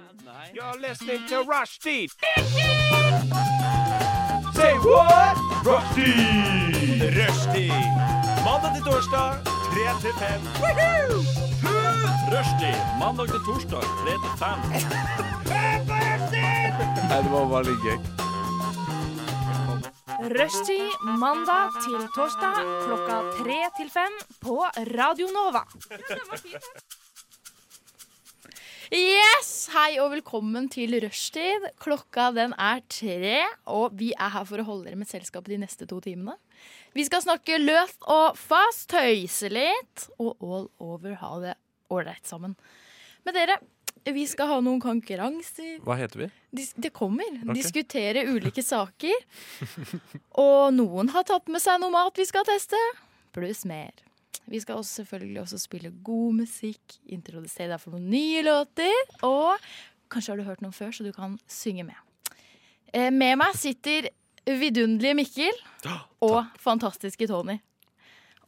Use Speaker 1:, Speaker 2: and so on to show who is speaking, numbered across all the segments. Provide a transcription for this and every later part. Speaker 1: Nei.
Speaker 2: You're listening to Rushdie. Say what? Rushdie. Rushdie. Mandag til torsdag, 3 til 5.
Speaker 1: Rushdie mandag til torsdag 3 til 5.
Speaker 2: Nei, det var veldig gøy.
Speaker 3: Rushtid mandag til torsdag klokka tre til fem på Radio Nova.
Speaker 4: Yes! Hei og velkommen til rushtid. Klokka den er tre, og vi er her for å holde dere med selskapet de neste to timene. Vi skal snakke løst og fast, tøyse litt, og all over ha det ålreit sammen. Men dere, vi skal ha noen konkurranser.
Speaker 2: Hva heter vi?
Speaker 4: Dis det kommer. Diskutere ulike saker. Og noen har tatt med seg noe mat vi skal teste, pluss mer. Vi skal også selvfølgelig også spille god musikk, introdusere deg for noen nye låter, og kanskje har du hørt noen før, så du kan synge med. Eh, Med meg sitter vidunderlige Mikkel og fantastiske Tony.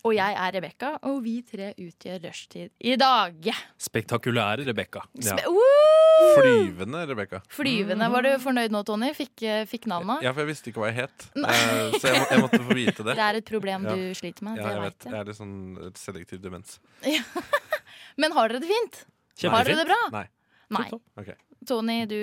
Speaker 4: Og jeg er Rebekka, og vi tre utgjør rushtid i dag.
Speaker 1: Spektakulære Rebekka.
Speaker 2: Ja.
Speaker 4: Spe- Woo!
Speaker 2: Flyvende, Rebekka.
Speaker 4: Flyvende. Var du fornøyd nå, Tony? Fikk, eh, fikk navnet?
Speaker 2: Ja, for jeg visste ikke hva jeg het, Eh, så jeg, må, jeg måtte få vite det.
Speaker 4: Det er et problem
Speaker 2: Ja.
Speaker 4: du sliter med.
Speaker 2: Ja,
Speaker 4: det
Speaker 2: jeg
Speaker 4: vet
Speaker 2: vet. Jeg
Speaker 4: jeg.
Speaker 2: er litt sånn et selektiv demens.
Speaker 4: Men har dere det fint? Har dere det bra?
Speaker 2: Nei.
Speaker 4: Nei.
Speaker 2: Ok.
Speaker 4: Tony, du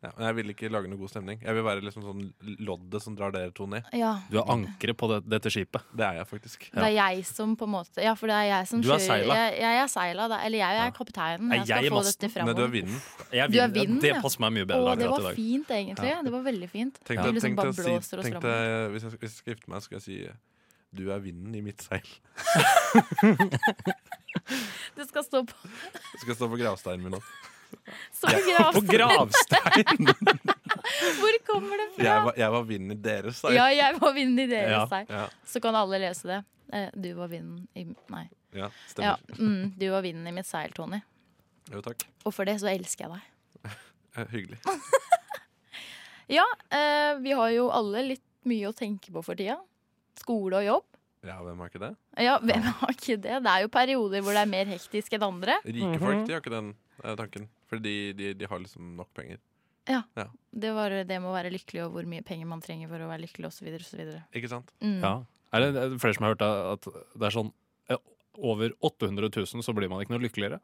Speaker 2: Ja, men jeg vil ikke lage noe god stemning. Jeg vil være liksom sånn loddet som drar dere to ned.
Speaker 4: Ja.
Speaker 1: Du er ankeret på det, dette skipet.
Speaker 2: Det er jeg faktisk.
Speaker 4: Det er jeg som på en måte Ja, for det er jeg som
Speaker 1: Du er
Speaker 4: kjører-
Speaker 1: seila.
Speaker 4: Jeg, jeg er seila. da. Eller jeg, er kapteinen.
Speaker 1: Er
Speaker 4: Jeg skal
Speaker 1: jeg
Speaker 4: få
Speaker 1: masten?
Speaker 4: dette
Speaker 2: Nei, du er
Speaker 4: framover.
Speaker 2: vinden.
Speaker 1: Jeg
Speaker 4: Du er
Speaker 1: vinner.
Speaker 4: vinden,
Speaker 1: det
Speaker 4: ja.
Speaker 1: passer meg mye
Speaker 4: Å,
Speaker 1: bedre
Speaker 4: det
Speaker 1: akkurat i
Speaker 4: var
Speaker 1: dag.
Speaker 4: fint, egentlig. Det var veldig fint.
Speaker 2: Tenk
Speaker 4: Ja.
Speaker 2: deg,
Speaker 4: Du liksom
Speaker 2: tenk deg, å
Speaker 4: bare
Speaker 2: si,
Speaker 4: blåser oss
Speaker 2: tenk deg hvis, jeg, hvis jeg skal gifte meg, skal jeg si du er vinden i mitt seil.
Speaker 4: Det skal stå på
Speaker 2: Jeg skal stå på gravsteinen min nå.
Speaker 4: som en
Speaker 1: På
Speaker 4: grav.
Speaker 1: gravstein!
Speaker 4: altså. Hvor kommer det fra?
Speaker 2: Jeg var, jeg var vinden i deres seil.
Speaker 4: Ja, jeg var vinden i
Speaker 1: Ja.
Speaker 4: deres seil.
Speaker 2: Ja,
Speaker 4: Så kan alle lese det. Eh, Du var vinden i Nei.
Speaker 2: ja,
Speaker 4: Ja,
Speaker 2: stemmer.
Speaker 4: mm, du var vinden i mitt seil, Tony.
Speaker 2: Jo, takk.
Speaker 4: Og for det så elsker jeg deg.
Speaker 2: Eh, Hyggelig.
Speaker 4: Ja, eh, vi har jo alle litt mye å tenke på for tida. Skole og jobb.
Speaker 2: Ja, hvem har ikke det?
Speaker 4: Ja, hvem har ikke det? Det er jo perioder hvor det er mer hektisk enn andre. Mhm.
Speaker 2: Rike folk de har ikke den eh, tanken. Fordi de, de, de har liksom nok penger.
Speaker 4: Det, var, det med å være lykkelig og hvor mye penger man trenger for å være lykkelig osv. osv.
Speaker 2: Ikke sant?
Speaker 4: Mm.
Speaker 1: Ja. Er det er det flere som har hørt at det er sånn eh, over 800 000 så blir man ikke noe lykkeligere?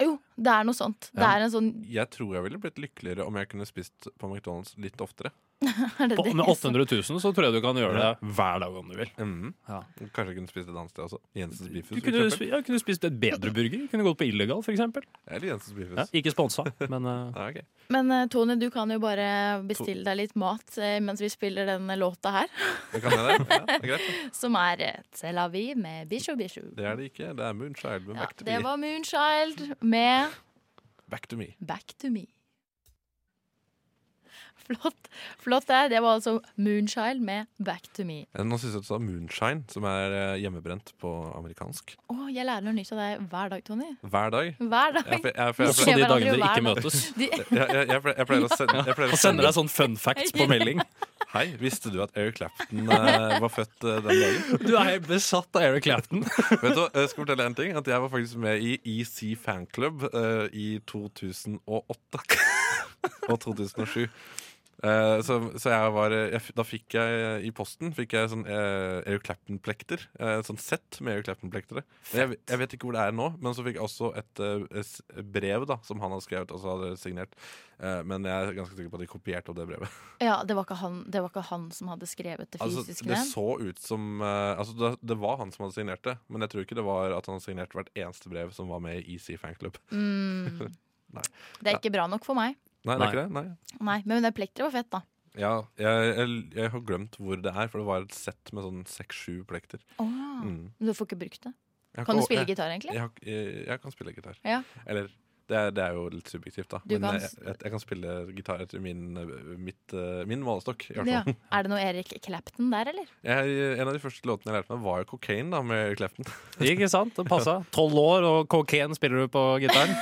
Speaker 4: Jo, det er noe sånt. Det
Speaker 1: Ja.
Speaker 4: er en sånn
Speaker 2: Jeg tror jeg ville blitt lykkeligere om jeg kunne spist på McDonald's litt oftere.
Speaker 4: er det
Speaker 1: På,
Speaker 4: det?
Speaker 1: med 800 000 så tror jeg du kan gjøre det hver dag om du vil.
Speaker 2: Mhm.
Speaker 1: Ja.
Speaker 2: Kanskje jeg kunne spist et annet sted også. Jensens
Speaker 1: Du
Speaker 2: Beefus. for
Speaker 1: kunne,
Speaker 2: eksempel.
Speaker 1: spi- ja, kunne spist et bedre burger. Kunne gått på illegal, for eksempel.
Speaker 2: Eller Jensens
Speaker 1: Ja,
Speaker 2: Beefus.
Speaker 1: ikke sponsa, men eh,
Speaker 2: Ja, ok.
Speaker 4: Men eh, Tony, du kan jo bare bestille deg litt mat eh, mens vi spiller denne låta her,
Speaker 2: Det kan jeg det. Ja, det er greit.
Speaker 4: som er eh, Tel Aviv med Bishu Bishu.
Speaker 2: Det er det ikke. Det er Moonchild med
Speaker 4: Ja,
Speaker 2: Back to
Speaker 4: det
Speaker 2: Me.
Speaker 4: var Moonchild med
Speaker 2: Back to me.
Speaker 4: Back to me. Flott. Flott det. Det var altså Moonchild med Back to me.
Speaker 2: Eh, Nå synes jeg du sa moonshine, som er eh, hjemmebrent på amerikansk.
Speaker 4: Å, jeg lærer noe nytt av deg hver dag, Tony.
Speaker 2: Hver dag.
Speaker 4: Hver dag.
Speaker 2: Jeg, jeg, jeg, jeg,
Speaker 4: Også
Speaker 1: også
Speaker 2: jeg,
Speaker 4: skjer
Speaker 1: de
Speaker 4: hverandre
Speaker 1: dagene dere ikke
Speaker 4: hver dag.
Speaker 1: møtes.
Speaker 4: De,
Speaker 2: jeg, jeg, pleier- jeg pleier å sende, jeg pleier å
Speaker 1: Og sender deg sånn fun facts på melding.
Speaker 2: Hei, visste du at Eric Clapton eh, var født eh, den dagen?
Speaker 1: Du er helt besatt av Eric Clapton.
Speaker 2: Vet du, hva, jeg skal fortelle en ting At jeg var faktisk med i E EC Fanclub eh, i 2008 og 2007. Eh, så, så jeg var eh, jeg, f- Da fikk jeg eh, i posten Fikk jeg sånn eh, Eric Clapton-plekter. Eh, sånn sett med Eric Clapton-plektere. Jeg, jeg vet ikke hvor det er nå, men så fikk jeg også et eh, s- brev da som han hadde skrevet. Og så hadde jeg signert Eh, Men jeg er ganske sikker på at de kopierte opp det brevet.
Speaker 4: ja, det var, ikke han, det var ikke han som hadde skrevet det
Speaker 2: Altså,
Speaker 4: fysiske
Speaker 2: det
Speaker 4: navn.
Speaker 2: så ut som eh, altså, det, det var han som hadde signert det, men jeg tror ikke det var at han signerte hvert eneste brev som var med i EC Fanclub.
Speaker 4: Mm.
Speaker 2: Nei.
Speaker 4: Det er ikke bra nok for meg.
Speaker 2: Nei, det
Speaker 1: Nei.
Speaker 2: er ikke det? Nei.
Speaker 4: Nei, men det plekteret var fett, da.
Speaker 2: Ja, jeg, jeg, jeg har glemt hvor det er, for det var et sett med sånn seks-sju plekter.
Speaker 4: Åh.
Speaker 2: Mm.
Speaker 4: Men Du får ikke brukt det.
Speaker 2: Jeg
Speaker 4: Ah.
Speaker 2: har
Speaker 4: Kan du
Speaker 2: ikke-
Speaker 4: spille
Speaker 2: jeg,
Speaker 4: gitar, egentlig?
Speaker 2: Jeg, har ikke- jeg, jeg kan spille gitar.
Speaker 4: Ja.
Speaker 2: Eller det er, det er jo litt subjektivt, da.
Speaker 4: Du
Speaker 2: Men
Speaker 4: kan
Speaker 2: jeg,
Speaker 4: s-
Speaker 2: jeg, jeg kan spille gitar etter min, eh, mitt, eh, min målestokk. I hvert
Speaker 4: Ja.
Speaker 2: fall.
Speaker 4: Er det noe Erik Clapton der, eller?
Speaker 2: Jeg, en av de første låtene jeg lærte meg, var jo 'Cocaine' da, med Kleften.
Speaker 1: Ikke sant? Det passa. Tolv år, og cocaine spiller du på gitaren.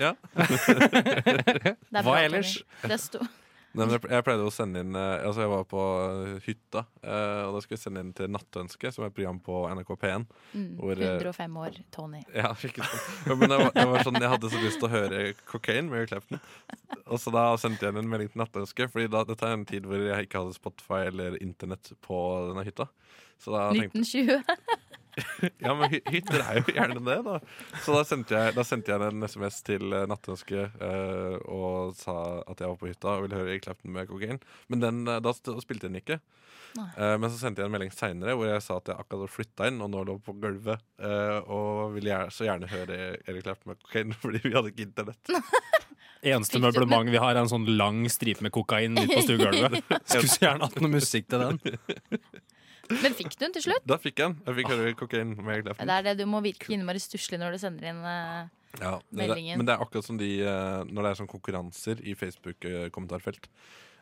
Speaker 2: Ja.
Speaker 4: Det er
Speaker 1: Hva
Speaker 4: bra,
Speaker 1: ellers?
Speaker 4: Tony. Det sto
Speaker 2: Nei, men jeg ple- jeg pleide å sende inn eh, Altså jeg var på eh, hytta, eh, og da skulle jeg sende inn til Nattønske, som er et program på NRK P1.
Speaker 4: Mm,
Speaker 2: Hvor, eh,
Speaker 4: 105 år, Tony.
Speaker 2: Ja, ikke sant. Ja, men jeg, var, jeg, var sånn, jeg hadde så lyst til å høre 'Cocaine' med Eric Clapton. Og så da sendte jeg inn en melding til Nattønske, Fordi da, dette er en tid hvor jeg ikke hadde Spotify eller internett på denne hytta. Så da tenkte
Speaker 4: 1920.
Speaker 2: Ja, men hy- hytter er jo gjerne det, da. Så da sendte jeg, da sendte jeg en SMS til eh, Nattønske eh, og sa at jeg var på hytta og ville høre Eric Clapton med kokain. Men den, eh, da st- spilte den ikke.
Speaker 4: Nei.
Speaker 2: Eh, men så sendte jeg en melding seinere hvor jeg sa at jeg akkurat hadde flytta inn og nå lå på gulvet eh, og ville gjerne, så gjerne høre Eric Clapton med kokain fordi vi hadde ikke internett.
Speaker 1: Eneste
Speaker 4: Fikk du-
Speaker 1: møblement vi har, er en sånn lang stripe med kokain midt på stuegulvet. Skulle så gjerne hatt noe musikk til den.
Speaker 4: Men fikk du den til slutt?
Speaker 2: Da fikk jeg den. Jeg fikk høre kokain med Eric Clapton.
Speaker 4: Det er det du må virke innmari stusslig når du sender inn eh,
Speaker 2: Ja, det, det,
Speaker 4: meldingen.
Speaker 2: men det er akkurat som de eh, når det er sånn konkurranser i Facebook-kommentarfelt.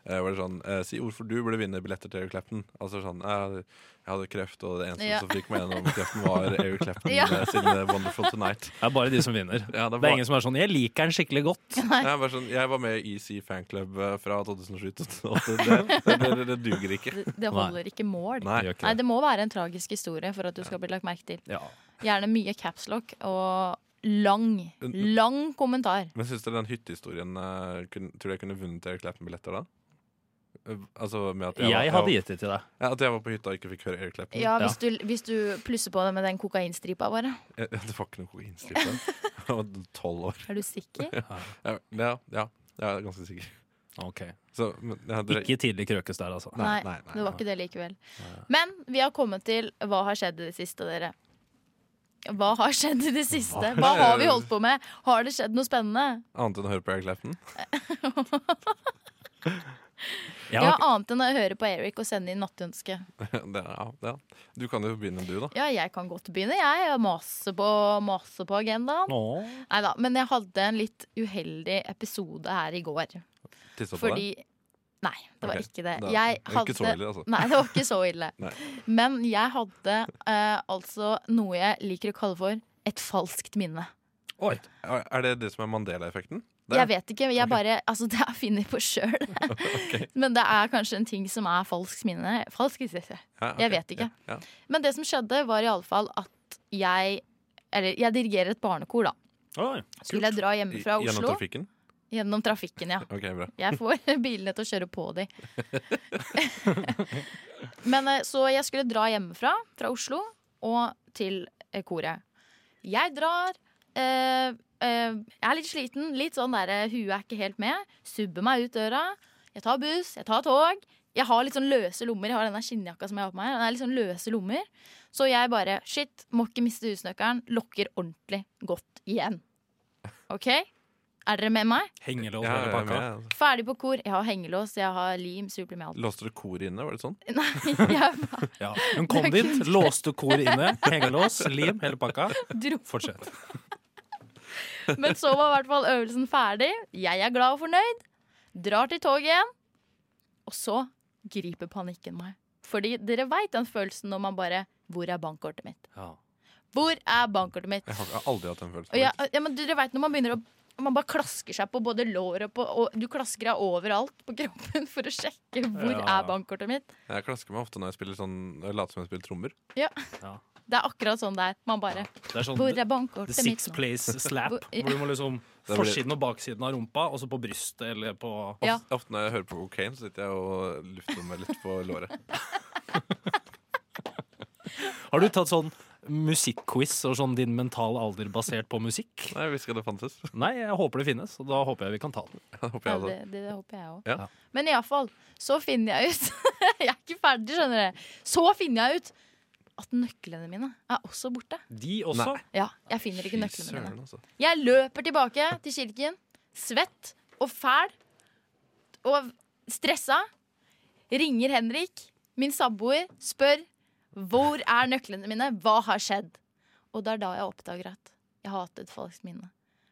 Speaker 2: Eh, hvor det er sånn eh, Si hvorfor du burde vinne billetter til Eric Clapton. Altså sånn eh, Jeg hadde kreft, og det eneste
Speaker 4: Ja.
Speaker 2: som fikk meg gjennom kreften, var Eric Clapton
Speaker 4: Ja.
Speaker 2: eh, sine Wonderful Tonight.
Speaker 1: Det er bare de som vinner.
Speaker 2: Ja,
Speaker 1: Det
Speaker 2: det var-
Speaker 1: er ingen som er sånn 'jeg liker den skikkelig godt'.
Speaker 2: Jeg, er bare sånn, jeg var med i EC fanclub eh, fra 2007 til 2008. Det, det, det, det duger ikke.
Speaker 4: det, det holder ikke mål.
Speaker 2: Nei.
Speaker 1: Det gjør
Speaker 4: Nei,
Speaker 1: ikke det.
Speaker 4: det må være en tragisk historie for at du skal bli lagt merke til.
Speaker 1: Ja.
Speaker 4: Gjerne mye capslock og lang, lang kommentar.
Speaker 2: Men syns dere den hyttehistorien eh, kun, Tror du jeg kunne vunnet Eric Clapton-billetter da? Eh, Altså med at jeg,
Speaker 1: Jeg
Speaker 2: var,
Speaker 1: hadde gitt det til deg.
Speaker 2: ja, At jeg var på hytta og ikke fikk høre Eric Clapton?
Speaker 4: Ja, hvis du, hvis du plusser på det med den kokainstripa bare.
Speaker 2: Eh, Det var ikke noe kokainstripe. Jeg var tolv år.
Speaker 4: Er du sikker?
Speaker 2: Ja, ja, ja, jeg er ganske sikker.
Speaker 1: Ok.
Speaker 2: Så, men, ja, dere-
Speaker 1: Ikke tidlig krøkes der, altså.
Speaker 4: Nei,
Speaker 2: nei, nei,
Speaker 4: det var ikke det likevel. Men vi har kommet til hva har skjedd i det siste, dere. Hva har skjedd i det siste? Hva har vi holdt på med? Har det skjedd noe spennende?
Speaker 2: Annet enn å høre på Eric Clapton?
Speaker 1: Jeg
Speaker 4: Ja,
Speaker 1: har,
Speaker 4: annet enn å høre på Eric og sende inn nattønske.
Speaker 2: det, ja, ja. Du kan jo begynne, du, da.
Speaker 4: Ja, jeg kan godt begynne, jeg. og Mase på, mase på agendaen.
Speaker 1: Åh.
Speaker 4: Nei da, men jeg hadde en litt uheldig episode her i går.
Speaker 2: Tisse på
Speaker 4: Fordi Nei, det var
Speaker 2: Ok,
Speaker 4: ikke det.
Speaker 2: det er-
Speaker 4: Jeg
Speaker 2: det er
Speaker 4: hadde
Speaker 2: ikke så ille, altså.
Speaker 4: Nei, det var ikke så ille.
Speaker 2: Nei.
Speaker 4: Men jeg hadde eh, altså noe jeg liker å kalle for et falskt minne.
Speaker 2: deg. Er er det det som er Mandela-effekten? Det er-
Speaker 4: Jeg vet ikke, jeg bare Altså, det har jeg funnet på sjøl. Men det er kanskje en ting som er falskt minne. Falsk, jeg jeg.
Speaker 2: Ja, ok.
Speaker 4: Jeg vet ikke.
Speaker 2: Ja, ja.
Speaker 4: Men det som skjedde, var iallfall at jeg Eller jeg dirigerer et barnekor, da.
Speaker 1: Oi.
Speaker 4: Skulle jeg dra hjemme fra
Speaker 2: I- Gjennom
Speaker 4: Oslo?
Speaker 2: trafikken?
Speaker 4: Gjennom trafikken, ja.
Speaker 2: Ok, bra.
Speaker 4: Jeg får bilene til å kjøre på de. Men eh, så jeg skulle dra hjemmefra, fra Oslo, og til eh, koret. Jeg drar. eh, eh, jeg er litt sliten. Litt sånn der, eh, Huet er ikke helt med. Subber meg ut døra. Jeg tar buss, jeg tar tog. Jeg har litt sånn løse lommer. Jeg har denne skinnjakka som jeg har på meg. Den er litt sånn løse lommer Så jeg bare shit, må ikke miste husnøkkelen. Lokker ordentlig godt igjen. OK? Er dere med meg?
Speaker 1: Hengelås
Speaker 2: Ja,
Speaker 1: hele
Speaker 2: jeg er
Speaker 1: pakka.
Speaker 2: med.
Speaker 4: Ferdig på kor. Jeg har hengelås, jeg har lim, superlim, jeg har alt.
Speaker 2: Låste du koret inne? Var det sånn?
Speaker 4: Nei, jeg
Speaker 1: Ja. Hun kom dit, låste koret inne. Hengelås, lim, hele pakka.
Speaker 4: dro.
Speaker 1: Fortsett.
Speaker 4: Men så var i hvert fall øvelsen ferdig. Jeg er glad og fornøyd. Drar til toget igjen. Og så griper panikken meg. Fordi dere veit den følelsen når man bare Hvor er bankkortet mitt?
Speaker 1: Ja.
Speaker 4: Hvor er bankkortet mitt?
Speaker 2: Jeg har jeg har aldri hatt den følelsen.
Speaker 4: Og jeg, ja, men dere vet når man begynner å man bare klasker seg på både lår og på og Du klasker deg overalt på kroppen for å sjekke hvor
Speaker 1: Ja.
Speaker 4: er bankkortet mitt.
Speaker 2: Jeg klasker meg ofte når jeg spiller sånn jeg later som jeg spiller trommer.
Speaker 4: Det er akkurat sånn det er. Man bare
Speaker 1: Det er sånn
Speaker 4: Hvor er
Speaker 1: The
Speaker 4: bankkortet mitt?
Speaker 1: six
Speaker 4: nå?
Speaker 1: place slap,
Speaker 4: Hvor- ja.
Speaker 1: hvor du må liksom
Speaker 2: blir-
Speaker 1: Forsiden og baksiden av rumpa, og så på brystet eller på
Speaker 2: Ofte,
Speaker 4: Ja.
Speaker 2: ofte når jeg hører på kokain, så sitter jeg og lufter meg litt på låret.
Speaker 1: Har du tatt sånn musikkquiz og sånn din mentale alder basert på musikk?
Speaker 2: Nei, jeg visste ikke at det fantes.
Speaker 1: Nei, jeg håper det finnes, og da håper jeg vi kan ta den.
Speaker 2: Jeg håper jeg
Speaker 4: Ja,
Speaker 2: hadde-
Speaker 4: det, det, det håper jeg òg.
Speaker 2: Ja.
Speaker 4: Men iallfall, så finner jeg ut Jeg er ikke ferdig, skjønner dere. Så finner jeg ut at nøklene mine er også borte.
Speaker 1: De også.
Speaker 4: Ja, jeg finner ikke
Speaker 2: Fy
Speaker 4: nøklene mine.
Speaker 2: søren, altså.
Speaker 4: Jeg løper tilbake til kirken, svett og fæl og stressa. Ringer Henrik, min samboer, spør hvor er nøklene mine, hva har skjedd? Og det er da jeg oppdager at jeg har hatt et falskt minne.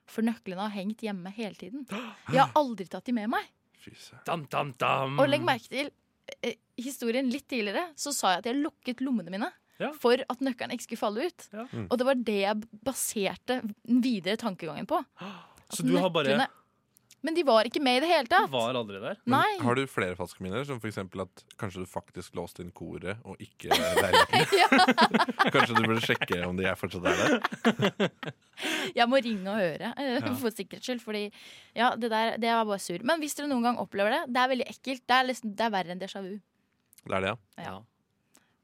Speaker 4: For nøklene har hengt hjemme hele tiden. Jeg har aldri tatt de med meg.
Speaker 2: Fy søren.
Speaker 1: Dam, dam, dam.
Speaker 4: Og legg merke til eh, historien litt tidligere, så sa jeg at jeg lukket lommene mine.
Speaker 1: Ja.
Speaker 4: For at nøkkelen ikke skulle falle ut.
Speaker 1: Ja.
Speaker 2: Mm.
Speaker 4: Og det var det jeg baserte den videre tankegangen på.
Speaker 1: Så du har bare
Speaker 4: Nøklene- Men de var ikke med i det hele tatt.
Speaker 1: Var aldri der.
Speaker 2: Men
Speaker 4: Nei.
Speaker 2: Har du flere falske minner? Som for eksempel at kanskje du faktisk låste inn koret og ikke leiligheten?
Speaker 4: Ja.
Speaker 2: Kanskje du burde sjekke om de er fortsatt er der?
Speaker 4: Jeg må ringe og høre, eh,
Speaker 1: Ja.
Speaker 4: for sikkerhets skyld. Fordi ja, det der det var bare sur. Men hvis dere noen gang opplever det, det er veldig ekkelt. Det er, liksom, det er verre enn déjà vu.
Speaker 2: Det er det, ja.
Speaker 4: Ja.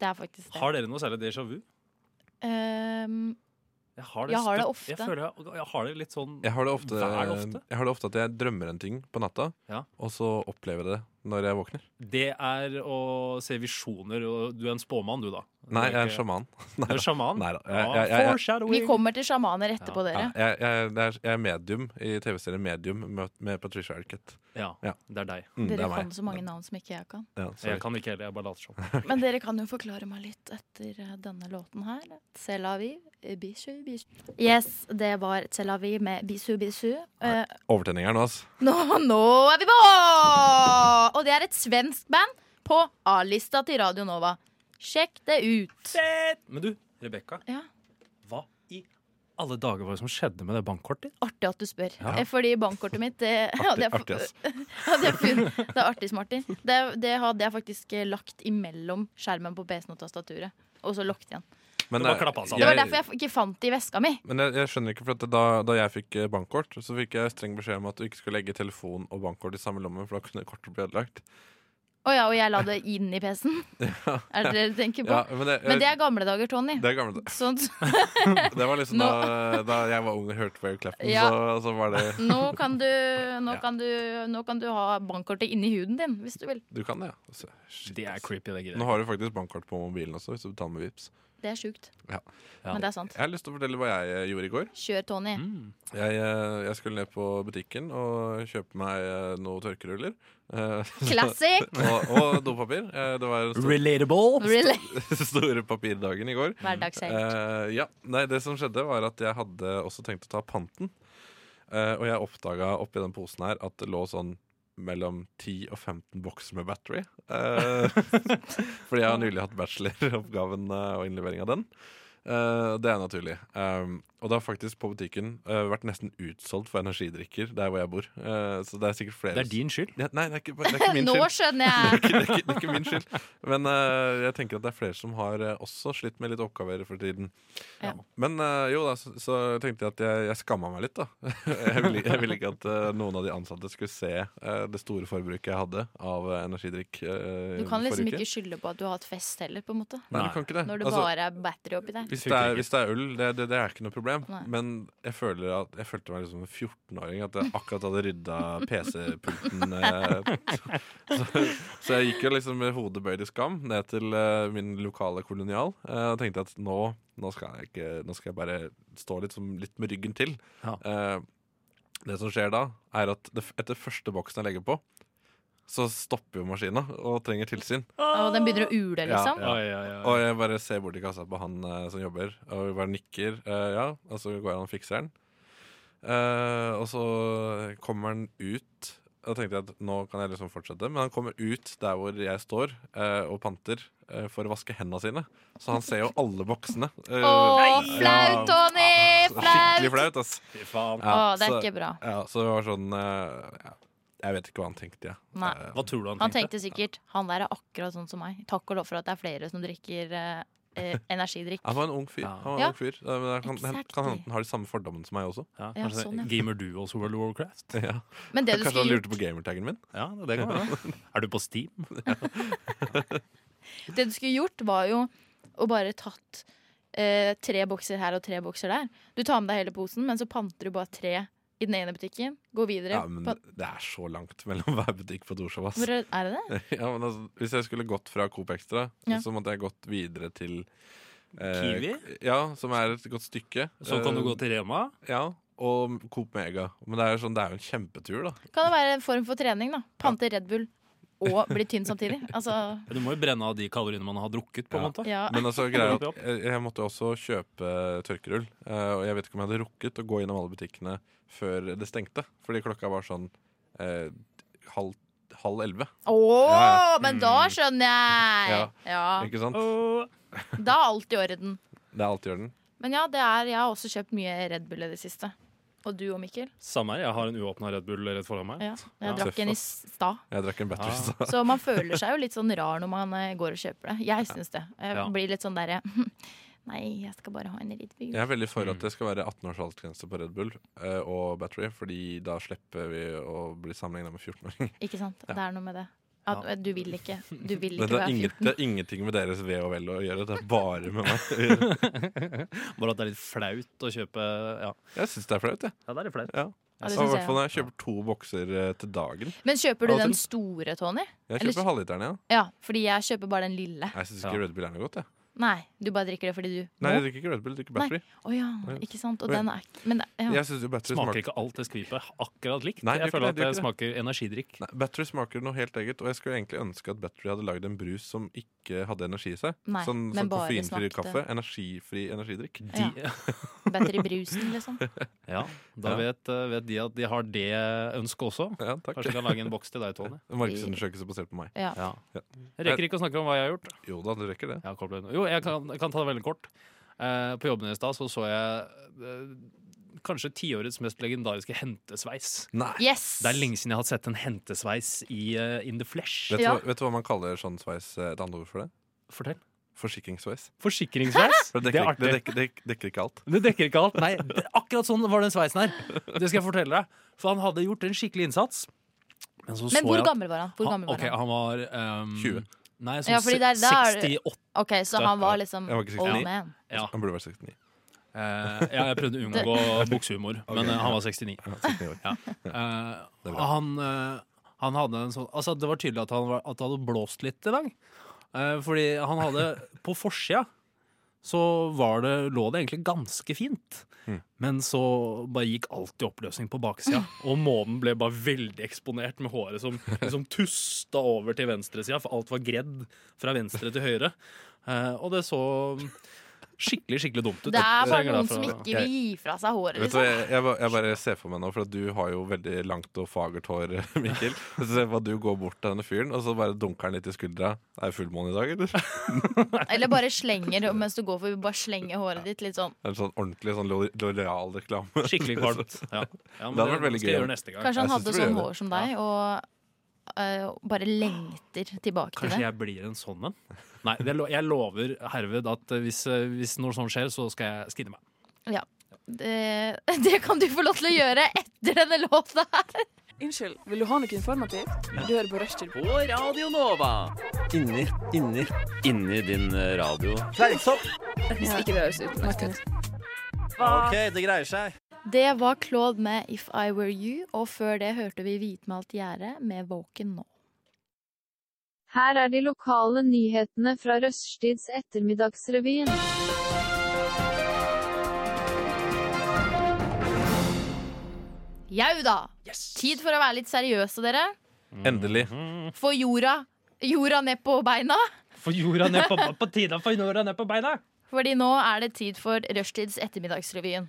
Speaker 4: Det er faktisk det.
Speaker 1: Har dere noe særlig déjà vu?
Speaker 4: Ehm,
Speaker 1: Jeg har
Speaker 4: Jeg har det
Speaker 1: støtt-
Speaker 4: ofte.
Speaker 1: Jeg, føler jeg, jeg har det litt sånn
Speaker 2: Jeg har, det ofte,
Speaker 1: Hva er det ofte?
Speaker 2: jeg har det ofte at jeg drømmer en ting på natta,
Speaker 1: Ja.
Speaker 2: og så opplever jeg det når jeg våkner.
Speaker 1: Det er å se visjoner. og Du er en spåmann, du, da.
Speaker 2: Nei,
Speaker 1: Du
Speaker 2: jeg er
Speaker 1: ikke-
Speaker 2: sjaman.
Speaker 1: Du er sjaman?
Speaker 2: Nei da. Jeg,
Speaker 1: Ja,
Speaker 2: jeg, jeg,
Speaker 1: foreshadowing.
Speaker 4: vi kommer til sjamaner etterpå,
Speaker 2: ja,
Speaker 4: dere.
Speaker 2: jeg, jeg, det er- jeg er medium i TV-serien Medium med, med Patricia Arquette.
Speaker 1: Ja,
Speaker 2: Ja.
Speaker 1: det er deg.
Speaker 2: Mm, det
Speaker 4: Dere
Speaker 2: er
Speaker 4: kan
Speaker 2: meg.
Speaker 4: så mange navn som ikke jeg kan.
Speaker 2: Ja, sorry.
Speaker 1: Jeg kan ikke heller, jeg bare later som.
Speaker 4: Men dere kan jo forklare meg litt etter eh, denne låten her. Tel Aviv, eh, Bishu, Bishu. Yes, det var Tel Aviv med Bisu, Bisu. Eh,
Speaker 2: Overtenning her nå, altså.
Speaker 4: nå, nå er vi på! Og det er et svensk band på A-lista til Radio Nova. Sjekk det ut.
Speaker 1: Men du, Rebekka.
Speaker 4: Ja.
Speaker 1: Hva i alle dager var det som skjedde med det bankkortet ditt?
Speaker 4: Artig at du spør.
Speaker 1: Ja.
Speaker 4: Eh, Fordi bankkortet mitt det, ja,
Speaker 2: Artig,
Speaker 4: det er,
Speaker 2: artig, ass.
Speaker 4: hadde jeg funnet. Det er artig, Martin. Det, det hadde jeg faktisk eh, lagt imellom skjermen på PC-en og tastaturet. Og så lukket igjen.
Speaker 2: Men
Speaker 1: Du altså. bare
Speaker 2: jeg-
Speaker 1: klappa sammen.
Speaker 4: Det var
Speaker 2: jeg-
Speaker 4: derfor jeg f- ikke fant det i veska mi.
Speaker 2: Men jeg, jeg skjønner ikke, for at da, da jeg fikk eh, bankkort, så fikk jeg streng beskjed om at du ikke skulle legge telefon og bankkort i samme lomme, for da kunne kortet bli ødelagt.
Speaker 4: Å ja, og jeg la det inn i PC-en. Er det det du tenker på?
Speaker 2: Ja, men det,
Speaker 4: Men det er gamle dager, Tony.
Speaker 2: det er gamle dager.
Speaker 4: Sånn,
Speaker 2: Det var liksom da, da jeg var ung og hørte Wave Clapton,
Speaker 4: Ja.
Speaker 2: så, så var det
Speaker 4: nå, kan du, nå,
Speaker 2: Ja.
Speaker 4: kan du, nå kan du ha bankkortet inni huden din, hvis du vil.
Speaker 2: Du kan det, ja. Altså, shit,
Speaker 1: Det er
Speaker 2: ass.
Speaker 1: creepy, det greiet.
Speaker 2: Nå har du faktisk bankkort på mobilen også, hvis du betaler med Vipps.
Speaker 4: Det er sjukt.
Speaker 2: Ja.
Speaker 1: Ja.
Speaker 4: Men det er sant.
Speaker 2: Jeg har lyst til å fortelle hva jeg eh, gjorde i går.
Speaker 4: Kjør, Tony.
Speaker 1: Mm.
Speaker 2: Jeg, eh, jeg skulle ned på butikken og kjøpe meg eh, noen tørkeruller. eh,
Speaker 4: Classic!
Speaker 2: og, og dopapir. Eh, Det var den store,
Speaker 1: Relatable.
Speaker 4: Really?
Speaker 2: store papirdagen i går.
Speaker 4: Hverdagshelt.
Speaker 2: Eh, ja, Nei, det som skjedde var at jeg hadde også tenkt å ta panten. Eh, og jeg oppdaga oppi den posen her at det lå sånn mellom 10 og 15 bokser med battery. Eh, fordi jeg har nylig hatt bacheloroppgaven eh, og innlevering av den. Eh, det er naturlig. Um, og det har faktisk på butikken eh, vært nesten utsolgt for energidrikker der hvor jeg bor. Eh, så det er sikkert flere
Speaker 1: Det er din skyld.
Speaker 2: Ja, Nei, det er ikke, det er ikke Eh, min
Speaker 4: Nå
Speaker 2: skyld
Speaker 4: skjønner jeg.
Speaker 2: det, er ikke, det er ikke min skyld. Men eh, jeg tenker at det er flere som har eh, også slitt med litt oppgaver for tiden.
Speaker 4: Ja.
Speaker 2: Men eh, jo da, så, så tenkte jeg at jeg, jeg skamma meg litt, da. jeg, ville, jeg ville ikke at eh, noen av de ansatte skulle se eh, det store forbruket jeg hadde av eh, energidrikk. eh,
Speaker 4: Du kan liksom
Speaker 2: forrige uke.
Speaker 4: ikke skylde på at du har hatt fest heller, på en måte.
Speaker 2: Nei,
Speaker 1: Nei.
Speaker 2: du kan ikke det.
Speaker 4: Når det
Speaker 2: Altså,
Speaker 4: bare er battery oppi der.
Speaker 2: hvis det, er, hvis det er øl, det, det, det er ikke noe problem.
Speaker 4: Nei.
Speaker 2: Men jeg, føler at, jeg følte meg liksom en 14-åring. At jeg akkurat hadde rydda PC-pulten. Eh, så, så jeg gikk jo liksom med hodet bøyd i skam ned til eh, min lokale kolonial. Eh, og tenkte at nå, nå, skal jeg ikke, nå skal jeg bare stå litt, som, litt med ryggen til.
Speaker 1: Ja.
Speaker 2: Eh, det som skjer da, er at det, f- etter første boksen jeg legger på, så stopper jo maskina og trenger tilsyn.
Speaker 4: Og den begynner å ule, liksom.
Speaker 2: Ah! Ja.
Speaker 1: Oi, oi, oi.
Speaker 2: Og jeg bare ser bort i kassa på han eh, som jobber, og vi bare nikker. eh, ja, og så går han og fikser den. Eh, og så kommer han ut. Og da tenkte jeg at nå kan jeg liksom fortsette, men han kommer ut der hvor jeg står eh, og panter eh, for å vaske hendene sine. Så han ser jo alle boksene. Eh,
Speaker 4: Å,
Speaker 2: ja.
Speaker 4: flaut, Tony! Flaut!
Speaker 2: Skikkelig flaut, ass.
Speaker 1: Fy faen.
Speaker 4: Å, det er
Speaker 2: så,
Speaker 4: ikke bra.
Speaker 2: ja, så det var sånn eh, ja, Jeg vet ikke hva han tenkte, jeg.
Speaker 4: Nei.
Speaker 2: Eh,
Speaker 1: Hva tror du han
Speaker 4: Han
Speaker 1: tenkte?
Speaker 4: tenkte sikkert han der er akkurat sånn som meg. Takk og lov for at det er flere som drikker eh, eh, energidrikk.
Speaker 2: han var en ung fyr.
Speaker 1: Ja.
Speaker 2: Han var en
Speaker 4: Ja.
Speaker 2: ung fyr. Eh, Men det kan, kan
Speaker 4: Exactly.
Speaker 2: hende han har de samme fordommene som meg også.
Speaker 1: Ja,
Speaker 4: Ja,
Speaker 1: kanskje
Speaker 4: sånn, ja.
Speaker 1: Gamer du også World of Warcraft?
Speaker 2: Ja.
Speaker 4: Men det du
Speaker 2: Kanskje han
Speaker 4: skulle,
Speaker 2: lurte på gamertaggen min?
Speaker 1: Ja, det kan være. Er du på Steam?
Speaker 4: gjort, det du skulle gjort, var jo å bare tatt eh, tre bokser her og tre bokser der. Du tar med deg hele posen, men så panter du bare tre i den ene butikken. Går videre.
Speaker 2: Ja, men
Speaker 4: pan-
Speaker 2: Det er så langt mellom hver butikk på Torshov. ass.
Speaker 4: Hvor er er det det?
Speaker 2: Ja, men altså, hvis jeg skulle gått fra Coop Extra,
Speaker 4: Ja.
Speaker 2: så måtte jeg gått videre til eh,
Speaker 1: Kiwi?
Speaker 2: Ja, som er et godt stykke.
Speaker 1: Så kan du gå til Rema.
Speaker 2: Eh, Ja, Og Coop Mega. Men det er jo sånn, det er jo en kjempetur, da.
Speaker 4: Kan det være en form for trening, da? Pante Red Bull og bli tynn samtidig. Altså,
Speaker 1: Du må jo brenne av de kaloriene man har drukket. på en
Speaker 2: Ja.
Speaker 1: måte
Speaker 4: ja.
Speaker 2: Men altså, greia er
Speaker 1: Går
Speaker 2: at jeg, jeg måtte jo også kjøpe tørkerull. eh, og jeg vet ikke om jeg hadde rukket å gå innom alle butikkene før det stengte. Fordi klokka var sånn eh, halv, halv elleve.
Speaker 4: Å,
Speaker 2: Ja, Mm.
Speaker 4: men da skjønner jeg! Ja.
Speaker 2: Ikke sant?
Speaker 1: Åh.
Speaker 4: Da er alt i orden.
Speaker 2: Det er alltid i orden.
Speaker 4: Men ja, det er, jeg har også kjøpt mye Red Bull i det siste. Og du og Mikkel?
Speaker 1: Samme her, jeg har en uåpna Red Bull rett foran meg.
Speaker 4: Ja.
Speaker 1: Ja.
Speaker 4: Jeg drakk en i stad.
Speaker 2: Jeg drakk en battle i
Speaker 1: Ah.
Speaker 2: stad.
Speaker 4: Så man føler seg jo litt sånn rar når man eh, går og kjøper det. Jeg syns det. Jeg
Speaker 1: Ja.
Speaker 4: blir litt sånn derre Nei, jeg skal bare ha en Red Bull.
Speaker 2: Jeg er veldig
Speaker 1: Mm.
Speaker 2: for at det skal være 18 års aldersgrense på Red Bull eh, og Battery, fordi da slipper vi å bli sammenligna med 14-åringer.
Speaker 4: Ikke sant?
Speaker 2: Ja.
Speaker 4: Det er noe med det. At, Du vil ikke. Du vil ikke
Speaker 2: Det,
Speaker 4: være
Speaker 2: er ingen-
Speaker 4: 14.
Speaker 2: det er ingenting med deres ve og vel å gjøre, det er bare med meg. å gjøre.
Speaker 1: Bare at det er litt flaut å kjøpe Ja,
Speaker 2: Jeg syns det er flaut, jeg.
Speaker 1: det er litt flaut.
Speaker 2: Ja.
Speaker 4: Ja, det
Speaker 2: Og
Speaker 4: synes
Speaker 2: I
Speaker 4: jeg,
Speaker 2: hvert fall når jeg kjøper to bokser eh, til dagen.
Speaker 4: Men kjøper du
Speaker 2: Av og
Speaker 4: den
Speaker 2: til.
Speaker 4: store, Tony?
Speaker 2: Jeg
Speaker 4: Eller-
Speaker 2: kjøper halvliteren, ja.
Speaker 4: Ja, fordi jeg kjøper bare den lille.
Speaker 2: Jeg syns ikke
Speaker 1: Ja.
Speaker 2: Red Bull er noe godt, jeg.
Speaker 4: Nei, du bare drikker det fordi du må.
Speaker 2: Nei, jeg drikker ikke Red Bull, jeg drikker
Speaker 4: Nei.
Speaker 2: Battery.
Speaker 4: Å ja, ikke sant. Og
Speaker 2: Oi.
Speaker 4: den er ikke Men det- ja.
Speaker 2: Jeg synes jo battery
Speaker 1: Smaker ikke alt det skvipet akkurat likt?
Speaker 2: Nei,
Speaker 1: jeg
Speaker 2: det gjør ikke
Speaker 1: føler at
Speaker 2: det, det
Speaker 1: det,
Speaker 2: gjør
Speaker 1: smaker energidrikk.
Speaker 2: Nei, battery smaker noe helt eget, og jeg skulle egentlig ønske at Battery hadde lagd en brus som ikke hadde energi i seg.
Speaker 4: Nei,
Speaker 2: sånn
Speaker 4: men
Speaker 2: sånn
Speaker 4: bare
Speaker 2: koffeinfri
Speaker 4: smakte-
Speaker 2: kaffe. Energifri energidrikk.
Speaker 1: De, ja.
Speaker 4: Bedre i brusen, liksom.
Speaker 1: da
Speaker 2: Ja.
Speaker 1: Vet, eh, vet de at de har det ønsket også.
Speaker 2: Ja,
Speaker 1: Kanskje
Speaker 2: takk.
Speaker 1: de kan lage en boks til deg, Tony.
Speaker 2: En Markedsundersøkelse basert på meg.
Speaker 4: Ja.
Speaker 1: Ja. Jeg rekker ikke å snakke om hva jeg har gjort.
Speaker 2: Jo da, du rekker det.
Speaker 1: Jeg har koblet- Jo, jeg kan, jeg kan ta det veldig kort. Eh, på jobben i stad så, så jeg eh, kanskje tiårets mest legendariske hentesveis.
Speaker 2: Nei!
Speaker 4: Yes!
Speaker 1: Det er lenge siden jeg har sett en hentesveis i eh, In the Flesh.
Speaker 2: Vet,
Speaker 4: Ja.
Speaker 2: du hva, vet du hva man kaller sånn sveis? eh, Et annet ord for det?
Speaker 1: Fortell.
Speaker 2: Forsikringssveis.
Speaker 1: Forsikringssveis?
Speaker 2: For det
Speaker 1: Det er
Speaker 2: dekker, ikke-
Speaker 1: artig.
Speaker 2: det, dekker, det dekker, dekker ikke alt.
Speaker 1: Det dekker ikke alt. Nei, det, akkurat sånn var den sveisen her. Det skal jeg fortelle deg. For han hadde gjort en skikkelig innsats. Men, så så
Speaker 4: Men hvor
Speaker 1: jeg at-
Speaker 4: gammel var han? Hvor gammel
Speaker 1: han,
Speaker 4: var
Speaker 1: ok,
Speaker 4: han?
Speaker 1: han var ehm,
Speaker 2: 20.
Speaker 1: Nei, sånn
Speaker 4: Ja, fordi det er- da er det-
Speaker 1: 68.
Speaker 4: Ok, Så han var liksom
Speaker 2: Jeg var ikke
Speaker 4: old
Speaker 2: 69.
Speaker 4: man.
Speaker 1: Ja.
Speaker 2: Han burde vært 69.
Speaker 1: Eh, ja, jeg prøvde å unngå buksehumor, men eh, han var 69.
Speaker 2: Ja, 69 år.
Speaker 1: Eh,
Speaker 2: Det er bra.
Speaker 1: han, eh, han hadde en sånn Altså, det var tydelig at han, var, at det hadde blåst litt i dag. Eh, fordi han hadde På forsida så var det, lå det egentlig ganske fint.
Speaker 2: Mm.
Speaker 1: Men så bare gikk alt i oppløsning på baksida. Og månen ble bare veldig eksponert med håret som liksom tusta over til venstresida, for alt var gredd fra venstre til høyre. Eh, og det så skikkelig, skikkelig dumt ut.
Speaker 4: Det er
Speaker 1: Så jeg
Speaker 4: bare
Speaker 1: glad
Speaker 4: noen
Speaker 1: for
Speaker 4: som
Speaker 1: å-
Speaker 4: ikke vil gi fra seg håret,
Speaker 2: Vet du hva,
Speaker 4: liksom.
Speaker 2: jeg, jeg, ba- jeg bare ser for meg nå, for at du har jo veldig langt og fagert hår, eh, Mikkel. Så ser jeg på at du går bort til denne fyren, og så bare dunker han litt i skuldra. Er det fullmåne i dag, eller?
Speaker 4: Eller bare slenger mens du går forbi, bare slenger håret ditt litt sånn.
Speaker 2: Det er en sånn ordentlig sånn lo- loreal reklame.
Speaker 1: Skikkelig kvalmt. Ja. Ja, men
Speaker 2: Det hadde vært veldig
Speaker 1: skal jeg
Speaker 2: gøy.
Speaker 1: gjøre neste gang.
Speaker 4: Kanskje han
Speaker 2: Jeg synes
Speaker 4: hadde
Speaker 2: du burde
Speaker 4: sånn
Speaker 2: gjøre det.
Speaker 4: hår som deg, og eh, bare lengter tilbake til
Speaker 1: Kanskje
Speaker 4: det.
Speaker 1: jeg blir en sånn en? Nei, det lo jeg lover herved at eh, hvis, eh, hvis noe sånt skjer, så skal jeg skinne meg.
Speaker 4: Ja. Det, det kan du få lov til å gjøre etter denne låta her.
Speaker 5: Unnskyld, vil du ha noe informativt? Du hører på Rushtid.
Speaker 6: på Radio Nova. Inni, inni, inni din eh, radio. Fleisopp!
Speaker 5: Hvis ikke det høres ut.
Speaker 6: OK, det greier seg.
Speaker 4: Det var Claude med If I Were You, og før det hørte vi Hvitmalt gjerde med Våken nå.
Speaker 7: Her er de lokale nyhetene fra Røststids ettermiddagsrevyen.
Speaker 4: Jau da! Tid for å være litt seriøse, dere.
Speaker 2: Endelig.
Speaker 1: Mhm.
Speaker 4: Få jorda, jorda ned på beina.
Speaker 1: Få jorda ned på, på tide å få jorda ned på beina!
Speaker 4: Fordi nå er det tid for Rushtids Ettermiddagsrevyen.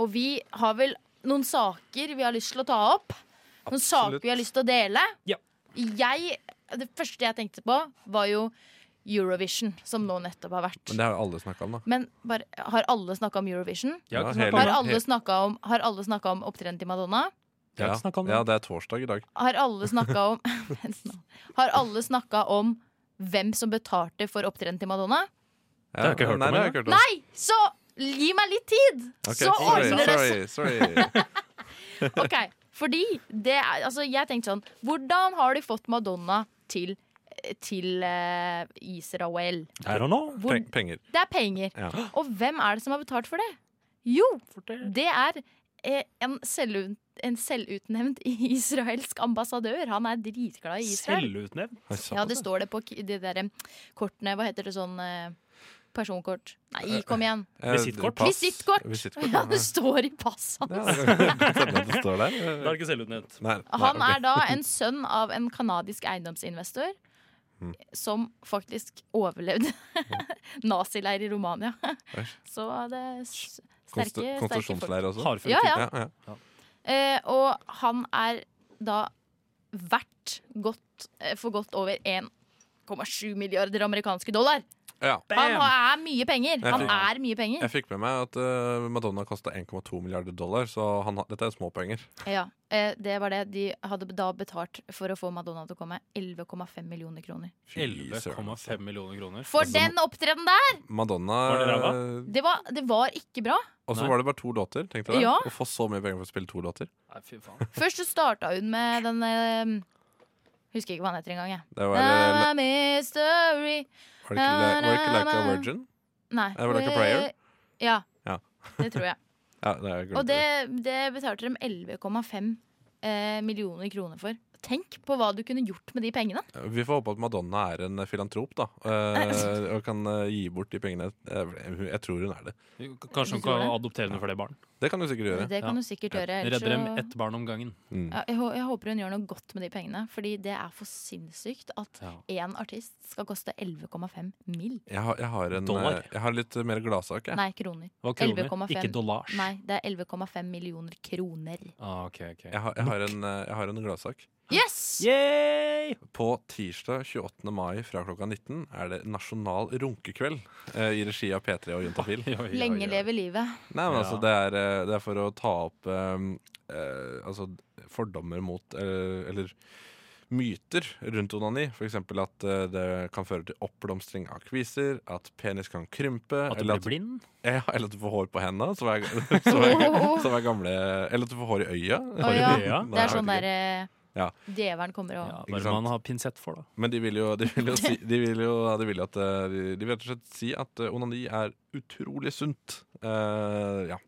Speaker 4: Og vi har vel noen saker vi har lyst til å ta opp. Noen
Speaker 2: Absolutt.
Speaker 4: saker vi har lyst til å dele.
Speaker 1: Ja.
Speaker 4: Jeg, det første jeg tenkte på, var jo Eurovision, som nå nettopp har vært.
Speaker 2: Men det har jo alle snakka om, da.
Speaker 4: Men bare, har alle snakka om Eurovision?
Speaker 1: Jeg har
Speaker 2: Ja,
Speaker 1: ikke snakket om
Speaker 2: hele-
Speaker 4: Har alle
Speaker 2: helt-
Speaker 4: snakka om, har alle snakket om opptredenen til Madonna?
Speaker 1: Jeg har
Speaker 2: Ja.
Speaker 1: ikke snakket om det.
Speaker 2: ja, det er torsdag i dag.
Speaker 4: Har alle snakka om Har alle snakka om hvem som betalte for opptredenen til Madonna?
Speaker 2: Ja,
Speaker 1: har jeg ikke hørt om
Speaker 2: nei, det har
Speaker 1: engang.
Speaker 2: jeg ikke hørt om.
Speaker 4: Nei! Så gi meg litt tid!
Speaker 2: Ok,
Speaker 4: så
Speaker 2: sorry,
Speaker 4: ordner det seg!
Speaker 2: sorry, sorry.
Speaker 4: Ok, fordi det er, altså jeg tenkte sånn Hvordan har de fått Madonna til, til eh, Israel?
Speaker 1: I don't know.
Speaker 4: Hvor,
Speaker 2: Pen- Penger.
Speaker 4: det er penger.
Speaker 2: Ja.
Speaker 4: Og hvem er det som har betalt for det? Jo, det er eh, en, selvut, en selvutnevnt israelsk ambassadør. Han er dritglad i Israel.
Speaker 1: Selvutnevnt.
Speaker 2: Oi, såpass,
Speaker 4: Ja, det står det på k- de der eh, kortene. Hva heter det sånn eh, Personkort. Nei, kom igjen.
Speaker 2: Eh,
Speaker 1: Visittkort.
Speaker 2: pass.
Speaker 4: Visittkort.
Speaker 2: Visittkort,
Speaker 4: Ja, det
Speaker 2: ja.
Speaker 4: står i passet
Speaker 2: Ja,
Speaker 4: hans.
Speaker 2: det kan godt hende at det står der.
Speaker 1: Det er ikke selvutnevnt.
Speaker 2: Nei, nei,
Speaker 4: Han
Speaker 2: ok.
Speaker 4: er da en sønn av en kanadisk eiendomsinvestor
Speaker 2: Mm.
Speaker 4: som faktisk overlevde nazileir i Romania.
Speaker 2: Æsj.
Speaker 4: Så det er s-
Speaker 2: Konst-
Speaker 4: sterke, sterke folk.
Speaker 2: Konstitusjonsleir også.
Speaker 1: Hardfunnet.
Speaker 4: Ja, ja.
Speaker 2: Ja, ja.
Speaker 4: Eh, og han er da verdt godt, eh, for godt over 1,7 milliarder amerikanske dollar.
Speaker 2: Ja.
Speaker 4: Han
Speaker 1: Bam!
Speaker 4: er mye penger.
Speaker 2: Jeg
Speaker 4: Han
Speaker 2: fikk-
Speaker 4: er mye penger.
Speaker 2: Jeg fikk med meg at eh, Madonna kosta 1,2 milliarder dollar, så han, har- dette er småpenger.
Speaker 4: Ja, eh, det var det. De hadde da betalt for å få Madonna til å komme. 11,5 millioner kroner.
Speaker 2: Fy søren.
Speaker 1: 11,5 millioner kroner.
Speaker 4: For den opptredenen der!
Speaker 2: Madonna
Speaker 1: Var det ræva?
Speaker 2: eh,
Speaker 4: Det var, det var ikke bra.
Speaker 2: Og så
Speaker 1: Nei.
Speaker 2: var det bare to låter. tenkte jeg
Speaker 4: Ja.
Speaker 2: Å få så mye penger for å spille to låter.
Speaker 1: Nei, fy faen.
Speaker 4: Først så starta hun med den eh, Husker ikke hva han heter engang. jeg.
Speaker 2: Det var, eh,
Speaker 4: I'm a mystery
Speaker 2: var, det ikke,
Speaker 4: na,
Speaker 2: var det ikke
Speaker 4: na,
Speaker 2: Like a
Speaker 4: na.
Speaker 2: Virgin?
Speaker 4: Nei.
Speaker 2: Eh, var det ikke Prayer?
Speaker 4: Ja.
Speaker 2: Ja.
Speaker 4: Det tror jeg.
Speaker 2: Ja, det er
Speaker 4: Og det, det betalte dem 11,5 eh, millioner kroner for. Tenk på hva du kunne gjort med de pengene.
Speaker 2: Vi får håpe at Madonna er en filantrop da eh, og kan eh, gi bort de pengene. Eh, Jeg tror hun er det.
Speaker 1: Kanskje hun
Speaker 4: tror
Speaker 1: kan
Speaker 4: det?
Speaker 1: adoptere henne for det barn.
Speaker 2: Det kan du sikkert gjøre.
Speaker 4: Det kan
Speaker 1: Ja.
Speaker 4: du sikkert gjøre. ellers
Speaker 1: Redder dem
Speaker 4: så-
Speaker 1: ett barn om gangen.
Speaker 2: Mm.
Speaker 4: Ja, jeg, hå- jeg håper hun gjør noe godt med de pengene, fordi det er for sinnssykt at
Speaker 1: Ja.
Speaker 4: én artist skal koste 11,5 mill.
Speaker 2: Jeg, har, jeg, har en,
Speaker 6: Dollar.
Speaker 2: eh, jeg har litt mer gladsak. Jeg.
Speaker 4: Nei, kroner.
Speaker 1: Det var kroner,
Speaker 4: 11,5.
Speaker 1: ikke dollars.
Speaker 4: Nei, det er 11,5 millioner kroner.
Speaker 1: Ah, ok, ok.
Speaker 2: Jeg, har, jeg, har en, eh, jeg har en gladsak.
Speaker 4: Yes!
Speaker 1: Yay!
Speaker 2: På tirsdag 28. mai fra klokka 19 er det nasjonal runkekveld eh, i regi av P3 og Juntafil.
Speaker 1: Oi, oi, oi.
Speaker 4: Lenge leve livet.
Speaker 2: Nei, men
Speaker 1: Ja.
Speaker 2: altså, det er, eh, det er for å ta opp eh, eh, altså, fordommer mot eh, Eller myter rundt onani. F.eks. at eh, det kan føre til oppblomstring av kviser, at penis kan krympe
Speaker 1: At du blir
Speaker 2: eller, at,
Speaker 1: blind?
Speaker 2: ja, eller at du får hår på henda, som er, som er, som er gamle Eller at du får hår i øya.
Speaker 4: Å
Speaker 1: i
Speaker 4: ja.
Speaker 1: øya?
Speaker 4: Det
Speaker 2: Nei, jeg
Speaker 4: er sånn
Speaker 2: vet
Speaker 4: der
Speaker 2: ikke.
Speaker 4: eh,
Speaker 2: Ja.
Speaker 4: Djevelen kommer og
Speaker 1: Ja,
Speaker 2: Ikke
Speaker 1: bare
Speaker 2: sant?
Speaker 1: man har pinsett for, da.
Speaker 2: Men de vil jo, de vil jo, si, de vil jo de vil at, eh, de de vil rett og slett si at eh, onani er utrolig sunt. Eh, ja.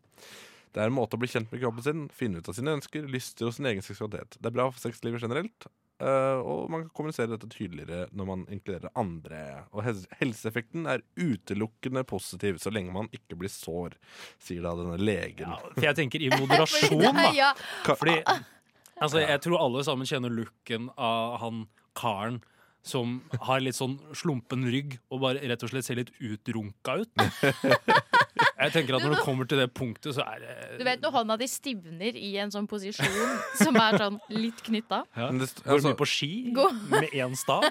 Speaker 2: Det er en måte å bli kjent med kroppen sin, finne ut av sine ønsker, lyster og sin egen seksualitet. Det er bra for sexlivet generelt, eh, og man kan kommunisere dette tydeligere når man inkluderer andre. Og hel- helseeffekten er utelukkende positiv så lenge man ikke blir sår, sier da denne legen.
Speaker 1: Ja, for jeg tenker i
Speaker 4: Fordi
Speaker 1: moderasjon,
Speaker 4: det er-
Speaker 1: da.
Speaker 4: ja.
Speaker 1: Fordi altså, jeg tror alle sammen kjenner looken av han karen som har litt sånn slumpen rygg og bare rett og slett ser litt utrunka ut. Jeg tenker at når det kommer til det punktet, så er
Speaker 4: Du
Speaker 1: det
Speaker 4: vet når hånda di stivner i en sånn posisjon som er sånn litt knytta.
Speaker 1: ja.
Speaker 2: Men det st-
Speaker 1: Går
Speaker 2: altså-
Speaker 1: mye på ski
Speaker 4: Gå.
Speaker 1: med én stav.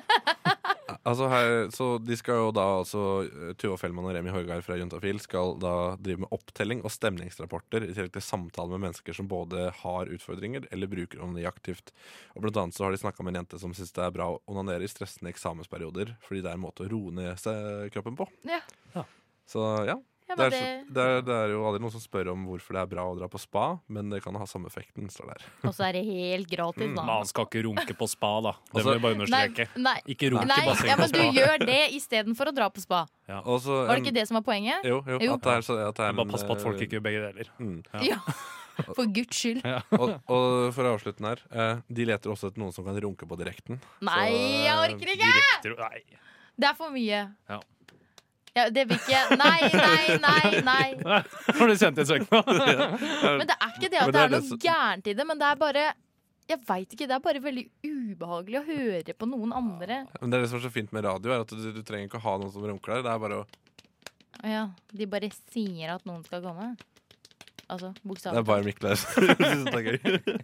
Speaker 2: Altså her, så De skal jo da altså eh, Tuva Fellmann og Remi Horgard fra Juntafil skal da drive med opptelling og stemningsrapporter i tillegg til samtale med mennesker som både har utfordringer eller bruker onani aktivt. Og Blant annet så har de snakka med en jente som syns det er bra å onanere i stressende eksamensperioder, fordi det er en måte å roe ned seg kroppen på.
Speaker 4: Ja.
Speaker 1: Ja.
Speaker 2: Så ja.
Speaker 4: Ja,
Speaker 2: Det
Speaker 4: men
Speaker 2: er, så- det, er, det er jo aldri noen som spør om hvorfor det er bra å dra på spa, men det kan ha samme effekten, står der.
Speaker 4: Og så er det helt gratis,
Speaker 1: Men
Speaker 4: da.
Speaker 1: han skal ikke runke på spa, da. Det
Speaker 2: Altså-
Speaker 1: vil jeg bare
Speaker 4: Nei,
Speaker 1: understreke.
Speaker 4: nei,
Speaker 1: Ikke runk
Speaker 4: nei
Speaker 1: i
Speaker 4: ja,
Speaker 1: bassenget på
Speaker 4: men du
Speaker 1: spa.
Speaker 4: gjør det istedenfor å dra på spa.
Speaker 2: Og
Speaker 4: Var
Speaker 2: så
Speaker 4: det
Speaker 2: en-
Speaker 4: ikke det som var poenget?
Speaker 2: Jo, jo,
Speaker 4: Jo.
Speaker 2: At det er, så, at det er
Speaker 1: Bare
Speaker 2: en,
Speaker 1: pass på at folk
Speaker 2: eh,
Speaker 1: ikke gjør begge deler.
Speaker 4: Ja, for guds skyld.
Speaker 2: og, og for å avslutte den her, eh, de leter også etter noen som kan runke på direkten.
Speaker 4: Nei, jeg orker ikke!
Speaker 1: Direkte, nei.
Speaker 4: Det er for mye.
Speaker 1: Ja.
Speaker 4: Ja, det vil ikke Nei, nei, nei, nei.
Speaker 1: Har du sendt en søknad?
Speaker 4: Men det er ikke det at
Speaker 2: Men
Speaker 4: det
Speaker 2: det er
Speaker 4: er
Speaker 2: det
Speaker 4: noe
Speaker 2: som-
Speaker 4: gærent i det, men det er bare jeg veit ikke. Det er bare veldig ubehagelig å høre på noen andre.
Speaker 2: Men det er det som er så fint med radio, er at du, du trenger ikke å ha noen som runker der. Det er bare å,
Speaker 4: Å Ja, de bare sier at noen skal komme. Altså,
Speaker 2: det er
Speaker 4: bokstavelig.
Speaker 2: bare Mikkel her. som synes det er gøy.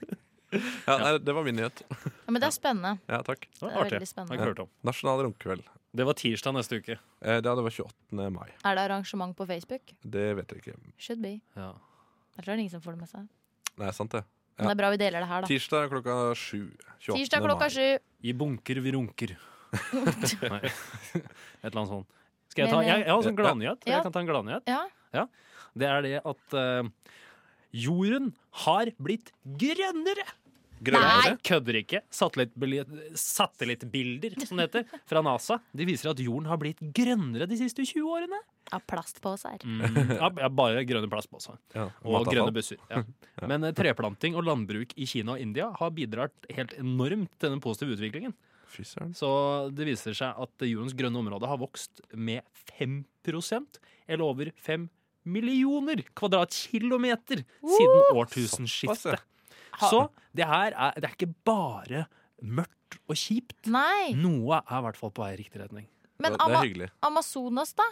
Speaker 2: Ja, nei, det var min nyhet.
Speaker 4: Ja, men det er spennende.
Speaker 2: Ja, takk.
Speaker 1: Det
Speaker 4: Det
Speaker 1: var
Speaker 4: er
Speaker 1: artig.
Speaker 4: veldig
Speaker 1: Har ikke
Speaker 4: spennende.
Speaker 1: hørt om.
Speaker 2: Nasjonal runkekveld.
Speaker 1: Det var tirsdag neste uke.
Speaker 2: Eh, ja, det var 28. mai.
Speaker 4: Er det arrangement på Facebook?
Speaker 2: Det vet jeg ikke.
Speaker 4: Should be.
Speaker 1: Ja.
Speaker 4: Jeg tror det er ingen som får det med seg.
Speaker 2: Nei, sant det.
Speaker 4: Men det er bra vi deler det her, da.
Speaker 2: Tirsdag klokka sju. 28.
Speaker 4: Tirsdag klokka
Speaker 2: mai.
Speaker 4: sju.
Speaker 1: I bunker vi runker. Nei, et eller annet sånt. Skal jeg ta
Speaker 4: Men, eh,
Speaker 1: Jeg, jeg har også en
Speaker 2: Ja, ja.
Speaker 1: gladnyhet.
Speaker 4: Ja.
Speaker 1: Jeg kan ta en gladnyhet.
Speaker 4: Ja.
Speaker 1: Det er det at eh, jorden har blitt grønnere!
Speaker 2: Grønnere.
Speaker 1: Kødder ikke. Satellittbili- Satellittbilder, som det heter, fra NASA De viser at jorden har blitt grønnere de siste 20 årene.
Speaker 4: Av plastposer.
Speaker 1: Mm, ja, ja, bare grønne plastposer.
Speaker 2: Ja,
Speaker 1: Og
Speaker 2: matavfall.
Speaker 1: grønne busser. Ja. Men eh, treplanting og landbruk i Kina og India har bidratt helt enormt til den positive utviklingen.
Speaker 2: Fy søren.
Speaker 1: Så det viser seg at jordens grønne område har vokst med 5 eller over 5 millioner kvadratkilometer siden
Speaker 2: Såpass, ja.
Speaker 1: årtusenskiftet. Så det her er, det er ikke bare mørkt og kjipt.
Speaker 4: Nei.
Speaker 1: Noe Mm. er i hvert fall på vei i riktig retning.
Speaker 4: Men
Speaker 2: det, det
Speaker 4: Ama
Speaker 2: er hyggelig.
Speaker 4: Amazonas, da?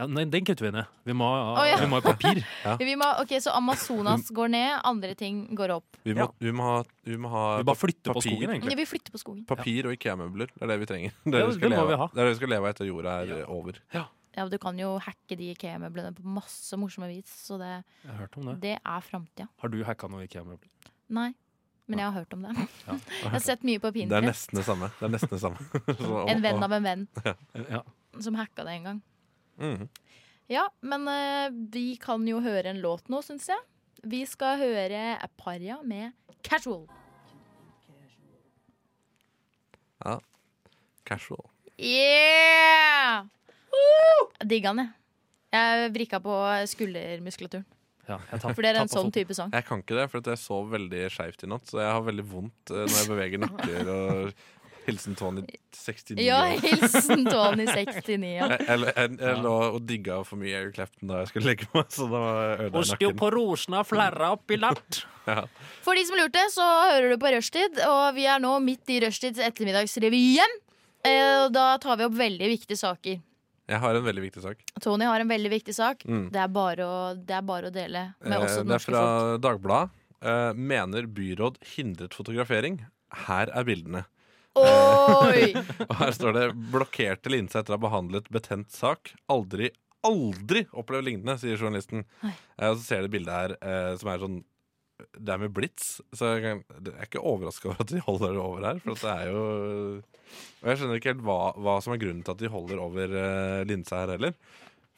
Speaker 1: Ja, nei, den kutter vi ned. Vi må ha,
Speaker 4: Å, ja.
Speaker 1: vi må ha papir.
Speaker 4: Vi må, ok, Så Amazonas går ned, andre ting går opp.
Speaker 2: Vi må, vi må ha, vi må ha
Speaker 1: Vi bare flytter på
Speaker 2: papir.
Speaker 1: skogen, egentlig.
Speaker 4: Ja, vi flytter på skogen.
Speaker 2: Papir og Ikea-møbler. Det er det vi trenger. Det
Speaker 1: Ja,
Speaker 2: er det vi skal,
Speaker 1: det må vi
Speaker 2: leve,
Speaker 1: ha.
Speaker 2: av. det er det vi skal leve av etter jorda er eh, over.
Speaker 4: Ja, Du kan jo hacke de IKEA-møblene på masse morsomme vis, så det,
Speaker 1: Jeg har hørt om det.
Speaker 4: det er framtida.
Speaker 1: Har du hacka noe IKEA-møbler?
Speaker 4: Nei, men jeg har hørt om det. Jeg har sett mye på
Speaker 2: Det er
Speaker 4: Pinterest.
Speaker 2: nesten det samme. Det er nesten det samme. Så-
Speaker 4: En venn av en venn
Speaker 1: Ja.
Speaker 4: som hacka det en gang.
Speaker 2: Mhm.
Speaker 4: Ja, men eh, vi kan jo høre en låt nå, syns jeg. Vi skal høre Aparia med 'Casual'.
Speaker 2: Casual.
Speaker 4: Yeah! Digga den, jeg. Jeg vrikka på skuldermuskulaturen.
Speaker 1: Ja, jeg tar,
Speaker 4: For det er
Speaker 1: tar
Speaker 4: en
Speaker 1: på
Speaker 4: sånn
Speaker 1: foten.
Speaker 4: type sang.
Speaker 2: Jeg kan ikke det, for at jeg sov veldig skeivt i natt. Så jeg har veldig vondt eh, når jeg beveger nakker og Hilsen Tony 69
Speaker 4: Ja,
Speaker 2: år.
Speaker 4: hilsen Tony69. Ja.
Speaker 2: Jeg, jeg, jeg, jeg lå og digga for mye Eric Clapton da jeg skulle legge meg, så da ødela jeg nakken.
Speaker 1: på rosene og flerra opp i latt.
Speaker 4: For de som lurte, så hører du på Rushtid, og vi er nå midt i Rushtids ettermiddagsrevyen. Eh, og Da tar vi opp veldig viktige saker.
Speaker 2: Jeg har en veldig viktig sak.
Speaker 4: Tony har en veldig viktig sak.
Speaker 2: Mm.
Speaker 4: Det, er bare å, det er bare å dele med
Speaker 2: Eh,
Speaker 4: oss og det
Speaker 2: Det er
Speaker 4: norske
Speaker 2: fra
Speaker 4: folk.
Speaker 2: Dagbladet. Eh, Mener byråd hindret fotografering? Her er bildene.
Speaker 4: Oi!
Speaker 2: Og her står det 'blokkerte linse etter å ha behandlet betent sak'. Aldri, aldri opplevd lignende, sier journalisten.
Speaker 4: Nei.
Speaker 2: Eh, Og så ser det bildet her eh, som er sånn Det er med blits, så jeg, kan, jeg er ikke overraska over at de holder det over her. For at det er jo Og jeg skjønner ikke helt hva, hva som er grunnen til at de holder over eh, linsa her heller.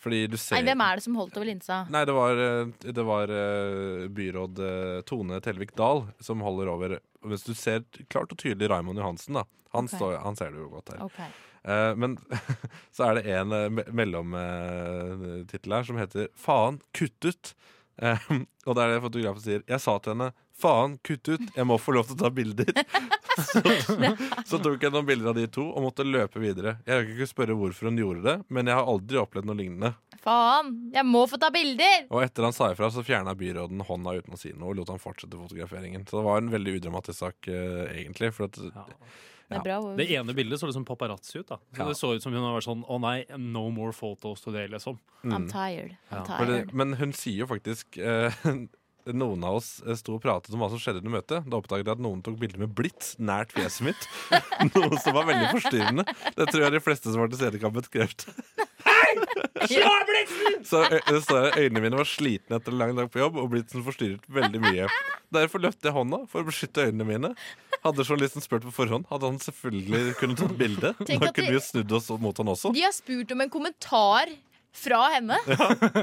Speaker 2: Fordi du ser
Speaker 4: Nei, hvem er det som holdt over linsa?
Speaker 2: Nei, det var, eh, det var eh, byråd eh, Tone Telvik Dahl som holder over Hvis du ser klart og tydelig Raymond Johansen, da. Han,
Speaker 4: Ok.
Speaker 2: står, han ser det jo godt her.
Speaker 4: Ok.
Speaker 2: Eh, men så er det en eh, me- mellomtittel her som heter 'Faen, kutt ut'. Eh, og det er det fotografen sier. Jeg sa til henne 'faen, kutt ut, jeg må få lov til å ta bilder'. så, så tok jeg noen bilder av de to og måtte løpe videre. Jeg rekker ikke spørre hvorfor hun gjorde det, men jeg har aldri opplevd noe lignende.
Speaker 4: Faen! Jeg må få ta bilder!
Speaker 2: Og etter han sa ifra, så fjerna byråden hånda uten å si noe og lot han fortsette fotograferingen. Så det var en veldig udramatisk sak, eh, egentlig. For at,
Speaker 1: Ja.
Speaker 4: Det er bra.
Speaker 1: Det ene bildet så liksom paparazzi ut. da Så
Speaker 2: Ja.
Speaker 1: Det så ut som hun har vært sånn Å nei, no more photos today, liksom.
Speaker 4: I'm tired. I'm
Speaker 1: Ja.
Speaker 2: For det,
Speaker 4: tired.
Speaker 2: men hun sier jo faktisk eh, Noen av oss eh, sto og pratet om hva som skjedde under møtet. Da oppdaget jeg at noen tok bilder med blits nært fjeset mitt. Noe som var veldig forstyrrende. Det tror jeg de fleste som var til stede, kan bekrefte. Så ø- det står her, øynene mine var slitne etter en lang dag på jobb, og blitsen forstyrret veldig mye. Derfor løftet jeg hånda for å beskytte øynene mine. Hadde journalisten spurt på forhånd, hadde han selvfølgelig kunnet tatt bilde. Da
Speaker 4: Tenk at
Speaker 2: kunne
Speaker 4: de-
Speaker 2: vi jo snudd oss mot han også.
Speaker 4: De har spurt om en kommentar fra henne,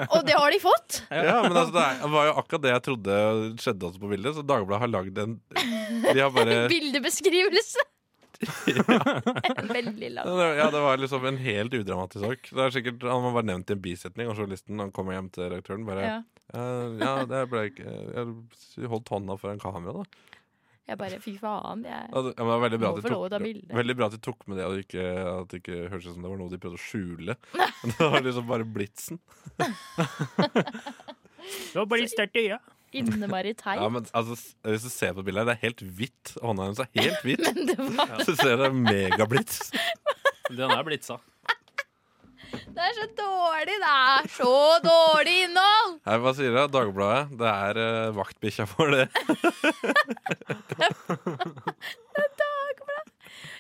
Speaker 4: og det har de fått!
Speaker 2: Ja, men altså, det er- var jo akkurat det jeg trodde skjedde også på bildet. Så Dagbladet har lagd en De har bare
Speaker 4: Bildebeskrivelse! En veldig lang.
Speaker 2: ja, Det var liksom en helt udramatisk sak. Det er sikkert, Han var bare nevnt i en bisetning, og journalisten han kommer hjem til redaktøren bare
Speaker 4: Ja.
Speaker 2: ja. ja, det ble ikke Jeg holdt hånda foran kameraet, da. Altså,
Speaker 4: Jeg bare fy faen, jeg
Speaker 2: Ja, det- Ja, men det var veldig
Speaker 4: Må
Speaker 2: bra, at
Speaker 4: få
Speaker 2: de
Speaker 4: lov å ta
Speaker 2: tok,
Speaker 4: bilde.
Speaker 2: veldig bra at de tok med det, og ikke, at det ikke hørtes ut som det var noe de prøvde å skjule. Det var liksom bare blitsen.
Speaker 1: Det var bare sterkt øye.
Speaker 4: innmari teit.
Speaker 2: Ja, men altså, s- Hvis du ser på bildet her, det er helt hvitt. Hånda hennes er helt hvit.
Speaker 4: Men det var
Speaker 2: Så ser du det er megablits.
Speaker 1: Den er blitsa.
Speaker 4: Det er så dårlig! Det er så dårlig innhold!
Speaker 2: Nei, hva sier du? Dagbladet? Det er uh, vaktbikkja for det.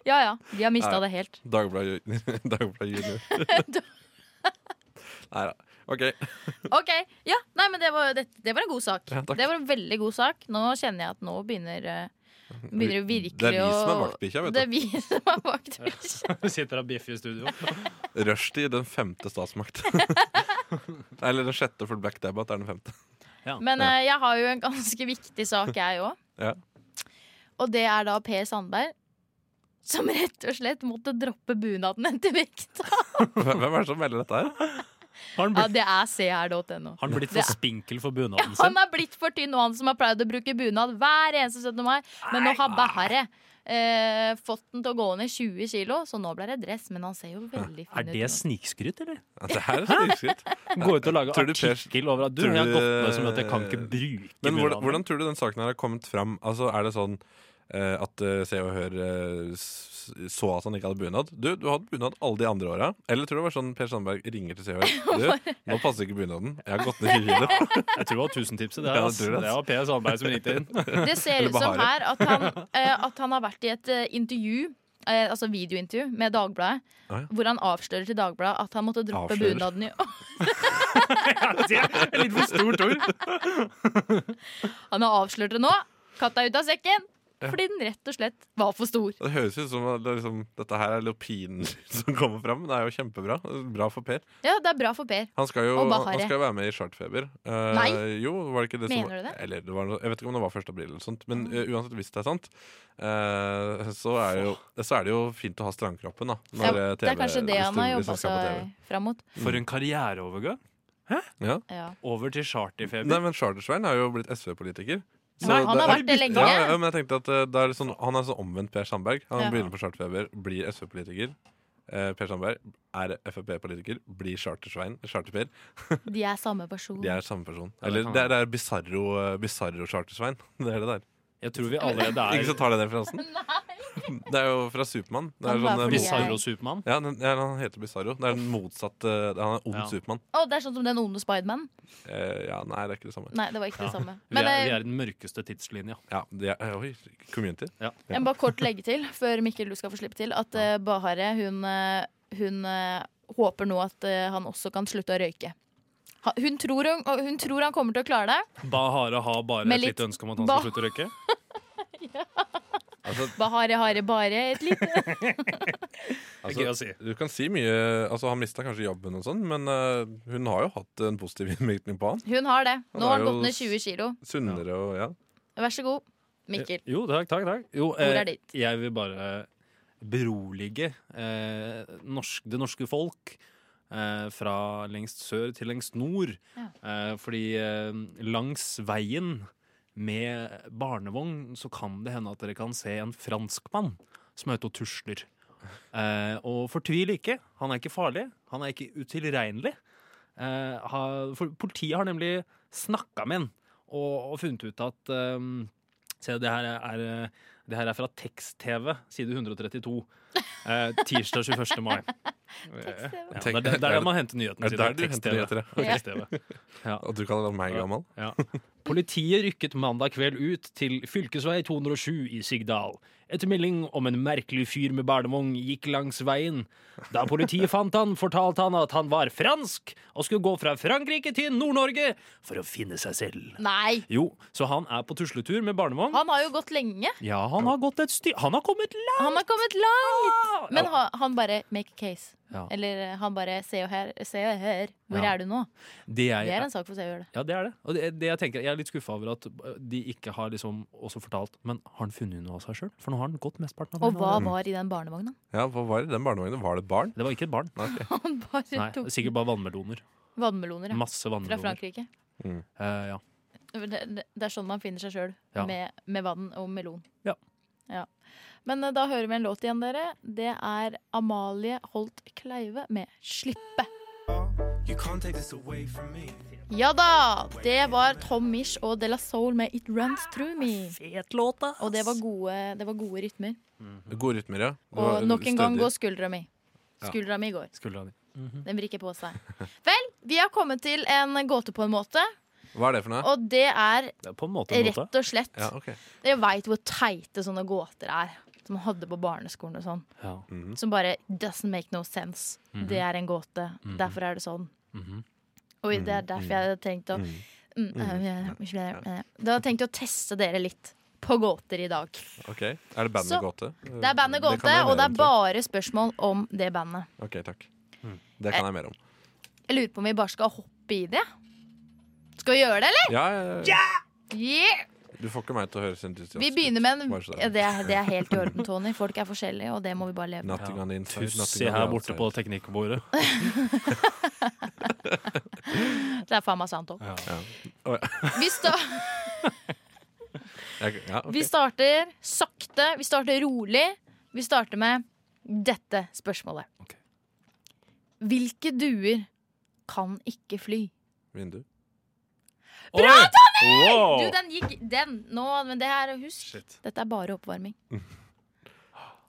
Speaker 4: Ja ja, de har mista
Speaker 2: Nei.
Speaker 4: det helt.
Speaker 2: Dagbladet Ju- Dagbladet Junior. Nei da. OK.
Speaker 4: Ok, ja, nei, men det var, det, det var en god sak.
Speaker 2: Ja, takk.
Speaker 4: det var en veldig god sak. Nå kjenner jeg at nå begynner, eh, begynner det virkelig
Speaker 2: Det er vi som er
Speaker 4: å-
Speaker 2: vaktbikkja, vet
Speaker 4: Det er
Speaker 2: du.
Speaker 4: vi som er vaktbikkja.
Speaker 1: Vi sitter og bjeffer i studio.
Speaker 2: Rushtid, den femte statsmakt. Eller den sjette, for Black Dabbat er den femte.
Speaker 4: Men eh, jeg har jo en ganske viktig sak, jeg òg.
Speaker 2: Ja.
Speaker 4: Og det er da Per Sandberg. Som rett og slett måtte droppe bunaden etter vekta.
Speaker 2: Hvem er det som melder dette her?
Speaker 1: Har han
Speaker 4: Ja,
Speaker 1: blitt,
Speaker 4: det er cr.no.
Speaker 1: har han blitt
Speaker 4: Det
Speaker 1: for
Speaker 4: er-
Speaker 1: spinkel for bunaden sin?
Speaker 4: Han er blitt for tynn, og han som har pleid å bruke bunad hver eneste 17. mai. Men nå har Bahareh eh, fått den til å gå ned 20 kilo, så nå blir det dress. Men han ser jo veldig
Speaker 1: Er
Speaker 4: fin ut.
Speaker 1: det
Speaker 4: nå.
Speaker 1: snikskryt, eller?
Speaker 2: Det her er snikskritt.
Speaker 1: Gå ut og lage
Speaker 2: Tror du Per-
Speaker 1: artikkel over at du,
Speaker 2: tror
Speaker 1: jeg har
Speaker 2: du-
Speaker 1: gått med som dette, jeg kan ikke bruke
Speaker 2: Men hvordan,
Speaker 1: bunaden.
Speaker 2: hvordan tror du den saken her har kommet fram? Altså, er det sånn eh, at eh, Se og Hør eh, s- så at han ikke hadde bunad. Du, du hadde bunad alle de andre åra. Eller tror du det var sånn Per Sandberg ringer til Se og Hør. Du, nå passer ikke bunaden. Jeg har gått ned i kilo.
Speaker 1: Jeg tror det var tusentipset. Det,
Speaker 2: Ja,
Speaker 1: her,
Speaker 2: jeg
Speaker 1: ass.
Speaker 2: tror det, Mm. ass.
Speaker 1: det var Per Sandberg som ringte inn.
Speaker 4: Det ser
Speaker 2: Eller
Speaker 4: ut som
Speaker 2: Bahareh.
Speaker 4: her at han, eh, at han har vært i et eh, intervju, eh, altså videointervju, med Dagbladet.
Speaker 2: Ah, ja.
Speaker 4: Hvor han avslører til Dagbladet at han måtte droppe
Speaker 2: Avslører.
Speaker 4: bunaden. i-
Speaker 1: Det er Litt for stort ord.
Speaker 4: Han har avslørt det nå! Katta ut av sekken! Fordi den rett og slett var for stor.
Speaker 2: Det høres ut som at det, er liksom, dette her er lopinen som kommer fram. Det er jo kjempebra. Bra for Per.
Speaker 4: Ja, det er bra for Per.
Speaker 2: Han skal jo
Speaker 4: Og Bahareh.
Speaker 2: han skal jo være med i Chartfeber. Eh,
Speaker 4: Nei.
Speaker 2: Jo, var det ikke det som
Speaker 4: Mener du det? Ah.
Speaker 2: Eller det var noe, jeg vet ikke om det var 1. april eller sånt, men eh, uansett hvis det er sant, eh, så, er det jo, så er det jo fint å ha strandkroppen, da.
Speaker 4: Ja,
Speaker 2: når, eh,
Speaker 4: det er
Speaker 2: TV
Speaker 4: kanskje det han har
Speaker 2: hvis
Speaker 4: jobba
Speaker 2: han skal på
Speaker 4: seg fram mot.
Speaker 1: For en karriereovergang.
Speaker 2: TV.
Speaker 4: Ja.
Speaker 1: Over til
Speaker 2: Ja.
Speaker 1: charterfeber.
Speaker 2: Nei, men Chartersvein er jo blitt SV-politiker. Så
Speaker 4: Nei, han
Speaker 2: det-
Speaker 4: har vært det lenge.
Speaker 2: Ja, ja, men jeg tenkte at eh, det er litt sånn, Han er sånn omvendt Per Sandberg. Han
Speaker 4: Ja.
Speaker 2: begynner på Charterfeber, blir SV-politiker. Eh, per Sandberg er Frp-politiker, blir Chartersvein. Charter-Per.
Speaker 4: De er samme person.
Speaker 2: De er samme person.
Speaker 1: Ja, det
Speaker 2: Eller
Speaker 1: kan
Speaker 2: det er, det er Bizarro, eh, bizarro Charter-Svein. Det er det der.
Speaker 1: Jeg tror vi allerede
Speaker 2: Ingen som
Speaker 1: er
Speaker 2: tar den referansen? Det er jo fra Supermann. Det er
Speaker 4: Han var
Speaker 2: sånn, eh,
Speaker 4: fordi
Speaker 2: bis-
Speaker 1: Bizarro Supermann.
Speaker 2: ja, den- ja, han heter Bizarro. Det er den motsatte eh, Han er ond
Speaker 1: Ja.
Speaker 2: Supermann.
Speaker 4: Å, det er sånn som den onde Spiderman.
Speaker 2: Eh, ja, nei, det er ikke det samme.
Speaker 4: Nei, det var ikke
Speaker 1: Ja.
Speaker 4: det samme.
Speaker 1: Vi er,
Speaker 4: Men
Speaker 1: vi
Speaker 4: eh,
Speaker 1: er i den mørkeste tidslinja.
Speaker 2: Ja, det er, oi, community.
Speaker 4: jeg må bare kort legge til, før Mikkel du skal få slippe til, at eh, Bahareh hun, eh, hun eh, håper nå at eh, han også kan slutte å røyke. Ha- Hun tror, hun, og hun tror han kommer til å klare det.
Speaker 1: Bahare har bare
Speaker 4: Med
Speaker 1: et
Speaker 4: litt-
Speaker 1: lite ønske om at han
Speaker 4: Ba-
Speaker 1: skal slutte å røyke.
Speaker 2: Altså,
Speaker 4: Bahareh hare bare et lite
Speaker 1: Det er gøy å
Speaker 2: altså,
Speaker 1: si.
Speaker 2: du kan si mye altså, Han mista kanskje jobben og sånn, men eh, hun har jo hatt en positiv innvirkning på han.
Speaker 4: Hun har det.
Speaker 2: Han er
Speaker 4: Nå har han
Speaker 2: jo
Speaker 4: gått ned 20 kilo.
Speaker 2: Sunnere og ja.
Speaker 4: Vær så god, Mikkel.
Speaker 1: Jo, takk, takk. takk. Jo,
Speaker 4: Ordet er
Speaker 1: eh,
Speaker 4: ditt.
Speaker 1: jeg vil bare berolige eh, norsk, det norske folk. Eh, fra lengst sør til lengst nord. Eh, fordi eh, langs veien med barnevogn så kan det hende at dere kan se en franskmann som er ute og tusler. Eh, og fortvil ikke. Han er ikke farlig. Han er ikke utilregnelig. Eh, ha, for politiet har nemlig snakka med han og, og funnet ut at eh, Se, det her er, er, det her er fra Tekst-TV, side 132. Eh, tirsdag 21. mai. Eh, Ja, det, er, det er der man henter nyhetene
Speaker 2: Er det
Speaker 1: sine.
Speaker 2: der du
Speaker 1: Tekst-TV.
Speaker 2: henter nyheter? ja?
Speaker 1: Tekst-TV.
Speaker 2: Og du kaller meg gammel?
Speaker 1: Ja. Politiet rykket mandag kveld ut til fylkesvei 207 i Sigdal. Etter melding om en merkelig fyr med barnevogn gikk langs veien. Da politiet fant han, fortalte han at han var fransk og skulle gå fra Frankrike til Nord-Norge for å finne seg selv.
Speaker 4: Nei!
Speaker 1: Jo, så han er på tusletur med barnevogn.
Speaker 4: Han har jo gått lenge.
Speaker 1: Ja, han har gått et styr Han har kommet langt!
Speaker 4: Han har kommet langt! Men
Speaker 1: Ja.
Speaker 4: ha, han bare make a case.
Speaker 1: Ja.
Speaker 4: Eller eh, han bare se og hør, se og hør. Hvor
Speaker 1: Ja.
Speaker 4: er du nå?
Speaker 1: Det jeg,
Speaker 4: Det er en sak for se og hør. det.
Speaker 1: Ja, det er det. Og det, det jeg tenker, jeg er litt skuffa over at eh, de ikke har liksom også fortalt Men har han funnet noe av seg sjøl? For nå har han gått mesteparten av
Speaker 4: Og
Speaker 1: veien
Speaker 4: hva
Speaker 1: allerede.
Speaker 4: var i den barnevogna?
Speaker 2: Ja, hva var det? Den barnevognen? Var det et barn?
Speaker 1: Det var ikke et barn.
Speaker 4: Han bare
Speaker 1: Nei,
Speaker 4: tok
Speaker 1: Sikkert bare vannmeloner.
Speaker 4: vannmeloner ja.
Speaker 1: Masse
Speaker 4: fra
Speaker 1: vannmeloner.
Speaker 4: Frankrike.
Speaker 1: Eh, ja.
Speaker 4: Det, det, det er sånn man finner seg sjøl,
Speaker 1: Ja.
Speaker 4: med, med vann og melon.
Speaker 1: Ja.
Speaker 4: Ja. Men eh, da hører vi en låt igjen, dere. Det er Amalie Holt Kleive med 'Slippe'. Ja da! Det var Tom Mish og De La Soul med 'It Runs Through Me'.
Speaker 1: Fet låt, ass!
Speaker 4: Og det var gode, det var gode rytmer.
Speaker 1: Mhm.
Speaker 2: Gode rytmer, ja. Det var
Speaker 4: Og nok en gang
Speaker 2: stødig.
Speaker 4: går skuldra mi.
Speaker 2: Ja.
Speaker 4: Skuldra mi går.
Speaker 1: Skuldra di.
Speaker 4: Den vrikker på seg. Vel, vi har kommet til en gåte på en måte,
Speaker 2: Hva er det for noe?
Speaker 4: og det er
Speaker 1: Det er på en måte en måte.
Speaker 4: rett og slett
Speaker 2: Ja, ok
Speaker 4: Jeg veit hvor teite sånne gåter er. Som man hadde på barneskolen og sånn.
Speaker 1: Ja.
Speaker 2: Mhm.
Speaker 4: Som bare doesn't make no sense. Det er en gåte. Derfor er det sånn.
Speaker 1: Mhm.
Speaker 4: Og det er derfor jeg hadde tenkt å
Speaker 2: Mhm.
Speaker 4: mm, eh, eh, Da hadde jeg tenkt å teste dere litt på gåter i dag.
Speaker 2: Ok, Er det bandet
Speaker 4: Så-
Speaker 2: Gåte?
Speaker 4: Det er bandet
Speaker 2: kan
Speaker 4: Gåte,
Speaker 2: jeg mer
Speaker 4: og det
Speaker 2: om,
Speaker 4: er bare spørsmål om det bandet.
Speaker 2: tror jeg. Ok, takk.
Speaker 1: Mm.
Speaker 2: Det kan jeg mer om.
Speaker 4: Jeg lurer på om vi bare skal hoppe i det. Skal vi gjøre det, eller?
Speaker 2: Ja, ja, ja.
Speaker 4: Yeah!
Speaker 2: Du får ikke meg til å høres entusiastisk
Speaker 4: Vi begynner med en
Speaker 2: Bare så det er.
Speaker 4: ja, det, er, det er helt i orden, Tony. Folk er forskjellige, og det må vi bare leve med.
Speaker 2: Nothing on the inside, nothing
Speaker 1: Tussi
Speaker 2: on the
Speaker 1: her borte
Speaker 2: outside.
Speaker 1: på teknikkbordet.
Speaker 4: Det er faen meg sant òg.
Speaker 1: Ja.
Speaker 2: Å,
Speaker 4: Vi står
Speaker 2: Jeg, ja, ok.
Speaker 4: Vi starter sakte, vi starter rolig. Vi starter med dette spørsmålet.
Speaker 1: Ok.
Speaker 4: Hvilke duer kan ikke fly?
Speaker 2: Vindu.
Speaker 1: Bra, Tommy!
Speaker 4: Du, den gikk den nå, men det her, husk,
Speaker 2: Shit.
Speaker 4: dette er bare oppvarming.
Speaker 2: Nei,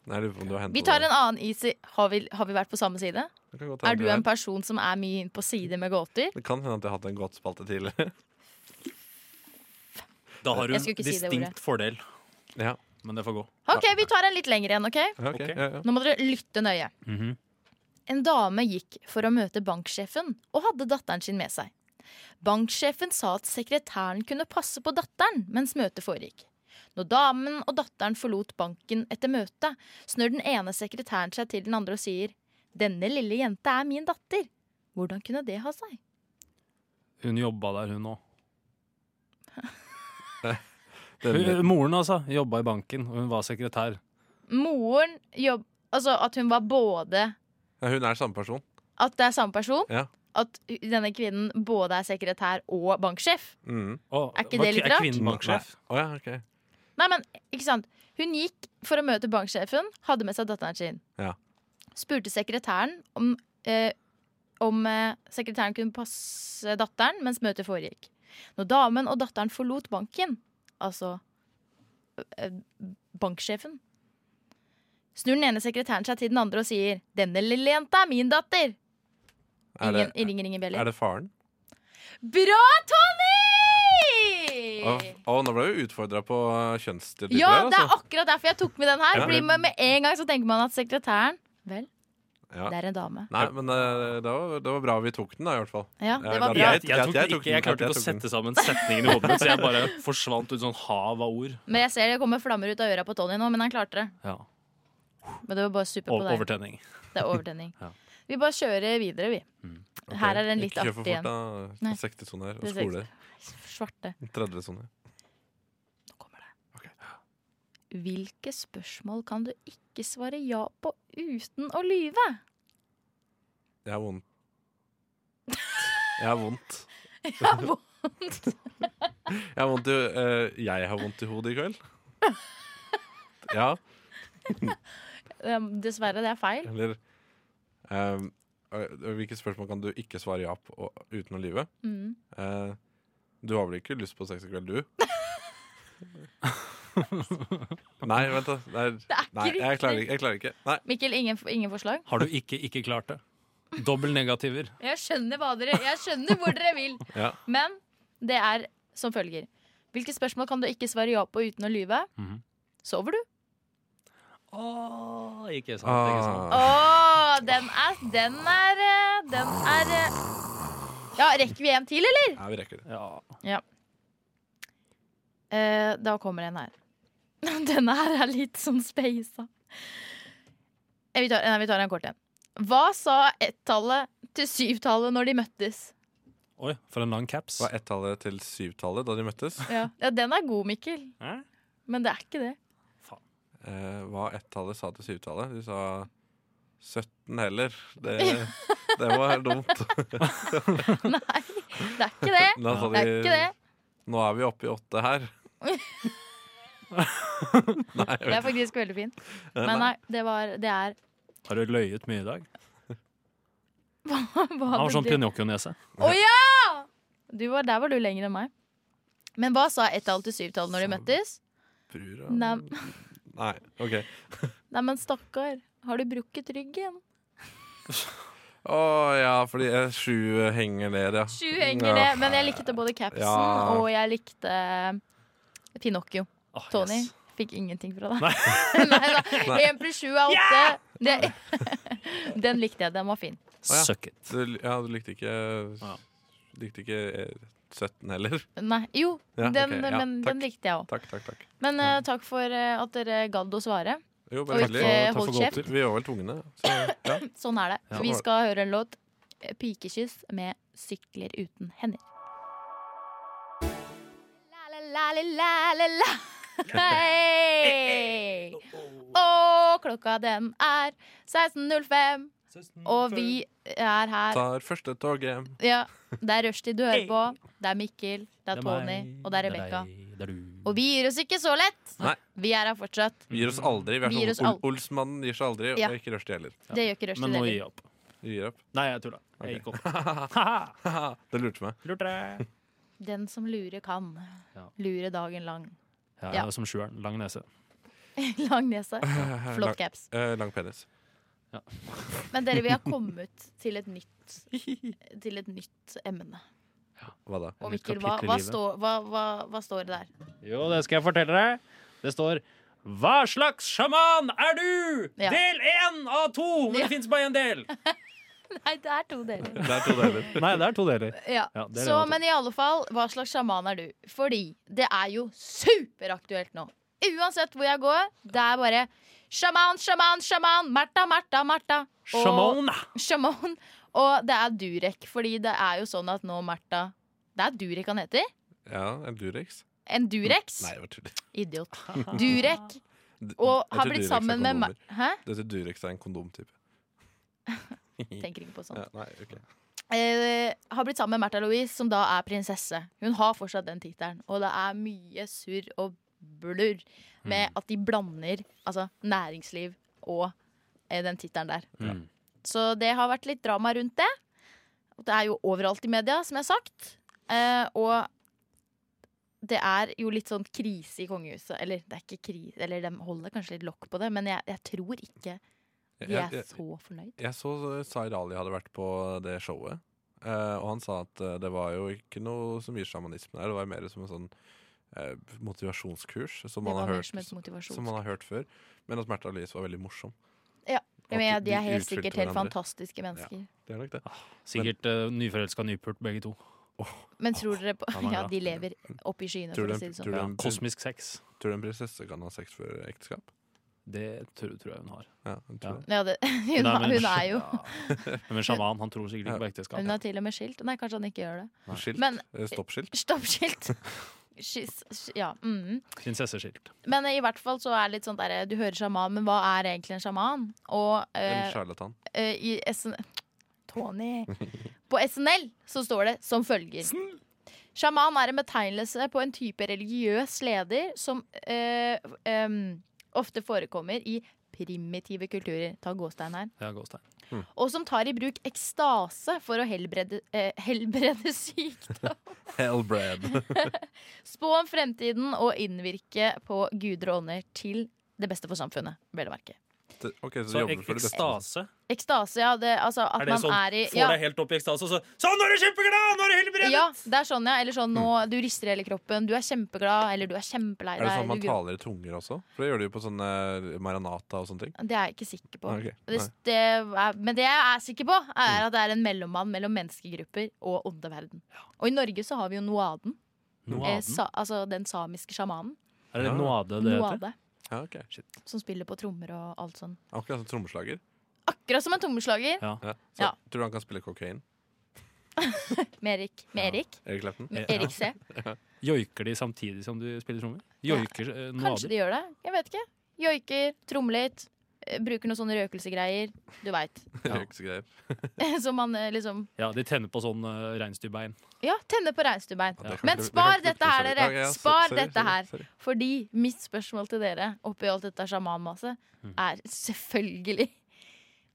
Speaker 2: jeg lurer på om du har hentet
Speaker 4: Vi tar
Speaker 2: det.
Speaker 4: en annen is i Har vi, har vi vært på samme side?
Speaker 2: Det kan godt hende
Speaker 4: Er du
Speaker 2: jeg-
Speaker 4: en person som er mye inn på side med gåter?
Speaker 2: Det kan hende at jeg har hatt en godt spalte tidligere.
Speaker 1: Da har
Speaker 4: Jeg
Speaker 1: hun
Speaker 4: skulle ikke si det
Speaker 1: distinkt fordel,
Speaker 2: ja.
Speaker 1: men det får gå.
Speaker 4: OK, vi tar en litt lengre en, OK?
Speaker 2: Ja, ok.
Speaker 1: Ok.
Speaker 2: Ja, ja.
Speaker 4: Nå må dere lytte nøye.
Speaker 1: Mhm.
Speaker 4: En dame gikk for å møte banksjefen og hadde datteren sin med seg. Banksjefen sa at sekretæren kunne passe på datteren mens møtet foregikk. Når damen og datteren forlot banken etter møtet, snør den ene sekretæren seg til den andre og sier 'Denne lille jenta er min datter'. Hvordan kunne det ha seg?
Speaker 1: Hun jobba der, hun òg.
Speaker 2: Den,
Speaker 1: Moren, altså. Jobba i banken, og hun var sekretær.
Speaker 4: Moren jobb... Altså at hun var både
Speaker 2: ja, hun er samme person.
Speaker 4: At det er samme person.
Speaker 2: Ja.
Speaker 4: At denne kvinnen både er sekretær og banksjef.
Speaker 2: Mm.
Speaker 1: Og,
Speaker 4: Er ikke
Speaker 1: var
Speaker 4: det litt
Speaker 1: kvi-
Speaker 4: rart?
Speaker 1: Er kvinnen banksjef?
Speaker 2: Å ja, ok.
Speaker 4: Nei, men ikke sant Hun gikk for å møte banksjefen Hadde med seg datteren sin
Speaker 2: Ja.
Speaker 4: Spurte sekretæren om, eh, om eh, sekretæren kunne passe datteren Mens møtet foregikk Når damen og datteren forlot banken Altså eh, Banksjefen Snur den ene sekretæren seg til den andre og sier Denne lille jenta er min datter
Speaker 2: Er
Speaker 4: Ingen,
Speaker 2: det,
Speaker 4: Ringer ingen
Speaker 2: er
Speaker 4: bjeller
Speaker 2: det faren?
Speaker 4: Bra, Tommy!
Speaker 2: Å, å, nå ble vi utfordra på eh, kjønnsstereotyper.
Speaker 4: Ja,
Speaker 2: her,
Speaker 4: det er
Speaker 2: altså.
Speaker 4: akkurat derfor jeg tok med den her.
Speaker 2: Ja.
Speaker 4: Fordi med, med en gang så tenker man at sekretæren Vel,
Speaker 2: Ja.
Speaker 4: det er en dame.
Speaker 2: Nei, men eh, det var, det var bra vi tok den, da, i hvert fall.
Speaker 4: Ja, det
Speaker 2: Ja,
Speaker 4: var bra.
Speaker 1: Jeg, jeg,
Speaker 2: Jeg-
Speaker 1: tok
Speaker 2: jeg
Speaker 1: den
Speaker 2: tok
Speaker 1: ikke, jeg
Speaker 2: den.
Speaker 1: klarte ikke
Speaker 2: Jeg
Speaker 1: å
Speaker 2: tok den.
Speaker 1: sette sammen setningen i hodet mitt, så jeg bare forsvant ut sånn hav av ord.
Speaker 4: Men jeg ser det kommer flammer ut av øra på Tony nå, men han klarte det.
Speaker 1: Ja,
Speaker 4: Men det var bare super på
Speaker 1: over-
Speaker 4: deg.
Speaker 1: Overtenning.
Speaker 4: Det er overtenning.
Speaker 1: Ja.
Speaker 4: Vi bare kjører videre, vi.
Speaker 2: Ok.
Speaker 4: Her er den litt
Speaker 2: ikke kjør for
Speaker 4: artig en.
Speaker 2: fort, da.
Speaker 4: Nei.
Speaker 2: 60-sone her. Og
Speaker 4: Det er
Speaker 2: skole.
Speaker 4: Svarte.
Speaker 2: 30-sone.
Speaker 4: Nå kommer det. Hvilke spørsmål kan du ikke svare ja på uten å lyve?
Speaker 2: Jeg har vondt. Jeg har vondt.
Speaker 4: Ja, vondt.
Speaker 2: Jeg har vondt i, eh, jeg har vondt i hodet i kveld. Ja,
Speaker 4: Um, Dessverre, det er feil.
Speaker 2: eller ehm, øh, Hvilke spørsmål kan du ikke svare ja på og- uten å lyve?
Speaker 4: Mm.
Speaker 2: Eh, du har vel ikke lyst på sex i kveld, du? Nei, vent, da. Det er,
Speaker 4: er ikke
Speaker 2: nei, jeg klarer
Speaker 4: riktig.
Speaker 2: ikke. Jeg klarer ikke. Nei.
Speaker 4: Mikkel, ingen, ingen forslag?
Speaker 1: Har du ikke ikke klart det? Dobbel negativer.
Speaker 4: Jeg skjønner, hva dere, jeg skjønner hvor dere vil.
Speaker 2: Ja.
Speaker 4: Men det er som følger. Hvilke spørsmål kan du ikke svare ja på uten å lyve?
Speaker 1: Mhm.
Speaker 4: Sover du?
Speaker 1: Åh, ikke sant. Sånn, Ikke sant.
Speaker 4: Å,
Speaker 2: Ah,
Speaker 4: den er Den er eh, Den er eh. Ja, rekker vi en til, eller?
Speaker 2: ja, vi rekker det.
Speaker 1: Ja.
Speaker 4: Eh, da kommer en her. Denne her er litt sånn speisa. Eh, Vi tar, nei, vi tar en kort en. Hva sa ett-tallet til syv-tallet når de møttes?
Speaker 1: Oi, for en lang caps.
Speaker 2: Var ett-tallet til syv-tallet da de møttes?
Speaker 4: Ja, ja den er god, Mikkel.
Speaker 1: Hæ?
Speaker 4: Men det er ikke det.
Speaker 2: Eh, hva ett-tallet sa til syv-tallet? Du sa 17 heller. Det, det var helt dumt.
Speaker 4: Nei, det er ikke det.
Speaker 2: Da sa
Speaker 4: Det er
Speaker 2: de,
Speaker 4: ikke det.
Speaker 2: Nå er vi oppe i åtte her. Nei, jeg
Speaker 4: Det
Speaker 2: vet
Speaker 4: er faktisk veldig fint. Men nei, det, var, det er
Speaker 1: Har du løyet mye i dag?
Speaker 4: Hva
Speaker 1: Han har
Speaker 4: hadde
Speaker 1: sånn
Speaker 4: du-
Speaker 1: Pinocchio-nese.
Speaker 4: Å ja! Du var, der var du lenger enn meg. Men hva sa ett-tall til syv-tall når de møttes?
Speaker 2: Brura.
Speaker 4: Nei.
Speaker 2: Nei, ok
Speaker 4: Nei, men stakkar, har du brukket ryggen?
Speaker 2: Å ja, fordi eh, sju eh, henger ned, ja.
Speaker 4: Sju henger det, men jeg likte både capsen
Speaker 2: Ja.
Speaker 4: og jeg likte eh, Pinocchio.
Speaker 1: Åh, Ah, yes.
Speaker 4: Tony fikk ingenting fra deg. Nei da. Én pluss sju er åtte. Det, den likte jeg. Den var fin.
Speaker 2: ja.
Speaker 1: Suck it.
Speaker 2: Du, ja, du likte ikke
Speaker 1: Ja.
Speaker 2: Likte ikke eh, 17 heller.
Speaker 4: Nei, jo,
Speaker 2: Ja,
Speaker 4: den,
Speaker 2: ok, ja,
Speaker 4: men
Speaker 2: takk.
Speaker 4: den likte jeg òg.
Speaker 2: Takk, takk, takk.
Speaker 4: Men eh, takk for eh, at dere gadd å svare.
Speaker 2: Jo,
Speaker 4: Og
Speaker 2: bare hyggelig.
Speaker 4: ikke
Speaker 1: Takk for
Speaker 4: hold
Speaker 1: god
Speaker 4: kjeft.
Speaker 1: tur.
Speaker 2: Vi var vel tvungne. Så, ja.
Speaker 4: Sånn er det.
Speaker 2: Ja.
Speaker 4: Vi skal høre en låt. eh, 'Pikekyss' med 'Sykler uten hender'. La-la-la-la-la-la. Hei! Og klokka den er 16.05, og vi er her.
Speaker 2: Tar første toget.
Speaker 4: Ja, det er rushtid du hører på. Det er Mikkel, det er Tony,
Speaker 1: meg,
Speaker 4: og det er
Speaker 1: deg,
Speaker 4: Rebekka.
Speaker 1: det er du.
Speaker 4: Og vi gir oss ikke så lett.
Speaker 2: Nei.
Speaker 4: Vi er her fortsatt.
Speaker 2: Vi
Speaker 1: Mm.
Speaker 2: gir oss aldri. Vi er
Speaker 4: Vi gir oss
Speaker 2: sånn
Speaker 4: aldri.
Speaker 2: Ol Olsmannen gir seg aldri,
Speaker 4: Ja.
Speaker 2: og ikke rushtid heller.
Speaker 4: Det gjør ikke rushtid
Speaker 1: Men nå gir
Speaker 4: heller.
Speaker 1: jeg opp.
Speaker 2: Vi gir opp.
Speaker 1: Nei, jeg tulla. Jeg gikk opp.
Speaker 2: Det lurte meg.
Speaker 1: Lurte deg.
Speaker 4: Den som lurer kan.
Speaker 1: Ja.
Speaker 4: Lure dagen lang.
Speaker 1: Ja,
Speaker 4: Ja.
Speaker 1: Som sjueren. Lang nese.
Speaker 4: lang nese. Flott
Speaker 2: lang,
Speaker 4: caps.
Speaker 2: eh, lang penis.
Speaker 4: Men dere, vi har kommet til et nytt, til et nytt emne.
Speaker 2: Hva da?
Speaker 4: Og
Speaker 1: nytt
Speaker 4: Mikkel, hva,
Speaker 1: kapittel i
Speaker 4: hva,
Speaker 1: livet.
Speaker 4: står, hva, hva, hva står det der?
Speaker 1: Jo, det skal jeg fortelle deg. Det står Hva slags sjaman er du?
Speaker 4: Ja.
Speaker 1: Del én av to! Men
Speaker 4: Ja.
Speaker 1: det fins bare én del.
Speaker 4: Nei, det er to deler.
Speaker 2: Det er to deler.
Speaker 1: Nei, det er to deler.
Speaker 4: Ja.
Speaker 1: Ja, det er
Speaker 4: så,
Speaker 1: det,
Speaker 4: men i alle fall, hva slags sjaman er du? Fordi det er jo superaktuelt nå. Uansett hvor jeg går, det er bare sjaman, sjaman, sjaman. Martha, Martha, Martha. Og-
Speaker 1: Shamona.
Speaker 4: Sjaman. Og det er Durek, fordi det er jo sånn at nå Martha Det er Durek han heter.
Speaker 2: Ja, en Durex?
Speaker 4: En Durex.
Speaker 2: Nei, jeg bare tuller.
Speaker 4: Idiot. Durek.
Speaker 2: D-
Speaker 4: Og
Speaker 2: jeg
Speaker 4: har
Speaker 2: tror
Speaker 4: blitt
Speaker 2: Durex er
Speaker 4: sammen med Mar
Speaker 2: kondomer.
Speaker 4: Hæ?
Speaker 2: Dette Durex er en kondomtype.
Speaker 4: Tenker ikke på sånt.
Speaker 2: Ja, nei, ok.
Speaker 4: eh, har blitt sammen med Märtha Louise, som da er prinsesse. Hun har fortsatt den tittelen, og det er mye surr og blurr med
Speaker 2: Mm.
Speaker 4: at de blander altså, næringsliv og eh, den tittelen der.
Speaker 1: Mm.
Speaker 4: Så det har vært litt drama rundt det. Og Det er jo overalt i media, som jeg har sagt. Eh, og det er jo litt sånn krise i kongehuset. Eller det er ikke krise, eller de holder kanskje litt lokk på det, men jeg, jeg tror ikke de
Speaker 2: Jeg-
Speaker 4: er
Speaker 2: jeg-
Speaker 4: så fornøyd.
Speaker 2: Jeg så eh, Zaid Ali hadde vært på det showet, eh, og han sa at eh, det var jo ikke noe så mye sjamanisme der, det var mer som en sånn eh, motivasjonskurs som
Speaker 4: Det
Speaker 2: man,
Speaker 4: var
Speaker 2: har
Speaker 4: mer
Speaker 2: hørt,
Speaker 4: som et
Speaker 2: som
Speaker 4: motivasjon.
Speaker 2: man har hørt før. Men at Märtha Louise var veldig morsom.
Speaker 4: Ja,
Speaker 2: Og
Speaker 4: Men jeg,
Speaker 2: at
Speaker 4: de er helt
Speaker 2: utfylte
Speaker 4: sikkert helt
Speaker 2: hverandre.
Speaker 4: fantastiske mennesker.
Speaker 2: Det er nok det.
Speaker 1: Sikkert uh, nyforelska nypult, begge to.
Speaker 4: Men tror dere på
Speaker 1: han er
Speaker 4: Ja,
Speaker 1: glad.
Speaker 4: de lever opp i skyene, for
Speaker 2: Tror du
Speaker 4: å
Speaker 2: en,
Speaker 4: si det
Speaker 2: tror
Speaker 4: sånn.
Speaker 2: du
Speaker 1: Ja,
Speaker 2: en, tror
Speaker 1: kosmisk sex.
Speaker 2: du en prinsesse kan ha sex før ekteskap?
Speaker 1: Det tror, tror jeg hun har.
Speaker 2: Ja, jeg tror
Speaker 1: Ja.
Speaker 2: det.
Speaker 4: Ja, det, hun,
Speaker 1: Nei,
Speaker 4: har-
Speaker 1: men-
Speaker 4: hun er jo
Speaker 1: Men sjaman han tror sikkert ikke på ekteskap.
Speaker 4: Hun er til og med skilt. Nei, kanskje han ikke gjør det.
Speaker 2: Skilt?
Speaker 4: Men-
Speaker 2: Eh, Stoppskilt?
Speaker 4: Stoppskilt! Skyss, sky- ja. Mm.
Speaker 1: Prinsesseskilt.
Speaker 4: Men i hvert fall så er det litt sånn derre Du hører sjaman, men hva er egentlig en sjaman? Og
Speaker 2: En
Speaker 4: eh,
Speaker 2: charlatan.
Speaker 4: eh, i SN... Tony! På SNL så står det som følger. Sjaman er en betegnelse på en type religiøs leder som eh, em, ofte forekommer i primitive kulturer. Ta gåstein her.
Speaker 1: Ja, gåstein.
Speaker 4: Og som tar i bruk ekstase for å helbrede, eh, helbrede sykdom.
Speaker 2: Hellbred.
Speaker 4: Spå om fremtiden og innvirke på guder og ånder til det beste for samfunnet, vel å merke.
Speaker 2: Det- eh, Ok, så,
Speaker 1: Så
Speaker 2: de jobber
Speaker 1: ek
Speaker 2: for det beste.
Speaker 1: ekstase
Speaker 4: Ekstase, ja. Det, altså at
Speaker 1: Er det
Speaker 4: man
Speaker 1: sånn?
Speaker 4: er i
Speaker 1: Får
Speaker 4: ja,
Speaker 1: deg helt opp i ekstase, og så Sånn, nå er du kjempeglad! Nå er du helbredet! Mm.
Speaker 4: ja, det er sånn, ja. Eller sånn nå du rister i hele kroppen, du er kjempeglad, eller du er kjempelei deg.
Speaker 2: Er det sånn at man
Speaker 4: du-
Speaker 2: taler i tunger også? For det gjør de jo på sånne eh, Maranata og sånne ting.
Speaker 4: det er jeg ikke sikker på.
Speaker 2: Ok, nei. Mm.
Speaker 4: Hvis det er, men det jeg er sikker på, er at det er en mellommann mellom menneskegrupper og åndeverden. Og i Norge så har vi jo noaden. Eh,
Speaker 1: Noaden.
Speaker 4: sa, altså den samiske sjamanen.
Speaker 1: Er det noade det heter?
Speaker 4: Noade.
Speaker 2: Ja, ok
Speaker 4: Som spiller på trommer og alt sånn.
Speaker 2: Akkurat som trommeslager.
Speaker 4: Akkurat som en trommeslager
Speaker 2: Ja. Så,
Speaker 4: Ja.
Speaker 2: Tror du han kan spille kokain?
Speaker 4: med Erik. Med Erik.
Speaker 2: Erik Clapton?
Speaker 4: Med
Speaker 1: Ja.
Speaker 4: Erik C.
Speaker 1: Joiker de samtidig som du spiller trommer? Joiker eh,
Speaker 4: Kanskje
Speaker 1: noader?
Speaker 4: de gjør det. Jeg vet ikke. Joiker, trommer litt. eh, Bruker noen sånne røkelsegreier. Du veit.
Speaker 1: Ja.
Speaker 2: Røyksegreier.
Speaker 4: Som man eh, liksom
Speaker 1: Ja, de tenner på sånn uh, reinsdyrbein.
Speaker 4: Ja, tenner på reinsdyrbein.
Speaker 2: Ja, det kan
Speaker 4: Men
Speaker 2: ikke- det
Speaker 4: spar
Speaker 2: kan ikke-
Speaker 4: dette her,
Speaker 2: sorry.
Speaker 4: dere.
Speaker 2: Ja, ja, so-
Speaker 4: Spar
Speaker 2: sorry,
Speaker 4: dette
Speaker 2: sorry,
Speaker 4: her.
Speaker 2: sorry.
Speaker 4: Fordi mitt spørsmål til dere oppi alt dette sjamanmaset
Speaker 2: Mm.
Speaker 4: er selvfølgelig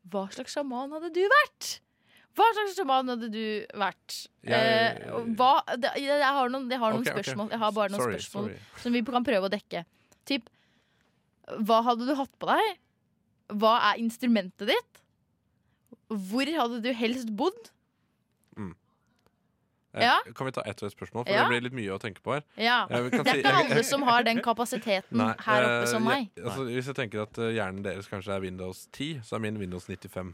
Speaker 4: Hva slags sjaman hadde du vært? Hva slags sjaman hadde du vært?
Speaker 2: Jeg-
Speaker 4: Eh, og hva, det, jeg har noen, jeg har noen
Speaker 2: Ok, ok.
Speaker 4: spørsmål Jeg har bare noen
Speaker 2: Sorry,
Speaker 4: spørsmål
Speaker 2: sorry.
Speaker 4: som vi kan prøve å dekke. Typ, hva hadde du hatt på deg? Hva er instrumentet ditt? Hvor hadde du helst bodd?
Speaker 2: Eh,
Speaker 4: Ja.
Speaker 2: Kan vi ta ett og ett spørsmål? For
Speaker 4: Ja.
Speaker 2: det blir litt mye å tenke på her.
Speaker 4: Ja.
Speaker 2: Jeg
Speaker 4: Det
Speaker 2: kan
Speaker 4: er
Speaker 2: si-
Speaker 4: ikke
Speaker 2: jeg-
Speaker 4: alle som har den kapasiteten
Speaker 2: Nei,
Speaker 4: her oppe som
Speaker 2: eh,
Speaker 4: meg.
Speaker 2: Jeg, altså, hvis jeg tenker at eh, hjernen deres kanskje er Windows 10, så er min Windows 95.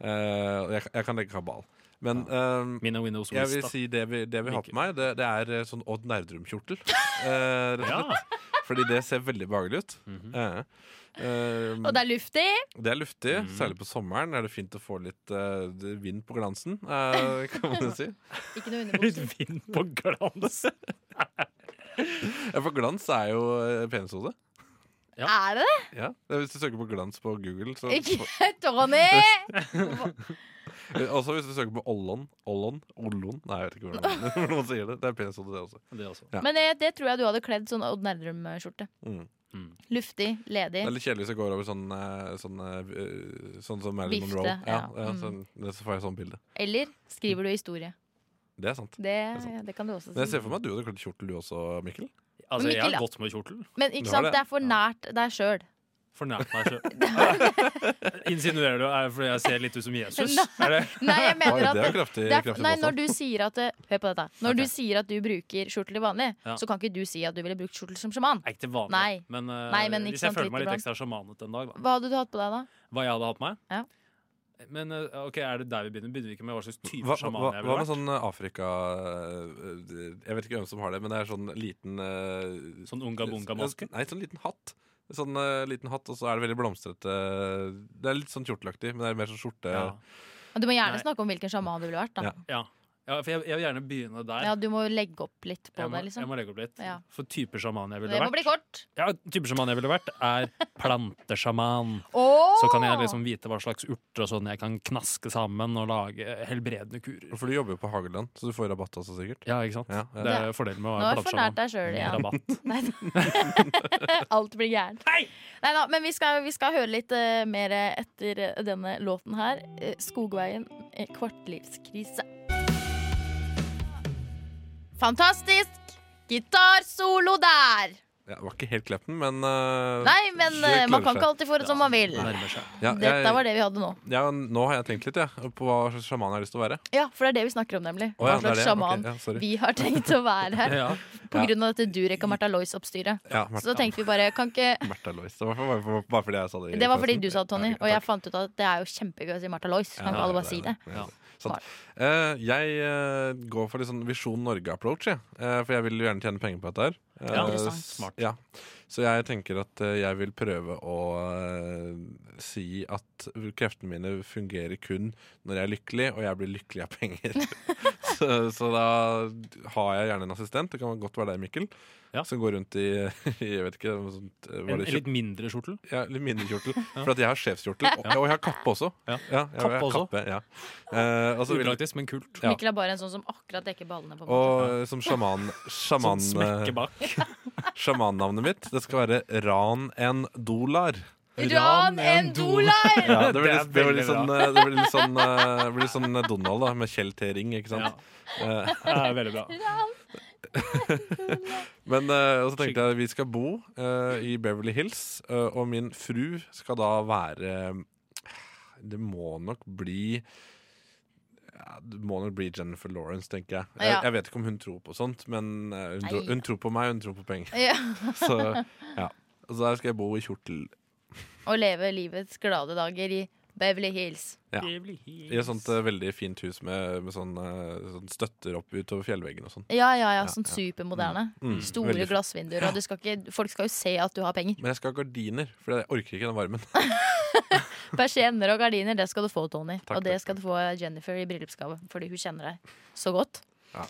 Speaker 2: Eh, og jeg, jeg kan legge kabal. Men eh,
Speaker 1: Mine Windows
Speaker 2: jeg vil
Speaker 1: Vista.
Speaker 2: si det vi, det vi har på meg, det, det er eh, sånn Odd Nerdrum-kjortel. Eh, rett og
Speaker 1: Ja. Mhm. Mm.
Speaker 2: slett. Fordi det ser veldig behagelig ut. Eh, eh,
Speaker 4: Og det er luftig!
Speaker 2: Det er luftig, særlig på sommeren. Er det fint å få litt eh, vind på glansen, eh, kan man si.
Speaker 4: Ikke noe
Speaker 1: Litt
Speaker 4: underbukser.
Speaker 1: vind på glans.
Speaker 2: Ja, for glans er jo eh, penishode.
Speaker 4: Er det det?
Speaker 2: Ja. Det er Hvis du søker på glans på Google så,
Speaker 4: Ikke Tony!
Speaker 2: eh, Også hvis du søker på Ollon. Ollon? Ollon? Nei, jeg vet ikke hvordan man- hvordan man sier det. Det er penishode, det også.
Speaker 1: Det altså- også.
Speaker 2: Ja.
Speaker 4: Men det, det tror jeg du hadde kledd sånn Odd Nerdrum-skjorte.
Speaker 2: Mm.
Speaker 4: Luftig, ledig.
Speaker 2: Det er litt kjedelig hvis jeg går over sånn eh, Sånn, eh, sånn som Marilyn
Speaker 4: Vifte,
Speaker 2: Monroe.
Speaker 4: ja.
Speaker 2: Ja,
Speaker 4: Mm.
Speaker 2: ja, sånn, så får jeg sånn bilde.
Speaker 4: Eller skriver du historie?
Speaker 2: Det er sant.
Speaker 4: Det,
Speaker 2: er sant.
Speaker 4: det kan du også
Speaker 2: Men jeg
Speaker 4: si.
Speaker 2: ser for meg at du hadde kledd kjortel, du også, Mikkel.
Speaker 4: Men
Speaker 1: Altså, jeg
Speaker 4: Mikkel,
Speaker 1: har
Speaker 4: da?
Speaker 1: gått med kjortel.
Speaker 4: Men
Speaker 2: Du
Speaker 4: ikke
Speaker 2: har
Speaker 4: sant,
Speaker 2: det.
Speaker 4: det er for nært deg sjøl.
Speaker 1: Fornært meg sjøl. Insinuerer du er det fordi jeg ser litt ut som Jesus? Er det?
Speaker 4: Nei, jeg
Speaker 2: Oi,
Speaker 4: mener at
Speaker 2: det er kraftig,
Speaker 4: det er,
Speaker 2: kraftig
Speaker 4: nei, når
Speaker 2: påstand.
Speaker 4: du sier at det- Hør på dette. Når
Speaker 2: Ok.
Speaker 4: du sier at du bruker skjorte til vanlig,
Speaker 1: Ja.
Speaker 4: så kan ikke du si at du ville brukt skjorte som sjaman.
Speaker 1: Nei, ikke til vanlig.
Speaker 4: Nei.
Speaker 1: Men, eh,
Speaker 4: Nei, men ikke
Speaker 1: hvis jeg
Speaker 4: sant,
Speaker 1: føler meg
Speaker 4: litt
Speaker 1: litt ekstra sjamanete en dag, da.
Speaker 4: Hva hadde du hatt på deg da?
Speaker 1: Hva jeg hadde hatt på meg?
Speaker 4: Ja.
Speaker 1: Men eh, ok, er det der vi begynner? Begynner vi ikke med hva slags
Speaker 2: Hva,
Speaker 1: type
Speaker 2: hva,
Speaker 1: sjaman
Speaker 2: hva
Speaker 1: jeg
Speaker 2: hva
Speaker 1: ville
Speaker 2: med
Speaker 1: vært?
Speaker 2: sånn eh, Afrika eh, Jeg vet ikke hvem som har det, men det er sånn liten eh,
Speaker 1: Sånn unga-bunga-maske?
Speaker 2: Nei, sånn liten hatt. Sånn eh, liten hatt, og så er det veldig blomstrete. Det er litt sånn kjortelaktig, men det er mer sånn skjorte.
Speaker 1: Ja.
Speaker 4: Og Du må gjerne
Speaker 1: Nei.
Speaker 4: snakke om hvilken sjaman du ville vært. da
Speaker 2: Ja.
Speaker 1: Ja. ja, for jeg, jeg vil gjerne begynne der.
Speaker 4: Ja, Du må legge opp litt på
Speaker 1: jeg, må,
Speaker 4: det. liksom
Speaker 1: jeg må legge opp litt.
Speaker 4: Ja.
Speaker 1: For typer sjaman jeg ville
Speaker 4: Det må
Speaker 1: vært
Speaker 4: bli kort.
Speaker 1: Ja, typer sjaman jeg ville vært, er plantesjaman.
Speaker 4: Åh!
Speaker 1: Så kan jeg liksom vite hva slags urter og sånn jeg kan knaske sammen og lage helbredende kurer.
Speaker 2: For du jobber jo på Hageland, så du får rabatt også, sikkert.
Speaker 1: Ja, ikke sant?
Speaker 2: Ja, ja.
Speaker 1: Det er fordelen med å
Speaker 4: Nå
Speaker 1: være
Speaker 4: er det for nært
Speaker 1: plantesjaman.
Speaker 4: deg sjøl igjen.
Speaker 1: Rabatt.
Speaker 4: Nei. Alt blir gærent. Nei! da, men vi skal, vi skal høre litt eh, mer etter eh, denne låten her. Eh, 'Skogveien eh, kvartlivskrise'. Fantastisk gitarsolo der!
Speaker 2: Ja, det var ikke helt Kleppen, men eh,
Speaker 4: Nei, men
Speaker 2: det
Speaker 4: eh, man
Speaker 2: klarer
Speaker 4: kan
Speaker 2: seg.
Speaker 4: ikke alltid få det som man vil.
Speaker 1: Nærmer seg.
Speaker 2: ja,
Speaker 4: Dette
Speaker 2: jeg-
Speaker 4: var det vi hadde nå.
Speaker 2: Ja, nå har jeg tenkt litt, jeg. på hva slags sjaman jeg har lyst til å være.
Speaker 4: Ja, for det er det vi snakker om, nemlig.
Speaker 2: Å,
Speaker 4: Hva
Speaker 2: ja, det er
Speaker 4: slags
Speaker 2: det.
Speaker 4: sjaman
Speaker 2: Ok, ja, sorry.
Speaker 4: vi har tenkt å være her.
Speaker 1: Ja.
Speaker 4: På grunn av dette Durek og Märtha Lois-oppstyret.
Speaker 2: Ja,
Speaker 4: Så
Speaker 2: Martha,
Speaker 4: da tenkte vi bare, kan ikke
Speaker 2: Martha Lois. Det var for- bare, for- bare fordi jeg sa det. i
Speaker 4: Det var fordi
Speaker 2: pausen.
Speaker 4: du sa det, Tony,
Speaker 2: Ja, ok,
Speaker 4: og jeg
Speaker 2: takk.
Speaker 4: fant ut at det er jo kjempegøy å si Martha Lois. Kan ikke alle bare si det?
Speaker 2: Ja,
Speaker 1: Ja.
Speaker 2: sant. Eh, jeg eh, går for litt sånn Visjon Norge-approach, jeg. Eh, for jeg vil jo gjerne tjene penger på dette her. Eh,
Speaker 1: Ja, interessant.
Speaker 2: s-
Speaker 1: Smart.
Speaker 2: Ja. Så jeg tenker at eh, jeg vil prøve å eh, si at kreftene mine fungerer kun når jeg er lykkelig, og jeg blir lykkelig av penger. så, så da har jeg gjerne en assistent, det kan godt være deg, Mikkel,
Speaker 1: Ja.
Speaker 2: som går rundt i jeg vet ikke, noe sånt, eh,
Speaker 1: En,
Speaker 2: var det
Speaker 1: en litt mindre skjortel.
Speaker 2: ja, litt mindre kjortel. For at jeg har sjefskjortel, og, og jeg har kappe også.
Speaker 1: Ja.
Speaker 2: jeg,
Speaker 1: Kappe
Speaker 2: jeg har
Speaker 1: også?
Speaker 2: Kappe, ja. Eh, og så vil-
Speaker 1: Upraktisk, men kult.
Speaker 2: Ja.
Speaker 4: Mikkel er bare en sånn som akkurat dekker ballene. på en måte.
Speaker 2: og eh, som sjaman, sjaman eh,
Speaker 1: Sånn smekke bak.
Speaker 2: sjamannavnet mitt, det skal være Ran en dolar.
Speaker 4: Ran en dollar!
Speaker 2: Ja, det blir
Speaker 1: Det er
Speaker 2: litt, det blir litt
Speaker 1: veldig
Speaker 2: sånn, eh, det blir litt sånn, eh, det blir litt sånn Donald da, med Kjell T. Ring, ikke sant? Eh,
Speaker 1: Det er veldig bra.
Speaker 2: Men eh, og så tenkte jeg vi skal bo eh, i Beverly Hills, eh, og min fru skal da være Det må nok bli ja, det må nok bli Jennifer Lawrence, tenker jeg. Jeg,
Speaker 4: Ja.
Speaker 2: jeg vet ikke om hun tror på sånt, men eh, hun, tror,
Speaker 4: Nei.
Speaker 2: hun tror på meg, hun tror på penger.
Speaker 4: Ja.
Speaker 2: Så ja. Og så der skal jeg bo i kjortel.
Speaker 4: Og leve livets glade dager i Beverly Hills.
Speaker 2: Ja. I et sånt eh, veldig fint hus med, med sånn, eh, sånn støtter opp utover fjellveggen og sånn.
Speaker 4: Ja, ja, ja,
Speaker 2: Ja,
Speaker 4: sånn
Speaker 2: ja.
Speaker 4: supermoderne.
Speaker 2: Mm,
Speaker 4: Store
Speaker 2: veldig fint.
Speaker 4: glassvinduer. Og du skal ikke, folk skal jo se at du har penger.
Speaker 2: Men jeg skal ha gardiner, for jeg orker ikke den varmen.
Speaker 4: Persienner og gardiner, det skal du få, Tony.
Speaker 2: Takk,
Speaker 4: og det
Speaker 2: takk.
Speaker 4: skal du få Jennifer i bryllupsgave, fordi hun kjenner deg så godt.
Speaker 2: Ja.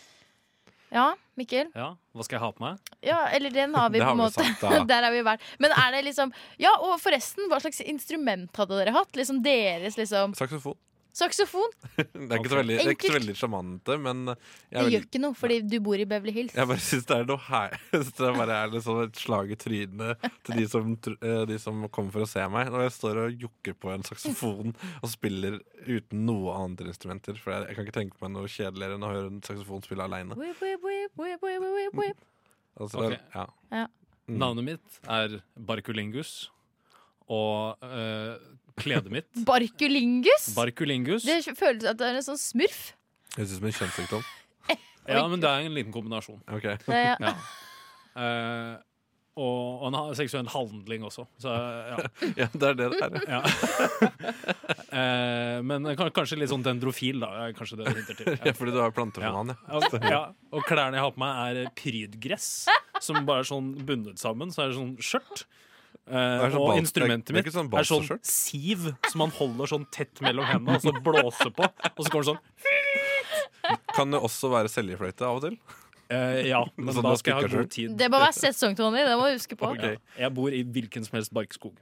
Speaker 4: Ja, Mikkel.
Speaker 1: Ja, Hva skal jeg ha på meg?
Speaker 4: Ja, eller den har vi
Speaker 2: Det
Speaker 4: på
Speaker 2: har
Speaker 4: en
Speaker 2: vi
Speaker 4: måte.
Speaker 2: sagt, da.
Speaker 4: Der har vi vært. Men er det liksom Ja, og forresten, hva slags instrument hadde dere hatt? Liksom deres liksom
Speaker 2: Saksofon.
Speaker 4: Saksofon?
Speaker 2: Det er ikke så veldig, det er ikke så veldig sjarmante, men
Speaker 4: Det
Speaker 2: jeg,
Speaker 4: gjør
Speaker 2: vil,
Speaker 4: ikke noe, fordi du bor i Beverly Hills.
Speaker 2: jeg bare syns det er noe her så Det bare er litt sånn et slag i trynet til de som, tr- eh, de som kommer for å se meg, når jeg står og jokker på en saksofon og spiller uten noe andre instrumenter. For jeg, jeg kan ikke tenke meg noe kjedeligere enn å høre en saksofon spille aleine.
Speaker 4: Whip, whip, whip, whip, whip, whip, whip.
Speaker 2: Altså,
Speaker 1: Ok.
Speaker 2: ja. Mm.
Speaker 1: Navnet mitt er Barkulingus. Og eh, kledet mitt
Speaker 4: Barkulingus?
Speaker 1: Barkulingus.
Speaker 4: Det føles at det er en sånn smurf.
Speaker 2: Det høres ut som en kjønnssykdom.
Speaker 1: Ja, men det er en liten kombinasjon.
Speaker 2: Ok.
Speaker 4: Det,
Speaker 1: Ja. Eh, og, og en ha- seksuell handling også. Så, ja.
Speaker 2: Ja, det er det det er.
Speaker 1: ja. Eh, men kan- kanskje litt sånn dendrofil, da. er Kanskje det det hinter til.
Speaker 2: Ja, fordi du har planteformann, ja.
Speaker 1: Ja, og- ja. Altså, Og klærne jeg har på meg, er prydgress. Som bare er sånn bundet sammen. Så er det sånn skjørt. Eh,
Speaker 2: er sånn
Speaker 1: og
Speaker 2: bal-
Speaker 1: instrumentet
Speaker 2: det
Speaker 1: mitt er,
Speaker 2: er- det er ikke sånn
Speaker 1: sånn
Speaker 2: balsaskjørt.
Speaker 1: siv som man holder sånn tett mellom hendene og så blåser på. Og så går det sånn
Speaker 2: Kan det også være seljefløyte av og til?
Speaker 1: eh, Ja, men
Speaker 2: Sånn
Speaker 1: da
Speaker 2: man
Speaker 1: skal jeg ha
Speaker 2: spikker
Speaker 1: god tid.
Speaker 4: det må være sesong, Tony. Det må du huske på.
Speaker 2: Ok.
Speaker 1: Ja. Jeg bor i hvilken som helst barkskog.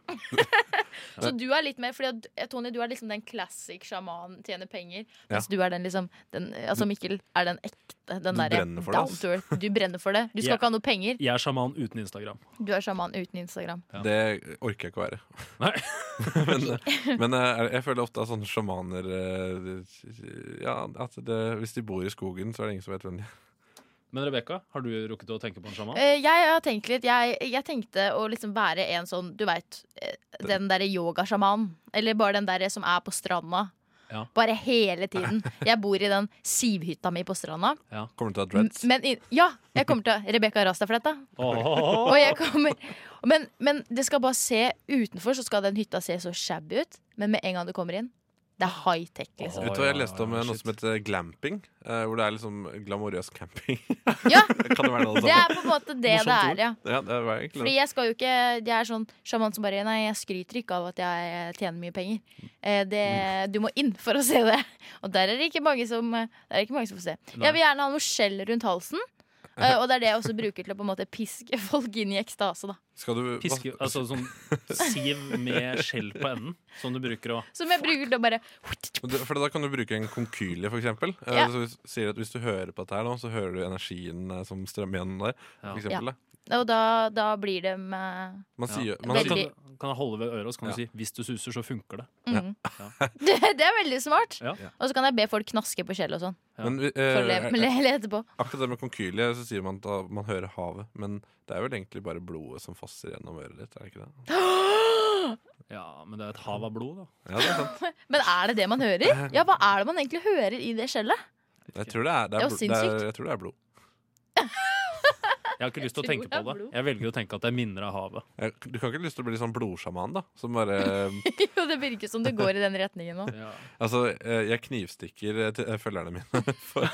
Speaker 4: Så du er litt mer Fordi at, eh, Tony, du er liksom den classic sjamanen tjener penger. Mens du er den liksom den, Altså Mikkel er den ekte. Den
Speaker 2: Du
Speaker 4: derre
Speaker 2: brenner for det,
Speaker 4: down
Speaker 2: ass.
Speaker 4: to earth. Du brenner for det. Du skal
Speaker 1: Ja.
Speaker 4: ikke ha noe penger.
Speaker 1: Jeg er sjaman uten Instagram.
Speaker 4: Du er sjaman uten Instagram.
Speaker 1: Ja.
Speaker 2: Det orker jeg ikke å være.
Speaker 1: Nei.
Speaker 2: men men eh, jeg, jeg føler ofte at sånne sjamaner eh, Ja, at det, hvis de bor i skogen, så er det ingen som vet hvem de er.
Speaker 1: Men Rebekka, har du rukket å tenke på en sjaman?
Speaker 4: Eh, jeg har tenkt litt jeg, jeg tenkte å liksom være en sånn, du veit, den derre yogasjamanen. Eller bare den derre som er på stranda.
Speaker 1: Ja.
Speaker 4: Bare hele tiden. Jeg bor i den sivhytta mi på stranda.
Speaker 2: Kommer du til å ha
Speaker 4: M-
Speaker 2: dreads?
Speaker 4: Men i- ja, jeg kommer til Rebekka Rastafletta.
Speaker 1: Åh.
Speaker 4: Og jeg kommer men, men det skal bare se utenfor, så skal den hytta se så shabby ut. Men med en gang du kommer inn, det er high-tech, liksom.
Speaker 2: Vet du
Speaker 1: Å,
Speaker 2: hva,
Speaker 1: ja,
Speaker 2: Jeg leste om
Speaker 1: ja,
Speaker 2: eh, noe
Speaker 1: shit.
Speaker 2: som heter glamping. eh, Hvor det er liksom glamorøs camping.
Speaker 4: Ja,
Speaker 2: kan det være noe
Speaker 4: det
Speaker 2: sånt?
Speaker 4: er på en måte det det
Speaker 2: Morsomt
Speaker 4: er, ja.
Speaker 2: Ja, det var egentlig
Speaker 4: Fordi
Speaker 2: det.
Speaker 4: jeg skal jo ikke Jeg er sånn sjaman som bare Nei, jeg skryter ikke av at jeg tjener mye penger. Eh, det,
Speaker 1: Mm.
Speaker 4: du må inn for å se det. Og der er det ikke mange som eh, Der er det ikke mange som får se.
Speaker 1: Nei.
Speaker 4: Jeg vil gjerne ha noe skjell rundt halsen. eh, og det er det jeg også bruker til å på en måte piske folk inn i ekstase. da
Speaker 2: Skal du
Speaker 1: Piske,
Speaker 2: hva-
Speaker 1: altså sånn siv med skjell på enden, som du bruker å
Speaker 4: Som jeg bruker til å bare
Speaker 2: Men det- For da kan du bruke en konkylie, for eksempel. Eh,
Speaker 4: Ja.
Speaker 2: Så hvis- sier at hvis du hører på dette her nå, så hører du energien eh, som strømmer gjennom der.
Speaker 1: Ja.
Speaker 2: For eksempel, da.
Speaker 4: Og da, da blir de eh,
Speaker 2: Man
Speaker 1: ja.
Speaker 2: sier, man
Speaker 1: Så
Speaker 2: sier
Speaker 4: Veldig.
Speaker 1: kan, kan jeg holde ved øret og så kan du si 'hvis du suser, så funker det'.
Speaker 4: mm. det, det er veldig smart.
Speaker 1: Ja.
Speaker 4: Og så kan jeg be folk knaske på skjell og sånn.
Speaker 1: Ja.
Speaker 2: men, vi-
Speaker 4: For å le,
Speaker 2: eh,
Speaker 4: le, le etterpå.
Speaker 2: Akkurat det med konkylie, så sier man at da- man hører havet. Men det er vel egentlig bare blodet som fosser gjennom øret ditt, er det ikke det?
Speaker 1: Ja, men det er et hav av blod, da.
Speaker 2: Ja, det er sant.
Speaker 4: Men er det det man
Speaker 1: Eh.
Speaker 4: hører? Ja, hva er det man egentlig hører i det skjellet?
Speaker 2: Jeg tror det er, det
Speaker 4: Det er jo
Speaker 2: er, bl- det er,
Speaker 4: sinnssykt.
Speaker 2: jeg tror det er blod.
Speaker 1: Jeg har ikke lyst til å
Speaker 4: tror
Speaker 1: tenke
Speaker 4: det er
Speaker 1: på det.
Speaker 4: blod.
Speaker 1: Jeg velger å tenke at det er minner av havet.
Speaker 2: Jeg, du kan ikke ha lyst til å bli sånn blodsjaman, da? Som bare eh,
Speaker 4: Jo, det virker som det går i den retningen nå.
Speaker 1: Ja.
Speaker 2: Altså, eh, jeg knivstikker eh, til- eh, følgerne mine. For,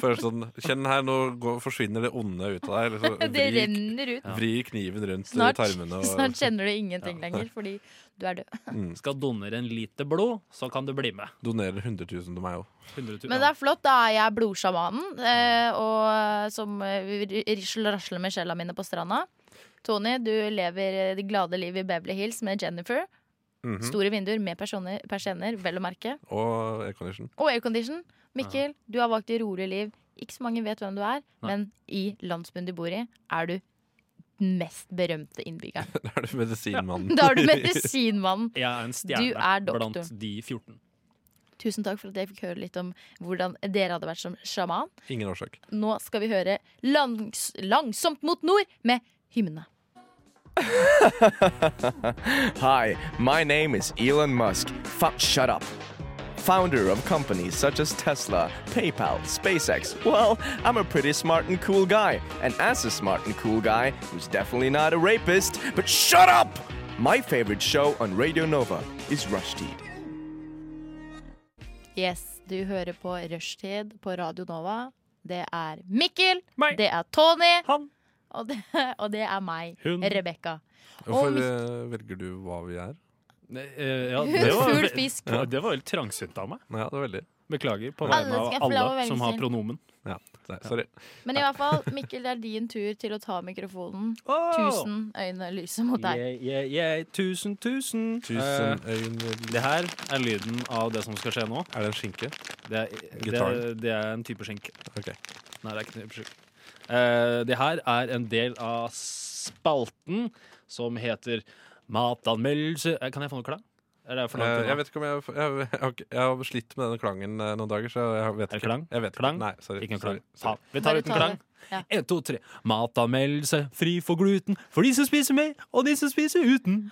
Speaker 2: for sånn Kjenn her, nå går, forsvinner det onde ut av deg. eller så
Speaker 4: Det
Speaker 2: vrir-
Speaker 4: renner ut.
Speaker 1: Ja.
Speaker 2: Vrir kniven rundt
Speaker 4: Snart,
Speaker 2: tarmene. Og, Mm,
Speaker 4: snart kjenner du ingenting lenger, fordi du er død.
Speaker 1: Skal donere en liter blod, så kan du bli med.
Speaker 2: Donerer 100 000 til meg òg.
Speaker 1: 100 000.
Speaker 4: Men det er flott, da er jeg blodsjamanen, eh, og som eh, risler rasler med skjella mine på stranda. Tony, du lever eh, det glade livet i Beverly Hills med Jennifer.
Speaker 2: Mhm,
Speaker 4: Store vinduer med personer- persienner, vel å merke.
Speaker 2: Og aircondition.
Speaker 4: Og aircondition. Mikkel, du har valgt det rolige liv. Ikke så mange vet hvem du er,
Speaker 1: Nei.
Speaker 4: men i landsbyen du bor i, er du den mest berømte innbyggeren.
Speaker 2: Da er du medisinmannen.
Speaker 4: Da er du medisinmannen.
Speaker 1: Jeg er en
Speaker 4: Du er
Speaker 1: stjerne
Speaker 4: doktoren.
Speaker 1: blant de 14.
Speaker 4: Tusen takk for at jeg fikk høre litt om hvordan dere hadde vært som sjaman.
Speaker 2: Ingen årsak.
Speaker 4: Nå skal vi høre langs, 'Langsomt mot nord' med hymne.
Speaker 8: Hi, my name is Elon Musk. Fuck, shut up. Founder of companies such as Tesla, PayPal, SpaceX. Well, I'm a pretty smart and cool guy. And as a smart and cool guy, who's definitely not a rapist, but shut up! My favorite show on Radio Nova is Rushdie.
Speaker 4: Yes, du hører på Rushtid på Radio Nova. Det er Mikkel, det er Tony,
Speaker 1: Han.
Speaker 4: Og, det, og det er meg,
Speaker 1: Hun.
Speaker 4: Rebekka.
Speaker 2: Hvorfor
Speaker 4: Om-
Speaker 2: eh, velger du hva vi er?
Speaker 1: Eh, ja,
Speaker 4: Hun
Speaker 1: det var,
Speaker 4: full fisk.
Speaker 1: Ja, det var veldig trangsynt av meg.
Speaker 2: Ja, det er veldig
Speaker 1: Beklager på
Speaker 4: Alle
Speaker 1: vegne av
Speaker 4: skal få lov å
Speaker 1: alle
Speaker 4: velge
Speaker 1: som har
Speaker 4: sin.
Speaker 1: pronomen.
Speaker 2: ja. Nei, Sorry.
Speaker 4: Men i hvert fall, Mikkel, det er din tur til å ta mikrofonen. Tusen øyne lyser mot deg.
Speaker 1: Yeah, yeah, yeah. Tusen, tusen. Eh,
Speaker 2: Tusen øyne
Speaker 1: det her er lyden av det som skal skje nå.
Speaker 2: Er det en skinke?
Speaker 1: Det er, det er,
Speaker 2: Gitaren.
Speaker 1: det er en type skink.
Speaker 2: Ok.
Speaker 1: Nei, det er ikke en type skink. Eh, det her er en del av spalten som heter Matanmeldelse Eh, Kan jeg få noe klang? Er det for langt
Speaker 2: Eh,
Speaker 1: unna?
Speaker 2: jeg vet ikke om jeg, jeg, jeg, har ikke- jeg har slitt med denne klangen eh, noen dager, så jeg vet
Speaker 1: Er det
Speaker 2: ikke.
Speaker 1: klang?
Speaker 2: Jeg vet ikke.
Speaker 1: Klang?
Speaker 2: Nei, sorry.
Speaker 1: Ikke en klang.
Speaker 2: Sorry. Sorry.
Speaker 1: Faen. Vi
Speaker 4: Bare
Speaker 1: tar uten
Speaker 4: ta
Speaker 1: klang.
Speaker 4: Ja.
Speaker 1: Én, to, tre. Matanmeldelse fri for gluten for de som spiser med, og de som spiser uten.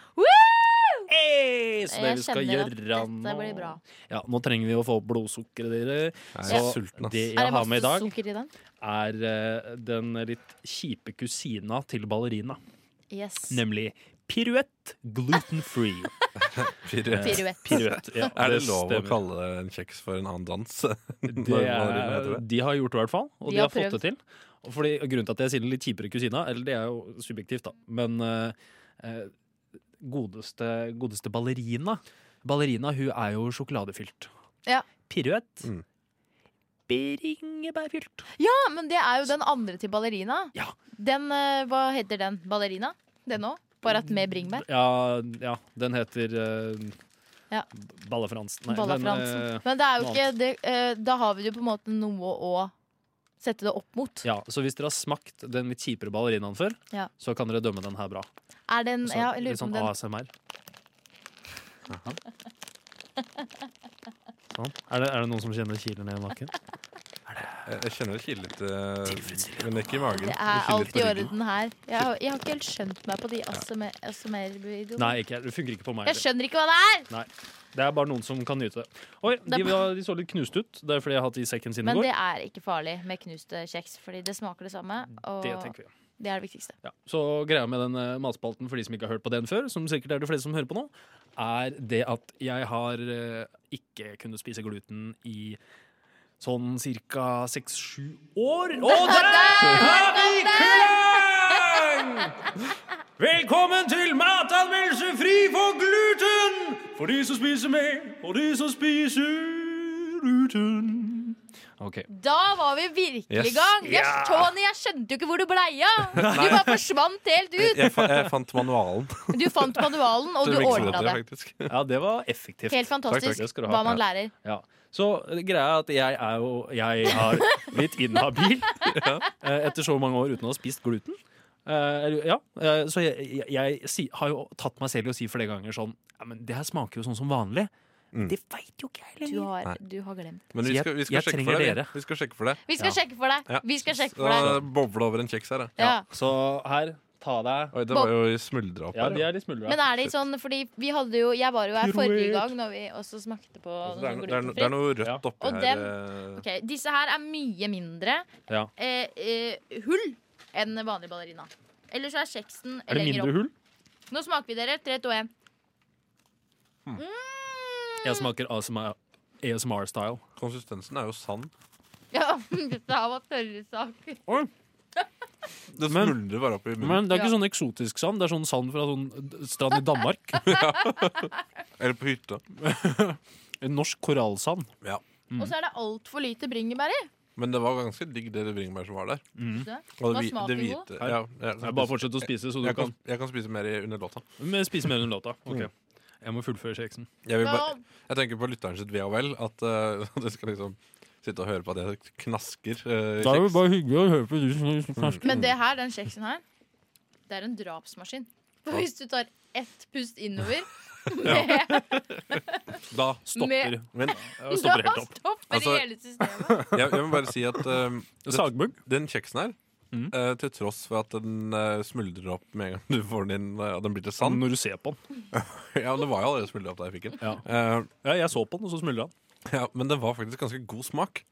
Speaker 1: Hey, så det
Speaker 4: Jeg
Speaker 1: vi skal
Speaker 4: kjenner at
Speaker 1: gjøre
Speaker 4: dette blir bra.
Speaker 1: Ja, nå trenger vi å få opp blodsukkeret, dere.
Speaker 2: Jeg er
Speaker 1: Så
Speaker 2: sulten, ass.
Speaker 1: det
Speaker 4: Er det
Speaker 1: jeg har med i
Speaker 4: masse
Speaker 1: dag,
Speaker 4: sukker i den?
Speaker 1: er eh, den litt kjipe kusina til ballerina.
Speaker 4: Yes.
Speaker 1: Nemlig piruett gluten free.
Speaker 2: Fire.
Speaker 4: Piruett.
Speaker 1: Piruett, ja,
Speaker 2: Er det lov å
Speaker 1: stemmer.
Speaker 2: kalle en kjeks for en annen dans?
Speaker 1: Det er, de har gjort det i hvert fall, og
Speaker 4: De
Speaker 1: de,
Speaker 4: har
Speaker 1: har fått det til. Og Fordi, og grunnen til at jeg sier den litt kjipere kusina, eller det er jo subjektivt, da, men eh, eh, godeste, godeste ballerina Ballerina hun er jo sjokoladefylt.
Speaker 4: Ja.
Speaker 1: Piruett.
Speaker 2: Mm.
Speaker 1: Bringebærfylt.
Speaker 4: Ja, men det er jo den andre til ballerina.
Speaker 1: Ja.
Speaker 4: Den, eh, hva heter den? Ballerina? Den òg? Bare at med bringebær.
Speaker 1: Ja, ja, den heter uh,
Speaker 4: Ja.
Speaker 1: Ballefransen. Nei,
Speaker 4: Balla
Speaker 1: den,
Speaker 4: Fransen.
Speaker 1: eh,
Speaker 4: Men det er jo
Speaker 1: noe
Speaker 4: ikke det, eh, Da har vi jo på en måte noe å sette det opp mot.
Speaker 1: ja, så hvis dere har smakt den litt kjipere ballerinaen før,
Speaker 4: Ja.
Speaker 1: så kan dere dømme den her bra.
Speaker 4: Er den
Speaker 1: Så,
Speaker 4: Ja, jeg lurer
Speaker 1: litt
Speaker 4: på om
Speaker 1: sånn
Speaker 4: den
Speaker 1: ASMR. Sånn. Er, det, er det noen som kjenner kiler ned i nakken?
Speaker 2: Jeg, jeg kjenner det kiler litt, eh, men det er ikke i magen.
Speaker 4: Det er
Speaker 2: kiler
Speaker 4: alt
Speaker 2: på
Speaker 4: i
Speaker 2: ryggen.
Speaker 4: orden her. Jeg har, jeg har ikke helt skjønt meg på de ASMR-videoene.
Speaker 1: Nei, ikke, det funker ikke på meg.
Speaker 4: Jeg skjønner ikke hva det er!
Speaker 1: Det er bare noen som kan nyte det. Oi, de,
Speaker 4: Det-
Speaker 1: var- de så litt knust ut. Det er fordi jeg har hatt det i sekken sin i
Speaker 4: Men
Speaker 1: går.
Speaker 4: det er ikke farlig med knuste kjeks, fordi det smaker det samme. Og
Speaker 1: Det tenker vi.
Speaker 4: det er det viktigste.
Speaker 1: Ja. Så greia med den eh, matspalten for de som ikke har hørt på den før, som sikkert er de fleste som hører på nå, er det at jeg har eh, ikke kunnet spise gluten i sånn cirka seks-sju år. Og der har vi klang! Velkommen til matanmeldelse fri for gluten! For de som spiser med, og de som spiser uten. Ok.
Speaker 4: Da var vi virkelig i
Speaker 2: Yes.
Speaker 4: gang! Jeg,
Speaker 2: Ja.
Speaker 4: Tony, jeg skjønte jo ikke hvor du blei av! Du bare forsvant helt ut!
Speaker 2: Jeg, fa jeg fant manualen.
Speaker 4: Du fant manualen, og
Speaker 2: til
Speaker 4: du
Speaker 2: virksomheter,
Speaker 4: ordna det.
Speaker 2: liksom faktisk.
Speaker 1: Ja, det var effektivt.
Speaker 4: Helt fantastisk
Speaker 1: Det skal du ha.
Speaker 4: hva man lærer.
Speaker 1: Ja. Så eh, greia er at jeg er jo Jeg har blitt inhabil eh, etter så mange år uten å ha spist gluten. Eh, eller- ja, eh, så jeg, jeg, jeg si, har jo tatt meg selv i å si flere ganger sånn ja, men Det her smaker jo sånn som vanlig.
Speaker 2: Mm.
Speaker 1: Det veit jo ikke jeg
Speaker 4: Du
Speaker 1: lenger.
Speaker 4: har,
Speaker 2: Nei.
Speaker 4: du har glemt.
Speaker 2: Men vi
Speaker 1: Så jeg-
Speaker 2: skal, vi skal
Speaker 1: jeg
Speaker 2: sjekke
Speaker 1: trenger
Speaker 2: for det.
Speaker 1: dere.
Speaker 2: eller? Vi skal sjekke for det.
Speaker 4: Vi skal
Speaker 1: Ja.
Speaker 4: sjekke for deg!
Speaker 2: Ja.
Speaker 4: Vi skal sjekke for deg.
Speaker 2: Så Boble over en kjeks her, da.
Speaker 4: Ja.
Speaker 1: Så her, ta deg
Speaker 2: Oi, det var jo smuldra opp
Speaker 1: Ja,
Speaker 2: her.
Speaker 1: de
Speaker 2: ja.
Speaker 1: er litt smuldra.
Speaker 4: Men er det sånn, fordi vi hadde jo Jeg var jo her forrige gang når vi også smakte på
Speaker 2: Altså, Det er,
Speaker 4: noe
Speaker 2: no- det, er, no- det er
Speaker 4: glutenfritt.
Speaker 2: noe
Speaker 1: Ja.
Speaker 2: rødt oppi
Speaker 4: Og
Speaker 2: her. eh,
Speaker 4: Ok, Disse her er mye mindre
Speaker 1: Ja.
Speaker 4: eh, eh, hull enn vanlig ballerina. Eller så er kjeksen
Speaker 1: Er det
Speaker 4: lenger
Speaker 1: mindre
Speaker 4: opp.
Speaker 1: hull?
Speaker 4: Nå smaker vi dere. Tre, to, én.
Speaker 1: Jeg smaker ASMR-style.
Speaker 2: Konsistensen er jo sand.
Speaker 4: Ja, dette her var tørre saker.
Speaker 2: Det
Speaker 1: Men-
Speaker 2: smuldrer bare opp i munnen.
Speaker 1: Men det er ikke
Speaker 4: Ja.
Speaker 1: sånn eksotisk sand. Det er sånn sand fra sånn strand i Danmark.
Speaker 2: Eller på hytta.
Speaker 1: En Norsk korallsand.
Speaker 2: Ja.
Speaker 4: Og så er det altfor lite bringebær i.
Speaker 2: Men det var ganske digg, det bringebæret som var der. Og
Speaker 4: Var
Speaker 2: det, hvi-
Speaker 4: smaken
Speaker 2: det hvite.
Speaker 1: god?
Speaker 2: Ja, ja,
Speaker 1: Mm. Jeg bare fortsett å spise, så du
Speaker 2: jeg,
Speaker 1: kan
Speaker 2: kan, jeg kan spise mer i- under låta.
Speaker 1: Men Spis mer under låta. Ok. Jeg må fullføre kjeksen.
Speaker 2: Jeg, vil bare,
Speaker 4: Nå-
Speaker 2: jeg tenker på lytteren sitt ve og vel. At uh, du skal liksom sitte og høre på at jeg knasker eh, kjeks.
Speaker 1: bare hyggelig å høre på du som
Speaker 4: Men det her, den kjeksen her, det er en drapsmaskin. For hvis du tar ett pust innover med,
Speaker 1: Da stopper,
Speaker 4: Med-
Speaker 2: Men
Speaker 1: Ja, stopper
Speaker 4: da
Speaker 1: helt opp.
Speaker 4: stopper
Speaker 2: Altså-
Speaker 4: hele systemet.
Speaker 2: jeg, jeg må bare si at eh, det,
Speaker 1: Sagbugg.
Speaker 2: den kjeksen her
Speaker 1: Mm.
Speaker 2: eh, til tross for at den eh, smuldrer opp med en gang du får den inn, eh, og den blir til sand
Speaker 1: Når du ser på den.
Speaker 2: Ja, men Det var jo allerede smuldra opp da jeg fikk den.
Speaker 1: Ja.
Speaker 2: Eh,
Speaker 1: Ja, jeg så på den, og så smuldra den.
Speaker 2: ja, men det var faktisk ganske god smak.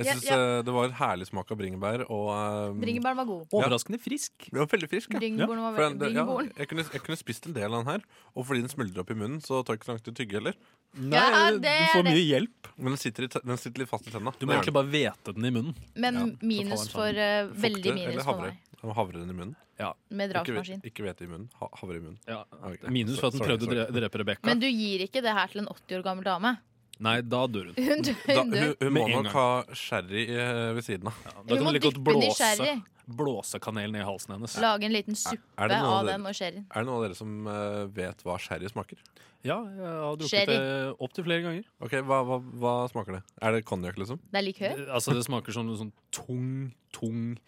Speaker 2: Jeg
Speaker 4: Ja,
Speaker 2: synes,
Speaker 4: ja.
Speaker 2: eh, Det var en herlig smak av bringebær. Og eh,
Speaker 4: Bringebæren var god.
Speaker 1: Overraskende frisk.
Speaker 2: det var veldig frisk. Ja.
Speaker 4: Bringebæren var
Speaker 2: For den,
Speaker 4: veldig
Speaker 2: det, ja,
Speaker 4: bringebæren.
Speaker 2: jeg, kunne, jeg kunne spist en del av den her, og fordi den smuldrer opp i munnen, så tar det ikke så lang tid å tygge heller.
Speaker 4: Ja,
Speaker 1: Nei,
Speaker 4: det
Speaker 1: du
Speaker 4: er
Speaker 1: får
Speaker 4: det.
Speaker 1: mye hjelp.
Speaker 2: Men den sitter, i, te- den sitter litt fast i tenna.
Speaker 1: Du må egentlig bare hvete den i munnen.
Speaker 4: Men
Speaker 2: Ja, så sånn
Speaker 4: minus
Speaker 1: faller den
Speaker 4: for eh, Veldig minus for
Speaker 2: havre.
Speaker 4: meg.
Speaker 2: Og Havre den i munnen.
Speaker 4: Med
Speaker 2: Ikke,
Speaker 4: drapsmaskin.
Speaker 2: ve- ikke hvete i munnen. Ha, havre i munnen. Ah,
Speaker 1: Ja.
Speaker 2: Ok.
Speaker 1: Minus for at den
Speaker 2: Sorry,
Speaker 1: prøvde å
Speaker 2: sorry.
Speaker 1: dre- drepe Rebekka.
Speaker 4: Men du gir ikke det her til en 80 år gammel dame.
Speaker 1: Nei, da dør hun.
Speaker 4: Hun,
Speaker 2: Da,
Speaker 4: hun,
Speaker 2: hun,
Speaker 4: dør.
Speaker 2: hun
Speaker 1: Med
Speaker 2: må
Speaker 1: en
Speaker 2: nok
Speaker 1: gang.
Speaker 2: ha sherry eh, ved siden av.
Speaker 1: Da
Speaker 4: hun
Speaker 1: kan
Speaker 4: må
Speaker 1: du like godt
Speaker 4: dyppe den i sherry.
Speaker 1: blåse, blåse kanel ned i halsen hennes.
Speaker 4: Lage en liten
Speaker 2: Er
Speaker 4: suppe
Speaker 2: det noe av
Speaker 4: av
Speaker 2: det-
Speaker 4: den og sherryen.
Speaker 2: Er det noen av dere som eh, vet hva sherry smaker?
Speaker 1: Ja, jeg har
Speaker 4: Sherry.
Speaker 1: drukket det opptil flere ganger.
Speaker 2: Ok, Hva, hva, hva smaker det? Er det konjakk, liksom?
Speaker 4: Det er likør.
Speaker 1: Altså, det smaker som en sånn tung, tung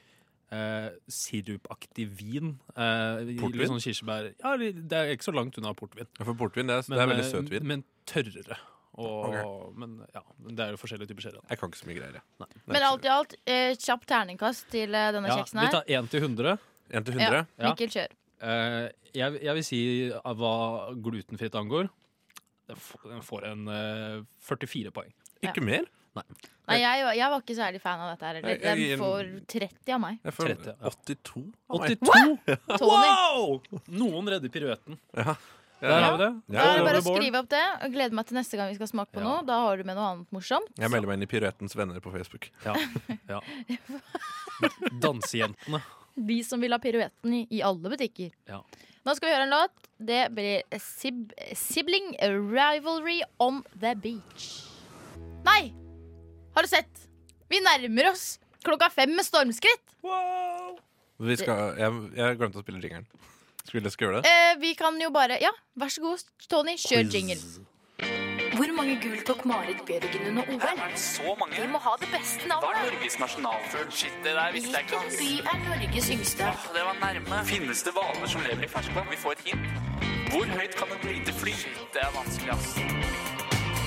Speaker 1: eh, sirupaktig vin. Eh, i-
Speaker 2: Portvin?
Speaker 1: Litt sånn kirsebær. Ja, det er ikke så langt unna portvin.
Speaker 2: Ja, For portvin det er, det er veldig
Speaker 1: eh,
Speaker 2: søt vin.
Speaker 1: Men tørrere. Og, Men ja, men det er jo forskjellige typer sherry. da.
Speaker 2: Jeg kan ikke så mye greier. jeg.
Speaker 1: Nei.
Speaker 2: Nei,
Speaker 4: Men
Speaker 2: ikke så
Speaker 4: alt i alt, eh, kjapp terningkast til eh, denne
Speaker 1: Ja,
Speaker 4: kjeksen
Speaker 1: vi
Speaker 4: her.
Speaker 1: tar 1 til 100.
Speaker 2: mye. En til
Speaker 4: Ja.
Speaker 2: 100?
Speaker 1: Ja.
Speaker 4: Mikkel, kjør.
Speaker 1: Eh, jeg, jeg vil si av hva glutenfritt angår, den f- den får en eh, 44 poeng.
Speaker 2: Ikke mer?
Speaker 4: Nei, jeg, var- jeg var ikke særlig fan av dette her heller.
Speaker 2: Jeg- jeg gir
Speaker 4: Den
Speaker 2: en-
Speaker 4: får 30 av meg.
Speaker 2: Jeg får
Speaker 1: 30, ja.
Speaker 2: 82. av meg.
Speaker 1: 82!
Speaker 4: Tony.
Speaker 1: Noen redder piruetten.
Speaker 2: Ja.
Speaker 1: Der har vi det.
Speaker 2: Ja,
Speaker 4: Da er det bare å
Speaker 1: Overboard.
Speaker 4: skrive opp det. og Gleder meg til neste gang vi skal smake på
Speaker 1: Ja.
Speaker 4: noe. Da har du med noe annet morsomt.
Speaker 2: Jeg melder meg inn i Piruettens venner på Facebook.
Speaker 1: Ja. ja. Dansejentene.
Speaker 4: De som vil ha piruetten i, i alle butikker.
Speaker 1: Ja.
Speaker 4: Nå skal vi høre en låt. Det blir sib Sibling Rivalry on the Beach. Nei! Har du sett? Vi nærmer oss klokka fem med stormskritt.
Speaker 2: Vi skal, jeg, jeg glemte å spille jingeren. Skulle jeg skulle gjøre det?
Speaker 4: Eh, vi kan jo bare Ja, vær så god, Tony. Kjør jingle. Hvor mange gull tok Marit Bjørgen under OL?
Speaker 9: Så mange.
Speaker 4: Vi må ha det beste
Speaker 9: Hva er
Speaker 4: navnet.
Speaker 9: Norges nasjonalfugl? Shit, det der visste jeg ikke.
Speaker 4: Hvilken by er Norges yngste?
Speaker 9: ass. Det var nærme. Finnes det hvaler som lever i ferskvann? Vi får et hint. Hvor høyt kan et lite fly? Shit, det er vanskelig, ass.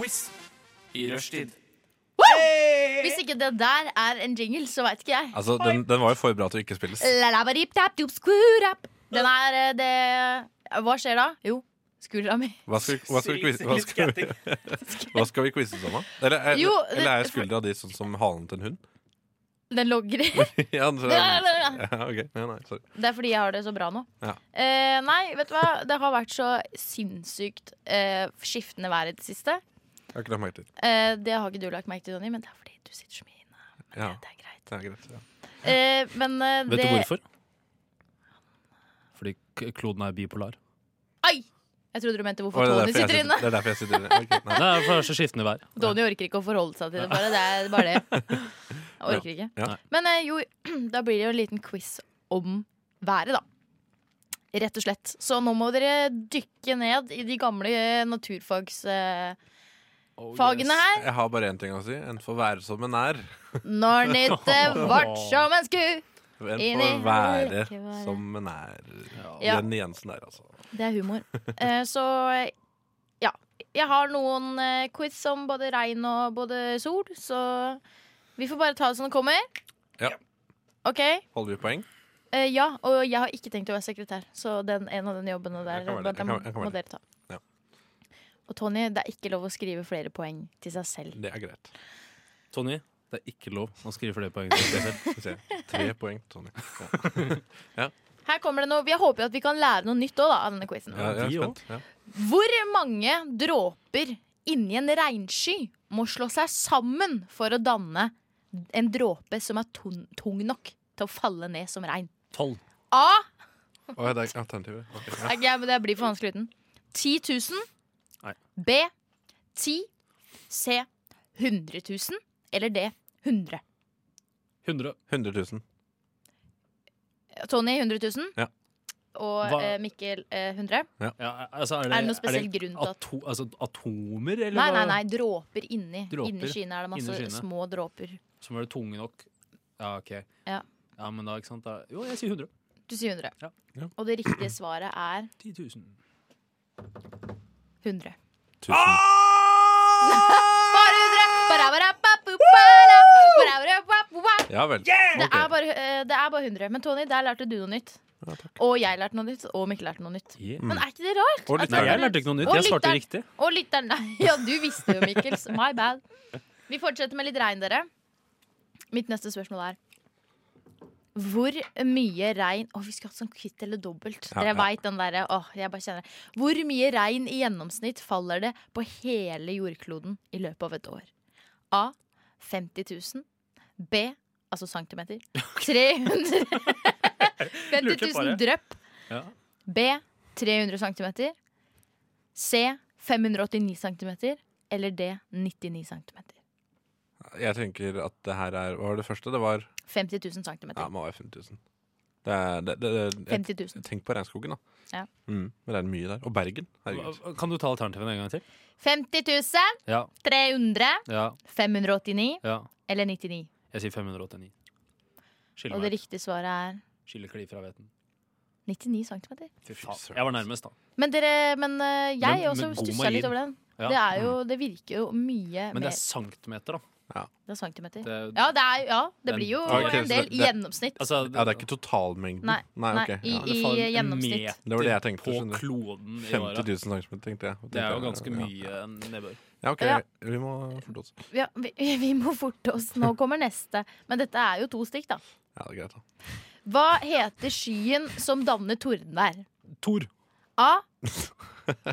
Speaker 9: Quiz i rushtid.
Speaker 4: Hvis ikke det der er en jingle, så veit ikke jeg.
Speaker 2: Altså, den, den var jo for bra til å ikke spilles.
Speaker 4: Eh, Lalabadip-dap-dup-skurap. Den er eh, det Hva skjer da? Jo, skura mi.
Speaker 2: Hva skal, hva skal vi quiz- hva skal, vi- hva skal vi quize sammen? Eller, er-
Speaker 4: Jo, det-
Speaker 2: eller er skuldra di sånn som halen til en hund?
Speaker 4: Den logger i.
Speaker 2: ja, så, ja,
Speaker 4: Det
Speaker 2: ok. Ja, nei, sorry.
Speaker 4: er fordi jeg har det så bra nå.
Speaker 2: Ja.
Speaker 4: Eh, nei, vet du hva? Det har vært så sinnssykt eh, skiftende vær i det siste.
Speaker 2: Jeg har ikke lagt merke til.
Speaker 4: Eh, det har ikke du lagt merke til, Donny, men det er fordi du sitter så mye inne. Men
Speaker 2: Ja.
Speaker 4: det, det er greit.
Speaker 2: Det er greit. Ja.
Speaker 4: Eh, men eh,
Speaker 1: Vet
Speaker 4: det
Speaker 1: du hvorfor? Fordi k- kloden er bipolar.
Speaker 4: Ai! Jeg trodde du mente
Speaker 2: Å,
Speaker 4: hvorfor Tony
Speaker 2: det, er derfor jeg
Speaker 4: sitter inne.
Speaker 2: sitter, det er derfor jeg sitter inne. Ok, nei.
Speaker 1: Det er for det er så skiftende vær.
Speaker 4: Donny orker ikke å forholde seg til det, bare. Det er bare det. Jeg orker ikke.
Speaker 2: Ja.
Speaker 4: Men eh, jo, da blir det jo en liten quiz om været, da. Rett og slett. Så nå må dere dykke ned i de gamle eh, naturfagsfagene
Speaker 2: Oh,
Speaker 1: Oh,
Speaker 4: her.
Speaker 2: Jeg har bare én ting å si. En får være som en er.
Speaker 4: Når nyttet vart som en sku.
Speaker 2: En
Speaker 4: Enig.
Speaker 2: får være
Speaker 4: Ikke være.
Speaker 2: som en er.
Speaker 4: Ja.
Speaker 2: Jenny Jensen der, altså.
Speaker 4: Det er humor. Eh, så ja. Jeg har noen eh, quiz om både regn og både sol, så vi får bare ta det som det kommer.
Speaker 2: Ja.
Speaker 4: OK?
Speaker 2: Holder vi poeng?
Speaker 4: Eh, ja, og jeg har ikke tenkt å være sekretær, så den, en av den jobbene der
Speaker 2: Jeg kan være det, jeg
Speaker 4: den
Speaker 2: kan- jeg kan
Speaker 4: må
Speaker 2: være det.
Speaker 4: dere ta.
Speaker 2: Ja.
Speaker 4: Og Tony, det er ikke lov å skrive flere poeng til seg selv.
Speaker 2: Det er greit.
Speaker 1: Tony, det er ikke lov å skrive flere poeng. til seg selv.
Speaker 2: Skal vi se. Tre poeng, Tony. Ja.
Speaker 4: Her kommer det noe, Jeg håper jo at vi kan lære noe nytt også, da, av denne quizen.
Speaker 2: Ja, jeg er
Speaker 1: vi
Speaker 2: spent. Ja.
Speaker 4: Hvor mange dråper inni en regnsky må slå seg sammen for å danne en dråpe som er tung, tung nok til å falle ned som regn?
Speaker 1: Tolv.
Speaker 4: A.
Speaker 2: Å, ja, det er alternativet. Ok, ja.
Speaker 4: Ok, men det blir for vanskelig uten. 10 000.
Speaker 1: Nei.
Speaker 4: B. 10. C. 100 000. Eller D. 100.
Speaker 1: 100.
Speaker 2: 100 000.
Speaker 4: Tony 100 000.
Speaker 2: Ja.
Speaker 4: Og
Speaker 1: Hva-
Speaker 4: eh, Mikkel eh, 100.
Speaker 1: Ja, altså, er, det,
Speaker 4: Er det noen spesiell grunn til at
Speaker 1: ato, altså, atomer, eller
Speaker 4: Nei, nei,
Speaker 1: hva?
Speaker 4: nei. Dråper inni.
Speaker 1: Dråper.
Speaker 4: Inni skyene er det masse
Speaker 1: Inni skyene.
Speaker 4: små dråper.
Speaker 1: som er det tunge nok? Ja, OK.
Speaker 4: Ja.
Speaker 1: Ja, men da, ikke sant? Da, jo, jeg sier 100.
Speaker 4: Du sier 100.
Speaker 1: Ja.
Speaker 2: Ja.
Speaker 4: Og det riktige svaret er
Speaker 1: 10 000.
Speaker 4: 100.
Speaker 2: Tusen.
Speaker 4: Bare 100! Barabarapapupada, barabarapapupada.
Speaker 2: Ja vel.
Speaker 4: Det
Speaker 2: Ok.
Speaker 4: er, bare, eh, det er bare 100. Men Tony, der lærte du noe nytt. og jeg lærte noe nytt, og Mikkel lærte noe nytt.
Speaker 1: Yeah.
Speaker 4: Men er ikke det rart?
Speaker 2: Og
Speaker 4: At
Speaker 1: Nei,
Speaker 2: lytteren.
Speaker 1: jeg lærte ikke noe nytt.
Speaker 4: Og
Speaker 1: Jeg svarte
Speaker 4: lytteren.
Speaker 1: riktig.
Speaker 4: Og lytteren Nei, ja, du visste jo, Mikkel. så My bad. Vi fortsetter med litt regn, dere. Mitt neste spørsmål er hvor mye regn Å, vi skulle hatt sånn kvitt eller dobbelt.
Speaker 2: Ja,
Speaker 4: Dere
Speaker 2: ja.
Speaker 4: vet den derre. Åh, jeg bare kjenner det. Hvor mye regn i gjennomsnitt faller det på hele jordkloden i løpet av et år? A. 50 000. B. Altså centimeter. 300 50 000 drypp.
Speaker 1: Ja.
Speaker 4: B. 300 cm. C. 589 cm. Eller D. 99 cm.
Speaker 2: Jeg tenker at det her er Hva var det første? Det var
Speaker 4: 50 000 cm.
Speaker 2: Ja, det må være 50 000. Det er, det, det, det,
Speaker 4: 50 000.
Speaker 2: tenk på regnskogen, da.
Speaker 4: Ja.
Speaker 2: Mm, men det er mye der. Og Bergen. Herregud.
Speaker 1: Hva- Kan du ta alternativen en gang til?
Speaker 4: 50 000,
Speaker 1: Ja.
Speaker 4: 300,
Speaker 1: ja,
Speaker 4: 589
Speaker 1: ja.
Speaker 4: eller 99.
Speaker 1: Jeg sier 589. Skille
Speaker 4: Og det
Speaker 1: meg.
Speaker 4: riktige svaret er
Speaker 1: Skille kli fra hveten.
Speaker 4: 99 cm.
Speaker 1: Fy
Speaker 2: Fy
Speaker 1: faen.
Speaker 2: søren. altså.
Speaker 1: Jeg var nærmest, da.
Speaker 4: Men, dere, men eh, jeg
Speaker 1: Men-
Speaker 4: også
Speaker 1: men god
Speaker 4: stussa
Speaker 1: margin.
Speaker 4: litt over den.
Speaker 1: Ja. Mm.
Speaker 4: Det, er jo, det virker jo mye
Speaker 1: Men det
Speaker 4: mer
Speaker 1: er centimeter, da.
Speaker 4: Det er centimeter.
Speaker 1: Det er,
Speaker 4: Ja, det, er, ja, det
Speaker 1: Den-
Speaker 4: blir jo
Speaker 2: Ok, så
Speaker 4: en del
Speaker 2: det- det-
Speaker 4: gjennomsnitt.
Speaker 1: altså,
Speaker 2: Ja, det er ikke totalmengden.
Speaker 4: Nei, nei,
Speaker 2: ok.
Speaker 4: i-
Speaker 2: Ja.
Speaker 1: det faller en
Speaker 4: gjennomsnitt.
Speaker 1: meter
Speaker 2: Det var det jeg tenkte,
Speaker 1: På
Speaker 2: skjønner du.
Speaker 1: kloden i
Speaker 2: 50
Speaker 1: året.
Speaker 2: 000 centimeter, tenkte jeg.
Speaker 1: Det er jo ganske
Speaker 2: Ja.
Speaker 1: mye nedbør.
Speaker 2: Ja, ok,
Speaker 4: Ja.
Speaker 2: Vi må forte oss.
Speaker 4: Ja, vi, vi må forte oss. Nå kommer neste. Men dette er jo to stikk, da.
Speaker 2: Ja, det er greit, da.
Speaker 4: Hva heter skyen som danner tordenvær?
Speaker 1: Tor.
Speaker 4: A.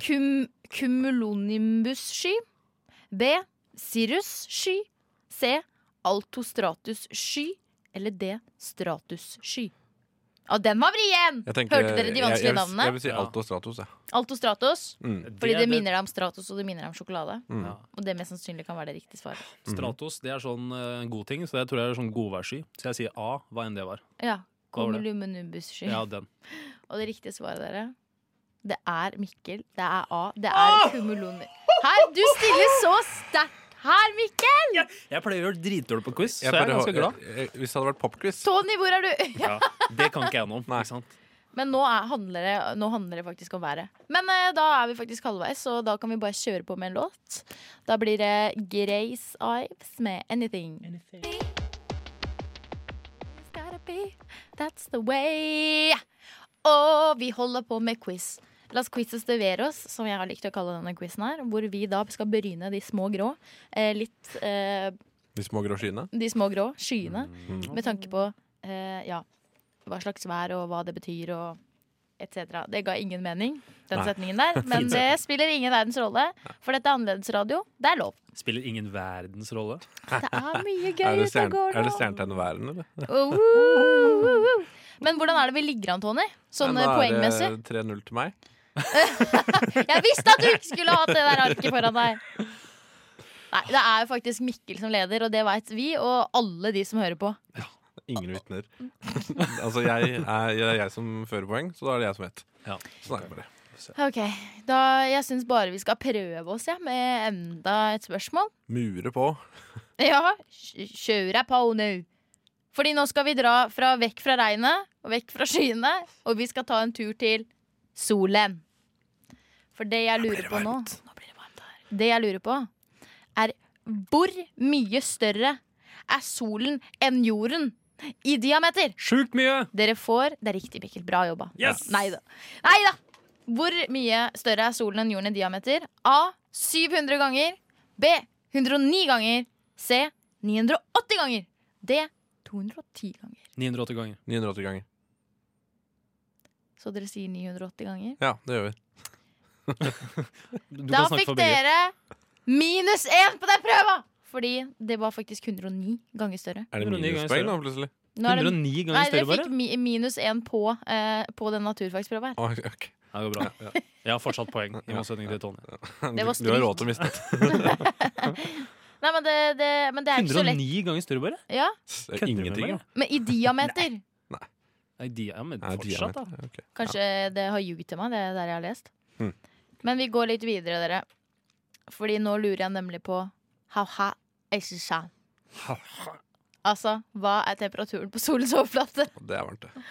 Speaker 4: Cum cumulonimbus-sky. B. Cirrus-sky. C. Altostratus-sky. Eller D. Stratus-sky. Og den var vrien!
Speaker 2: Jeg tenker-
Speaker 4: Hørte dere de
Speaker 2: jeg- jeg
Speaker 4: vanskelige
Speaker 2: vil- Jeg
Speaker 4: navnene?
Speaker 2: vil si Alto Stratos. Ja.
Speaker 4: Alto Stratos.
Speaker 2: Mm.
Speaker 4: Fordi
Speaker 1: er
Speaker 4: det minner deg om Stratos, og det minner deg om sjokolade.
Speaker 2: Mm.
Speaker 1: Ja.
Speaker 4: Og det mest sannsynlig kan være det riktige svaret.
Speaker 2: Mm-hmm.
Speaker 1: Stratos det er sånn eh, en god ting, så jeg tror jeg er sånn godværsky. Så jeg sier A, hva enn det var.
Speaker 4: Ja.
Speaker 1: Hva var det?
Speaker 4: Komolumenubus-sky.
Speaker 1: Ja, den.
Speaker 4: Og det riktige svaret, dere, det er Mikkel. Det er A. Det er kumuloni. Her, du stiller så sterkt her, Mikkel!
Speaker 1: Jeg pleier å gjøre dritdårlig på quiz, så jeg
Speaker 2: bare
Speaker 1: er ganske
Speaker 2: hå-
Speaker 1: glad.
Speaker 2: jeg- jeg- Hvis det hadde vært popquiz
Speaker 4: Tony, hvor er du?
Speaker 1: Ja, det kan ikke jeg noe om.
Speaker 2: Nei.
Speaker 1: Ikke sant?
Speaker 4: Men nå, er, handler det, nå handler det faktisk om været. Men eh, da er vi faktisk halvveis, så da kan vi bare kjøre på med en låt. Da blir det Grace Ives med 'Anything'. It's gotta be, that's the way. Og vi holder på med quiz. Las quizzes de veros, som jeg har likt å kalle denne quizen her. Hvor vi da skal bryne de små grå. Eh, litt eh,
Speaker 2: De små grå skyene.
Speaker 4: de små grå skyene.
Speaker 2: Mm.
Speaker 4: Med tanke på eh, ja, hva slags vær og hva det betyr og etc. Det ga ingen mening, den
Speaker 2: Nei.
Speaker 4: setningen der. Men det spiller ingen verdens rolle, for dette er annerledesradio. Det er lov.
Speaker 1: Spiller ingen verdens rolle.
Speaker 4: Det er mye gøy
Speaker 2: Er
Speaker 4: ute
Speaker 2: det,
Speaker 4: og
Speaker 2: stjern,
Speaker 4: går
Speaker 2: er
Speaker 4: nå.
Speaker 2: det stjernetegnet væren, eller?
Speaker 4: Oh, oh, oh, oh, oh. Men hvordan er det vi ligger an, Tony? Sånn eh,
Speaker 2: Nei, nå er det
Speaker 4: poengmessig.
Speaker 2: 3-0 til meg.
Speaker 4: Jeg visste at du ikke skulle hatt det der arket foran deg! Nei, det er jo faktisk Mikkel som leder, og det veit vi, og alle de som hører på.
Speaker 2: Ingen vitner. altså, jeg er, jeg er jeg som fører poeng, så da er det jeg som vet.
Speaker 1: Ja.
Speaker 2: Sånn er det bare.
Speaker 4: Ok, da Jeg syns bare vi skal prøve oss ja, med enda et spørsmål.
Speaker 2: Mure på.
Speaker 4: Ja, kj- kjør deg på nå. Fordi nå skal vi dra fra vekk fra regnet og vekk fra skyene, og vi skal ta en tur til solen. For det jeg lurer på nå Det jeg lurer på, er hvor mye større er solen enn jorden i diameter?
Speaker 1: Sjukt mye!
Speaker 4: Dere får Det er riktig, Mikkel. Bra jobba.
Speaker 1: Yes!
Speaker 4: Nei da. Nei da! Hvor mye større er solen enn jorden i diameter? A. 700 ganger. B. 109 ganger. C. 980 ganger. D. 210 ganger.
Speaker 1: 980 ganger.
Speaker 2: 980 ganger.
Speaker 4: Så dere sier 980 ganger?
Speaker 2: Ja, det gjør vi.
Speaker 1: Du
Speaker 4: Da
Speaker 1: kan snakke
Speaker 4: fikk
Speaker 1: for begge.
Speaker 4: dere minus én på den prøva! Fordi det var faktisk 109 ganger større.
Speaker 2: Er det
Speaker 1: 109 ganger
Speaker 2: minuspoeng nå,
Speaker 1: større.
Speaker 2: plutselig?
Speaker 4: Nå er det-
Speaker 1: 109
Speaker 4: nei,
Speaker 1: ganger
Speaker 4: dere
Speaker 1: større,
Speaker 4: fikk
Speaker 1: bare?
Speaker 4: mi minus én på, eh, på den naturfagsprøva her.
Speaker 2: Å, ok.
Speaker 1: Ja, det går bra. Jeg har fortsatt poeng, i motsetning til Tony.
Speaker 2: Du,
Speaker 4: var
Speaker 2: du har
Speaker 4: strykt.
Speaker 2: råd til å miste
Speaker 4: Nei, men det, det, men det er ikke så lett.
Speaker 1: 109 ganger større, bare?
Speaker 4: Ja,
Speaker 2: det. er Ingenting, ja.
Speaker 4: Men i diameter.
Speaker 1: Nei, de, ja, men
Speaker 2: Nei,
Speaker 1: fortsatt,
Speaker 2: diameter.
Speaker 1: da.
Speaker 2: Ok.
Speaker 4: Kanskje det har ljuget til meg, det er der jeg har lest.
Speaker 2: Mm.
Speaker 4: Men vi går litt videre, dere. Fordi nå lurer jeg nemlig på Ha-ha, eishisha. Altså, hva er temperaturen på solens overflate?
Speaker 2: Det er varmt, det.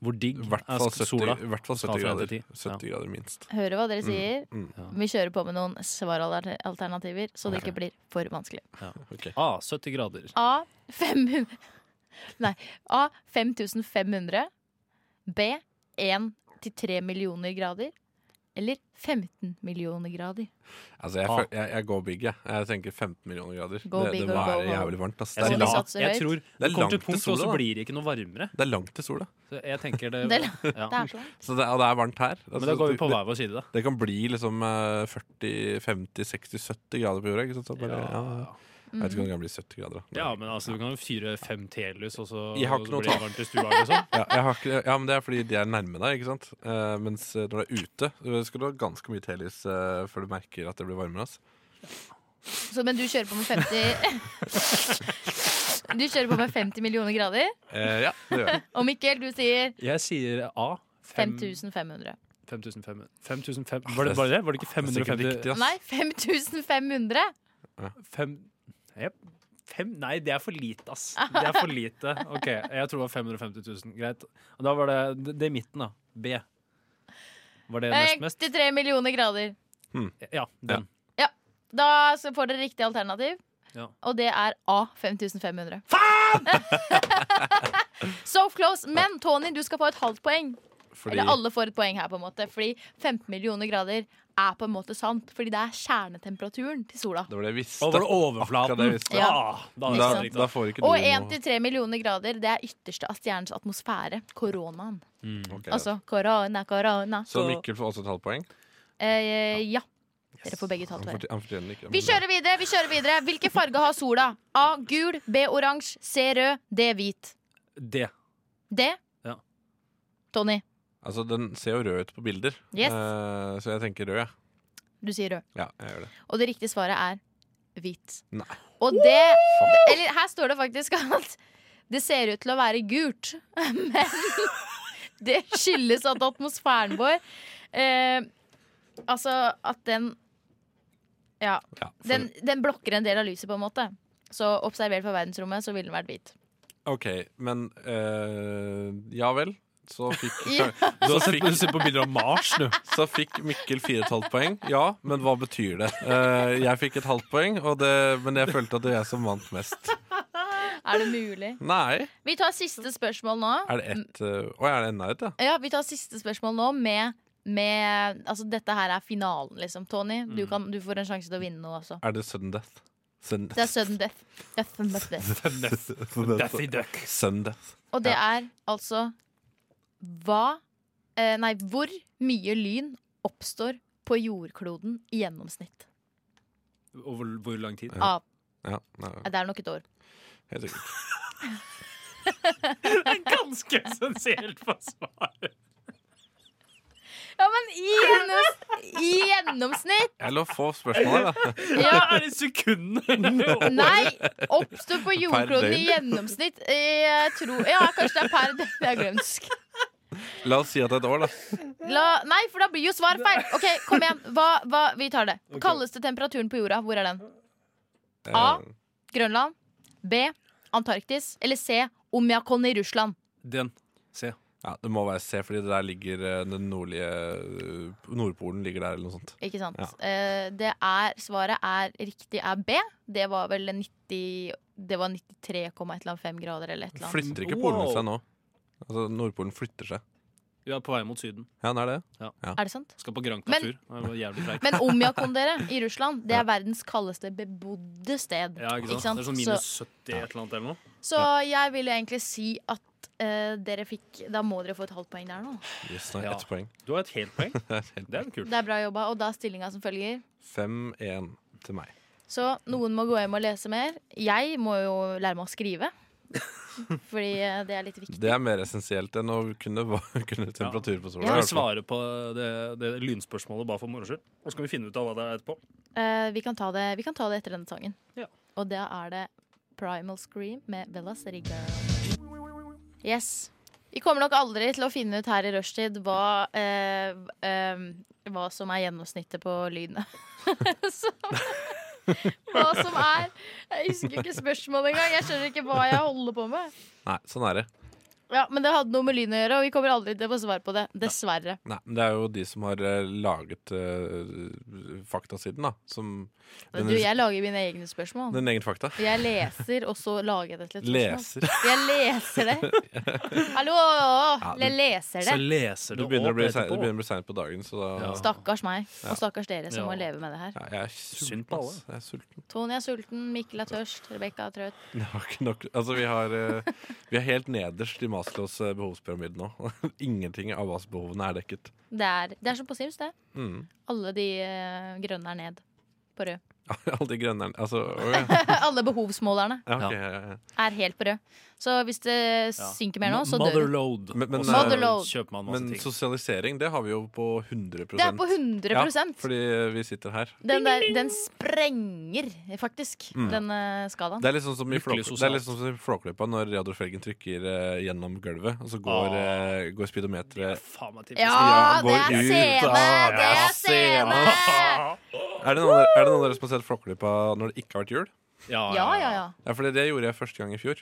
Speaker 1: Hvor digg
Speaker 2: I hvert fall
Speaker 1: er
Speaker 2: 70,
Speaker 1: sola?
Speaker 2: i hvert fall
Speaker 1: Skal
Speaker 2: 70
Speaker 1: fra
Speaker 2: grader.
Speaker 1: til ti.
Speaker 2: 70 grader minst.
Speaker 4: Hører hva dere sier.
Speaker 2: Mm,
Speaker 1: ja.
Speaker 4: Vi kjører på med noen svaralternativer, så det ikke blir for vanskelig.
Speaker 1: Ah, 70 grader.
Speaker 4: A 500 Nei. A 5500. B 1 til 3 millioner grader. Eller 15 millioner grader.
Speaker 2: Altså, jeg,
Speaker 1: Ah.
Speaker 2: føl- jeg, jeg går big, jeg. Jeg tenker 15 millioner grader.
Speaker 4: Go
Speaker 2: det,
Speaker 4: big or
Speaker 2: det må
Speaker 4: go liksom
Speaker 2: være
Speaker 4: home.
Speaker 2: jævlig varmt. Ass.
Speaker 1: Jeg
Speaker 2: Det, er
Speaker 4: sier
Speaker 2: langt,
Speaker 4: la-
Speaker 1: tror-
Speaker 4: satser høyt.
Speaker 1: Jeg tror
Speaker 2: Det
Speaker 1: det
Speaker 2: er
Speaker 1: kommer til
Speaker 2: langt til
Speaker 1: punkt, og
Speaker 2: sola,
Speaker 1: så
Speaker 2: da.
Speaker 1: blir det ikke noe varmere.
Speaker 2: det er langt til sola.
Speaker 1: Så jeg tenker det,
Speaker 4: Det er langt.
Speaker 1: ja.
Speaker 4: Det er så langt.
Speaker 2: Så det, og det er varmt her. Altså,
Speaker 1: Men da går vi på
Speaker 2: det,
Speaker 1: hver vår side, da.
Speaker 2: det kan bli liksom eh, 40, 50, 60, 70 grader på jorda. Ikke sant? Så bare, ja. Jeg vet ikke om det kan bli 70 grader. Da.
Speaker 1: Ja, men altså, du kan jo fyre fem telys, og så
Speaker 2: Jeg har
Speaker 1: så
Speaker 2: ikke noe
Speaker 1: blir det
Speaker 2: tak.
Speaker 1: varmt i stua. Liksom.
Speaker 2: Ja, jeg har ikke, ja, men Det er fordi de er nærme deg. ikke sant? Eh, mens eh, når du er ute, eh, skal du ha ganske mye telys eh, før du merker at det blir varmere. ass.
Speaker 4: Så, men du kjører på med 50 Du kjører på med 50 millioner grader.
Speaker 2: Eh, ja, det gjør jeg.
Speaker 4: Og Mikkel, du sier
Speaker 1: Jeg sier A. fem-
Speaker 4: 5500.
Speaker 1: 5500. 5500.
Speaker 2: Ah,
Speaker 1: Var det bare det? Var det ikke 550?
Speaker 2: ass.
Speaker 4: Nei, 5500!
Speaker 1: Fem, Jep. fem, nei, det er for lite, ass. Det er for lite. OK, jeg tror det var 550 000. Greit. Og da var det det, det i midten, da. B. Var det
Speaker 4: Eh,
Speaker 1: nest mest?
Speaker 4: 63 millioner grader.
Speaker 1: Ja, den.
Speaker 4: Da så får dere riktig alternativ,
Speaker 1: Ja.
Speaker 4: og det er A. 5500. so close. Men Tony, du skal få et halvt poeng.
Speaker 2: Fordi,
Speaker 4: Eller alle får et poeng her, på en måte. Fordi 15 millioner grader er på en måte sant. Fordi det er kjernetemperaturen til sola.
Speaker 2: det var det jeg visste.
Speaker 1: Og var det
Speaker 2: Akkurat det
Speaker 1: overflaten? Ah,
Speaker 2: jeg visste.
Speaker 4: Ja.
Speaker 1: da,
Speaker 2: Da,
Speaker 1: da,
Speaker 4: sant?
Speaker 2: da får ikke du
Speaker 4: Og
Speaker 2: noe-
Speaker 4: 1-3 millioner grader, det er ytterste av stjernens atmosfære. Koronaen.
Speaker 2: Ok,
Speaker 4: Altså korona, korona.
Speaker 2: Så Mikkel får også et halvt poeng.
Speaker 4: Eh, ja. Dere får begge ta et
Speaker 2: Han
Speaker 4: poeng.
Speaker 2: fortjener, han fortjener det ikke.
Speaker 4: Vi kjører videre. vi kjører videre Hvilke farger har sola? A. Gul. B. Oransje. C. Rød. D. Hvit.
Speaker 1: Det.
Speaker 4: D.
Speaker 1: Ja.
Speaker 4: Tony,
Speaker 2: Altså, Den ser jo rød ut på bilder,
Speaker 4: Yes.
Speaker 2: Eh, så jeg tenker rød. jeg.
Speaker 4: du sier rød.
Speaker 2: Ja, jeg gjør det.
Speaker 4: Og det riktige svaret er hvit.
Speaker 2: Nei.
Speaker 4: Og det Eller her står det faktisk at det ser ut til å være gult, men det skyldes at atmosfæren vår eh, Altså at den Ja.
Speaker 2: Ja, for-
Speaker 4: Den, den blokker en del av lyset, på en måte. Så observert fra verdensrommet, så ville den vært hvit.
Speaker 2: OK, men eh, Ja vel. Så fikk,
Speaker 4: Ja.
Speaker 2: så, fikk,
Speaker 1: Du ser på bilder av Mars, du.
Speaker 2: så fikk Mikkel fire og et halvt poeng. Ja, men hva betyr det? Eh, jeg fikk et halvt poeng, og det, men jeg følte at det var jeg som vant mest.
Speaker 4: Er det mulig?
Speaker 2: Nei.
Speaker 4: Vi tar siste spørsmål nå.
Speaker 2: Er det ett eh, Å, er det enda et, ja?
Speaker 4: Ja, vi tar siste spørsmål nå med, med Altså, dette her er finalen, liksom. Tony,
Speaker 2: Mm.
Speaker 4: du, kan, du får en sjanse til å vinne nå også.
Speaker 2: Er det sudden death? Sudden
Speaker 4: Det er sudden death. death, and death, death.
Speaker 1: Daffy Duck.
Speaker 2: Sudden death.
Speaker 4: Og det er altså hva eh, Nei, hvor mye lyn oppstår på jordkloden i gjennomsnitt?
Speaker 1: Over hvor lang tid?
Speaker 4: Av,
Speaker 2: Ja, nei,
Speaker 4: det er nok et år.
Speaker 2: helt sikkert.
Speaker 1: Ganske essensielt for svaret.
Speaker 4: Ja, men i, gjennoms, i gjennomsnitt!
Speaker 2: Jeg lå få spørsmål her, da.
Speaker 4: Ja,
Speaker 1: Er det sekunder?
Speaker 4: Nei! Oppstår på jordkloden i
Speaker 2: døgn.
Speaker 4: gjennomsnitt. Eh, Jeg tror Ja, kanskje det er per døgn. Jeg har glemt.
Speaker 2: La oss si at det er et år, da.
Speaker 4: La, nei, for da blir jo svar feil. Ok, Kom igjen. Hva, hva, vi tar det. Kaldeste temperaturen på jorda, hvor er den? A.
Speaker 2: Eh,
Speaker 4: Grønland. B. Antarktis. Eller C. Omjakon i Russland.
Speaker 1: Den. Se.
Speaker 2: Ja, Det må være C, fordi det der ligger eh, den nordlige eh, Nordpolen ligger der, eller noe sånt.
Speaker 4: Ikke sant?
Speaker 2: Ja.
Speaker 4: Eh, det er, svaret er riktig er B. Det var vel 90 Det var 93,5 grader eller et eller annet.
Speaker 2: Flytter ikke polen
Speaker 1: Wow.
Speaker 2: seg nå? Altså, Nordpolen flytter seg.
Speaker 1: Vi er på vei mot Syden.
Speaker 2: Ja, den er det.
Speaker 4: Er det sant?
Speaker 1: Skal på Grand
Speaker 4: Men-
Speaker 1: Couture. Det var jævlig treigt.
Speaker 4: Men Omjakon, dere, i Russland, det er verdens kaldeste bebodde sted.
Speaker 1: Ja, ikke sant? Det er sånn minus 70 et eller annet eller noe.
Speaker 4: Så, så jeg vil egentlig si at eh, dere fikk Da må dere få et halvt poeng der nå.
Speaker 2: Yes, nei,
Speaker 1: Ja.
Speaker 2: Ett poeng.
Speaker 1: Du har et helt poeng.
Speaker 2: helt
Speaker 1: Det er jo kult.
Speaker 4: Det er bra jobba. Og da er stillinga som følger.
Speaker 2: 5-1 til meg.
Speaker 4: Så noen må gå hjem og lese mer. Jeg må jo lære meg å skrive. Fordi eh, det er litt viktig.
Speaker 2: Det er mer essensielt enn å kunne, kunne temperatur på
Speaker 1: Skal
Speaker 2: sola. i
Speaker 1: vi
Speaker 2: hvert fall.
Speaker 1: svare på det, det lynspørsmålet bare for moro skyld? Og så kan vi finne ut av hva det er etterpå.
Speaker 4: Eh, vi, kan ta det, vi kan ta det etter denne sangen.
Speaker 1: Ja.
Speaker 4: Og da er det Primal Scream med Bella Girl. Yes. Vi kommer nok aldri til å finne ut her i rushtid hva, eh, eh, hva som er gjennomsnittet på lydene. Så- hva som er Jeg husker ikke spørsmålet engang. Jeg skjønner ikke hva jeg holder på med.
Speaker 2: Nei, sånn er det.
Speaker 4: Ja, Men det hadde noe med lyden å gjøre, og vi kommer aldri til å få svar på det. Dessverre.
Speaker 2: Nei, men det er jo de som har eh, laget eh, faktasiden, da. Som
Speaker 4: Men
Speaker 2: den,
Speaker 4: du, jeg lager mine egne spørsmål.
Speaker 2: den egen fakta.
Speaker 4: Jeg leser, og så lager jeg det til et spørsmål.
Speaker 2: Leser.
Speaker 4: Jeg leser det. Hallo!
Speaker 2: du-
Speaker 4: Jeg leser
Speaker 1: Så
Speaker 4: det.
Speaker 1: leser
Speaker 2: Du
Speaker 1: det
Speaker 2: begynner å bli
Speaker 1: opp
Speaker 2: sein- det
Speaker 1: etterpå.
Speaker 2: begynner å bli seint på dagen, så da
Speaker 1: Ja.
Speaker 4: Stakkars meg, og stakkars dere som
Speaker 1: Ja.
Speaker 4: må leve med det her.
Speaker 2: ja, Jeg er
Speaker 1: Synd
Speaker 2: sulten.
Speaker 1: på
Speaker 2: ass. Jeg er sulten.
Speaker 4: Tony er sulten, Mikkel er tørst, Rebekka er trøtt.
Speaker 2: Det var ikke nok. Altså, vi, har, eh, vi er helt nederst i Maslows eh, behovspyramide nå. Ingenting av hva behovene er dekket.
Speaker 4: Det er, det er som på Sims, det.
Speaker 2: Mm.
Speaker 4: Alle de eh, grønne er ned på rød.
Speaker 2: Alle de grønne Altså, å, ja.
Speaker 4: Alle behovsmålerne
Speaker 2: Ja, ok, ja, ja.
Speaker 4: er helt på rød. Så hvis det synker mer nå, så dør du.
Speaker 1: Motherload.
Speaker 2: Men- men,
Speaker 1: og så
Speaker 4: Motherload.
Speaker 1: kjøper man masse
Speaker 2: Men
Speaker 1: ting.
Speaker 2: sosialisering, det har vi jo på 100
Speaker 4: Det er på 100
Speaker 2: Fordi eh, vi sitter her.
Speaker 4: Den, der, den sprenger faktisk den eh, skalaen.
Speaker 2: Mm. Det er litt sånn som i,
Speaker 1: Lykkelig
Speaker 2: flåk, det
Speaker 1: sosialt.
Speaker 2: er litt sånn som i Flåklypa, når Reodor Felgen trykker eh, gjennom gulvet, og så går, eh, går speedometeret
Speaker 1: Faen meg typisk.
Speaker 4: Ja,
Speaker 2: Ja,
Speaker 4: det
Speaker 2: går
Speaker 4: er
Speaker 2: ut
Speaker 4: scene!
Speaker 2: av
Speaker 4: Det er scene!
Speaker 2: scenen. er det, noen, er det noen av dere som har sett Flåklypa når det ikke har vært jul?
Speaker 1: Ja,
Speaker 4: Ja, ja, ja.
Speaker 2: Ja, fordi Det gjorde jeg første gang i fjor.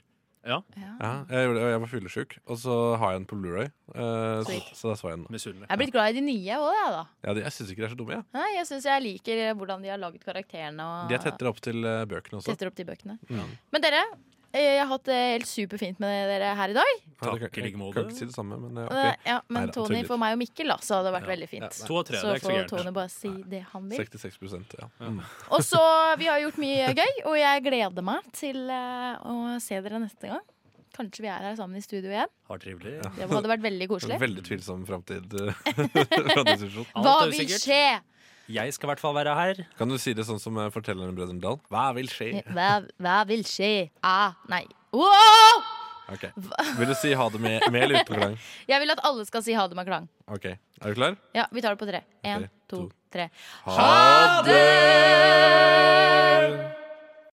Speaker 1: Ja.
Speaker 2: Ja, jeg, gjorde, det, og jeg var fyllesyk, og så har jeg den på Blu-ray. eh, så,
Speaker 4: Sweet.
Speaker 2: så da så jeg den.
Speaker 1: Misunnelig.
Speaker 4: Jeg er blitt glad i de nye òg, jeg, da.
Speaker 2: Ja, de, jeg syns ikke de er så dumme. Ja.
Speaker 4: Nei, jeg syns jeg liker eh, hvordan de har laget karakterene. Og
Speaker 2: De er tettere opp til eh, bøkene også.
Speaker 4: tetter opp de bøkene.
Speaker 2: Ja.
Speaker 4: Men dere, eh, jeg har hatt det helt superfint med dere her i dag.
Speaker 2: Ja, det kan-
Speaker 1: Takk i like måte.
Speaker 2: Kan ikke si det samme, men eh,
Speaker 4: Eh,
Speaker 2: ok.
Speaker 4: Ja, men
Speaker 2: Neida,
Speaker 4: Tony,
Speaker 2: tuller.
Speaker 4: for meg og Mikkel, da, så hadde det vært
Speaker 2: Ja.
Speaker 4: veldig fint.
Speaker 1: To av tre,
Speaker 4: Så
Speaker 1: det er ikke så
Speaker 4: får
Speaker 1: gærent.
Speaker 4: Tony bare si det han vil.
Speaker 2: 66 ja. Mm.
Speaker 4: Og så, Vi har gjort mye gøy, og jeg gleder meg til eh, å se dere neste gang. Kanskje vi er her sammen i studio igjen.
Speaker 1: Har trivelig.
Speaker 4: Det hadde vært veldig koselig.
Speaker 2: Veldig tvilsom framtid. eh, fra din situasjon.
Speaker 4: Hva
Speaker 1: Alt er
Speaker 4: vil
Speaker 1: usikkert.
Speaker 4: skje?
Speaker 1: Jeg skal i hvert fall være her.
Speaker 2: Kan du si det sånn som eh, fortelleren Brødrene Dal? Hva vil skje?
Speaker 4: Hva, hva vil skje? Ah, nei. Wow!
Speaker 2: Ok. Vil du si ha det med, med eller uten klang?
Speaker 4: Jeg vil at alle skal si ha det med klang.
Speaker 2: Ok, Er du klar?
Speaker 4: Ja, Vi tar det på tre. Én,
Speaker 2: to,
Speaker 4: to, tre.
Speaker 2: Ha det!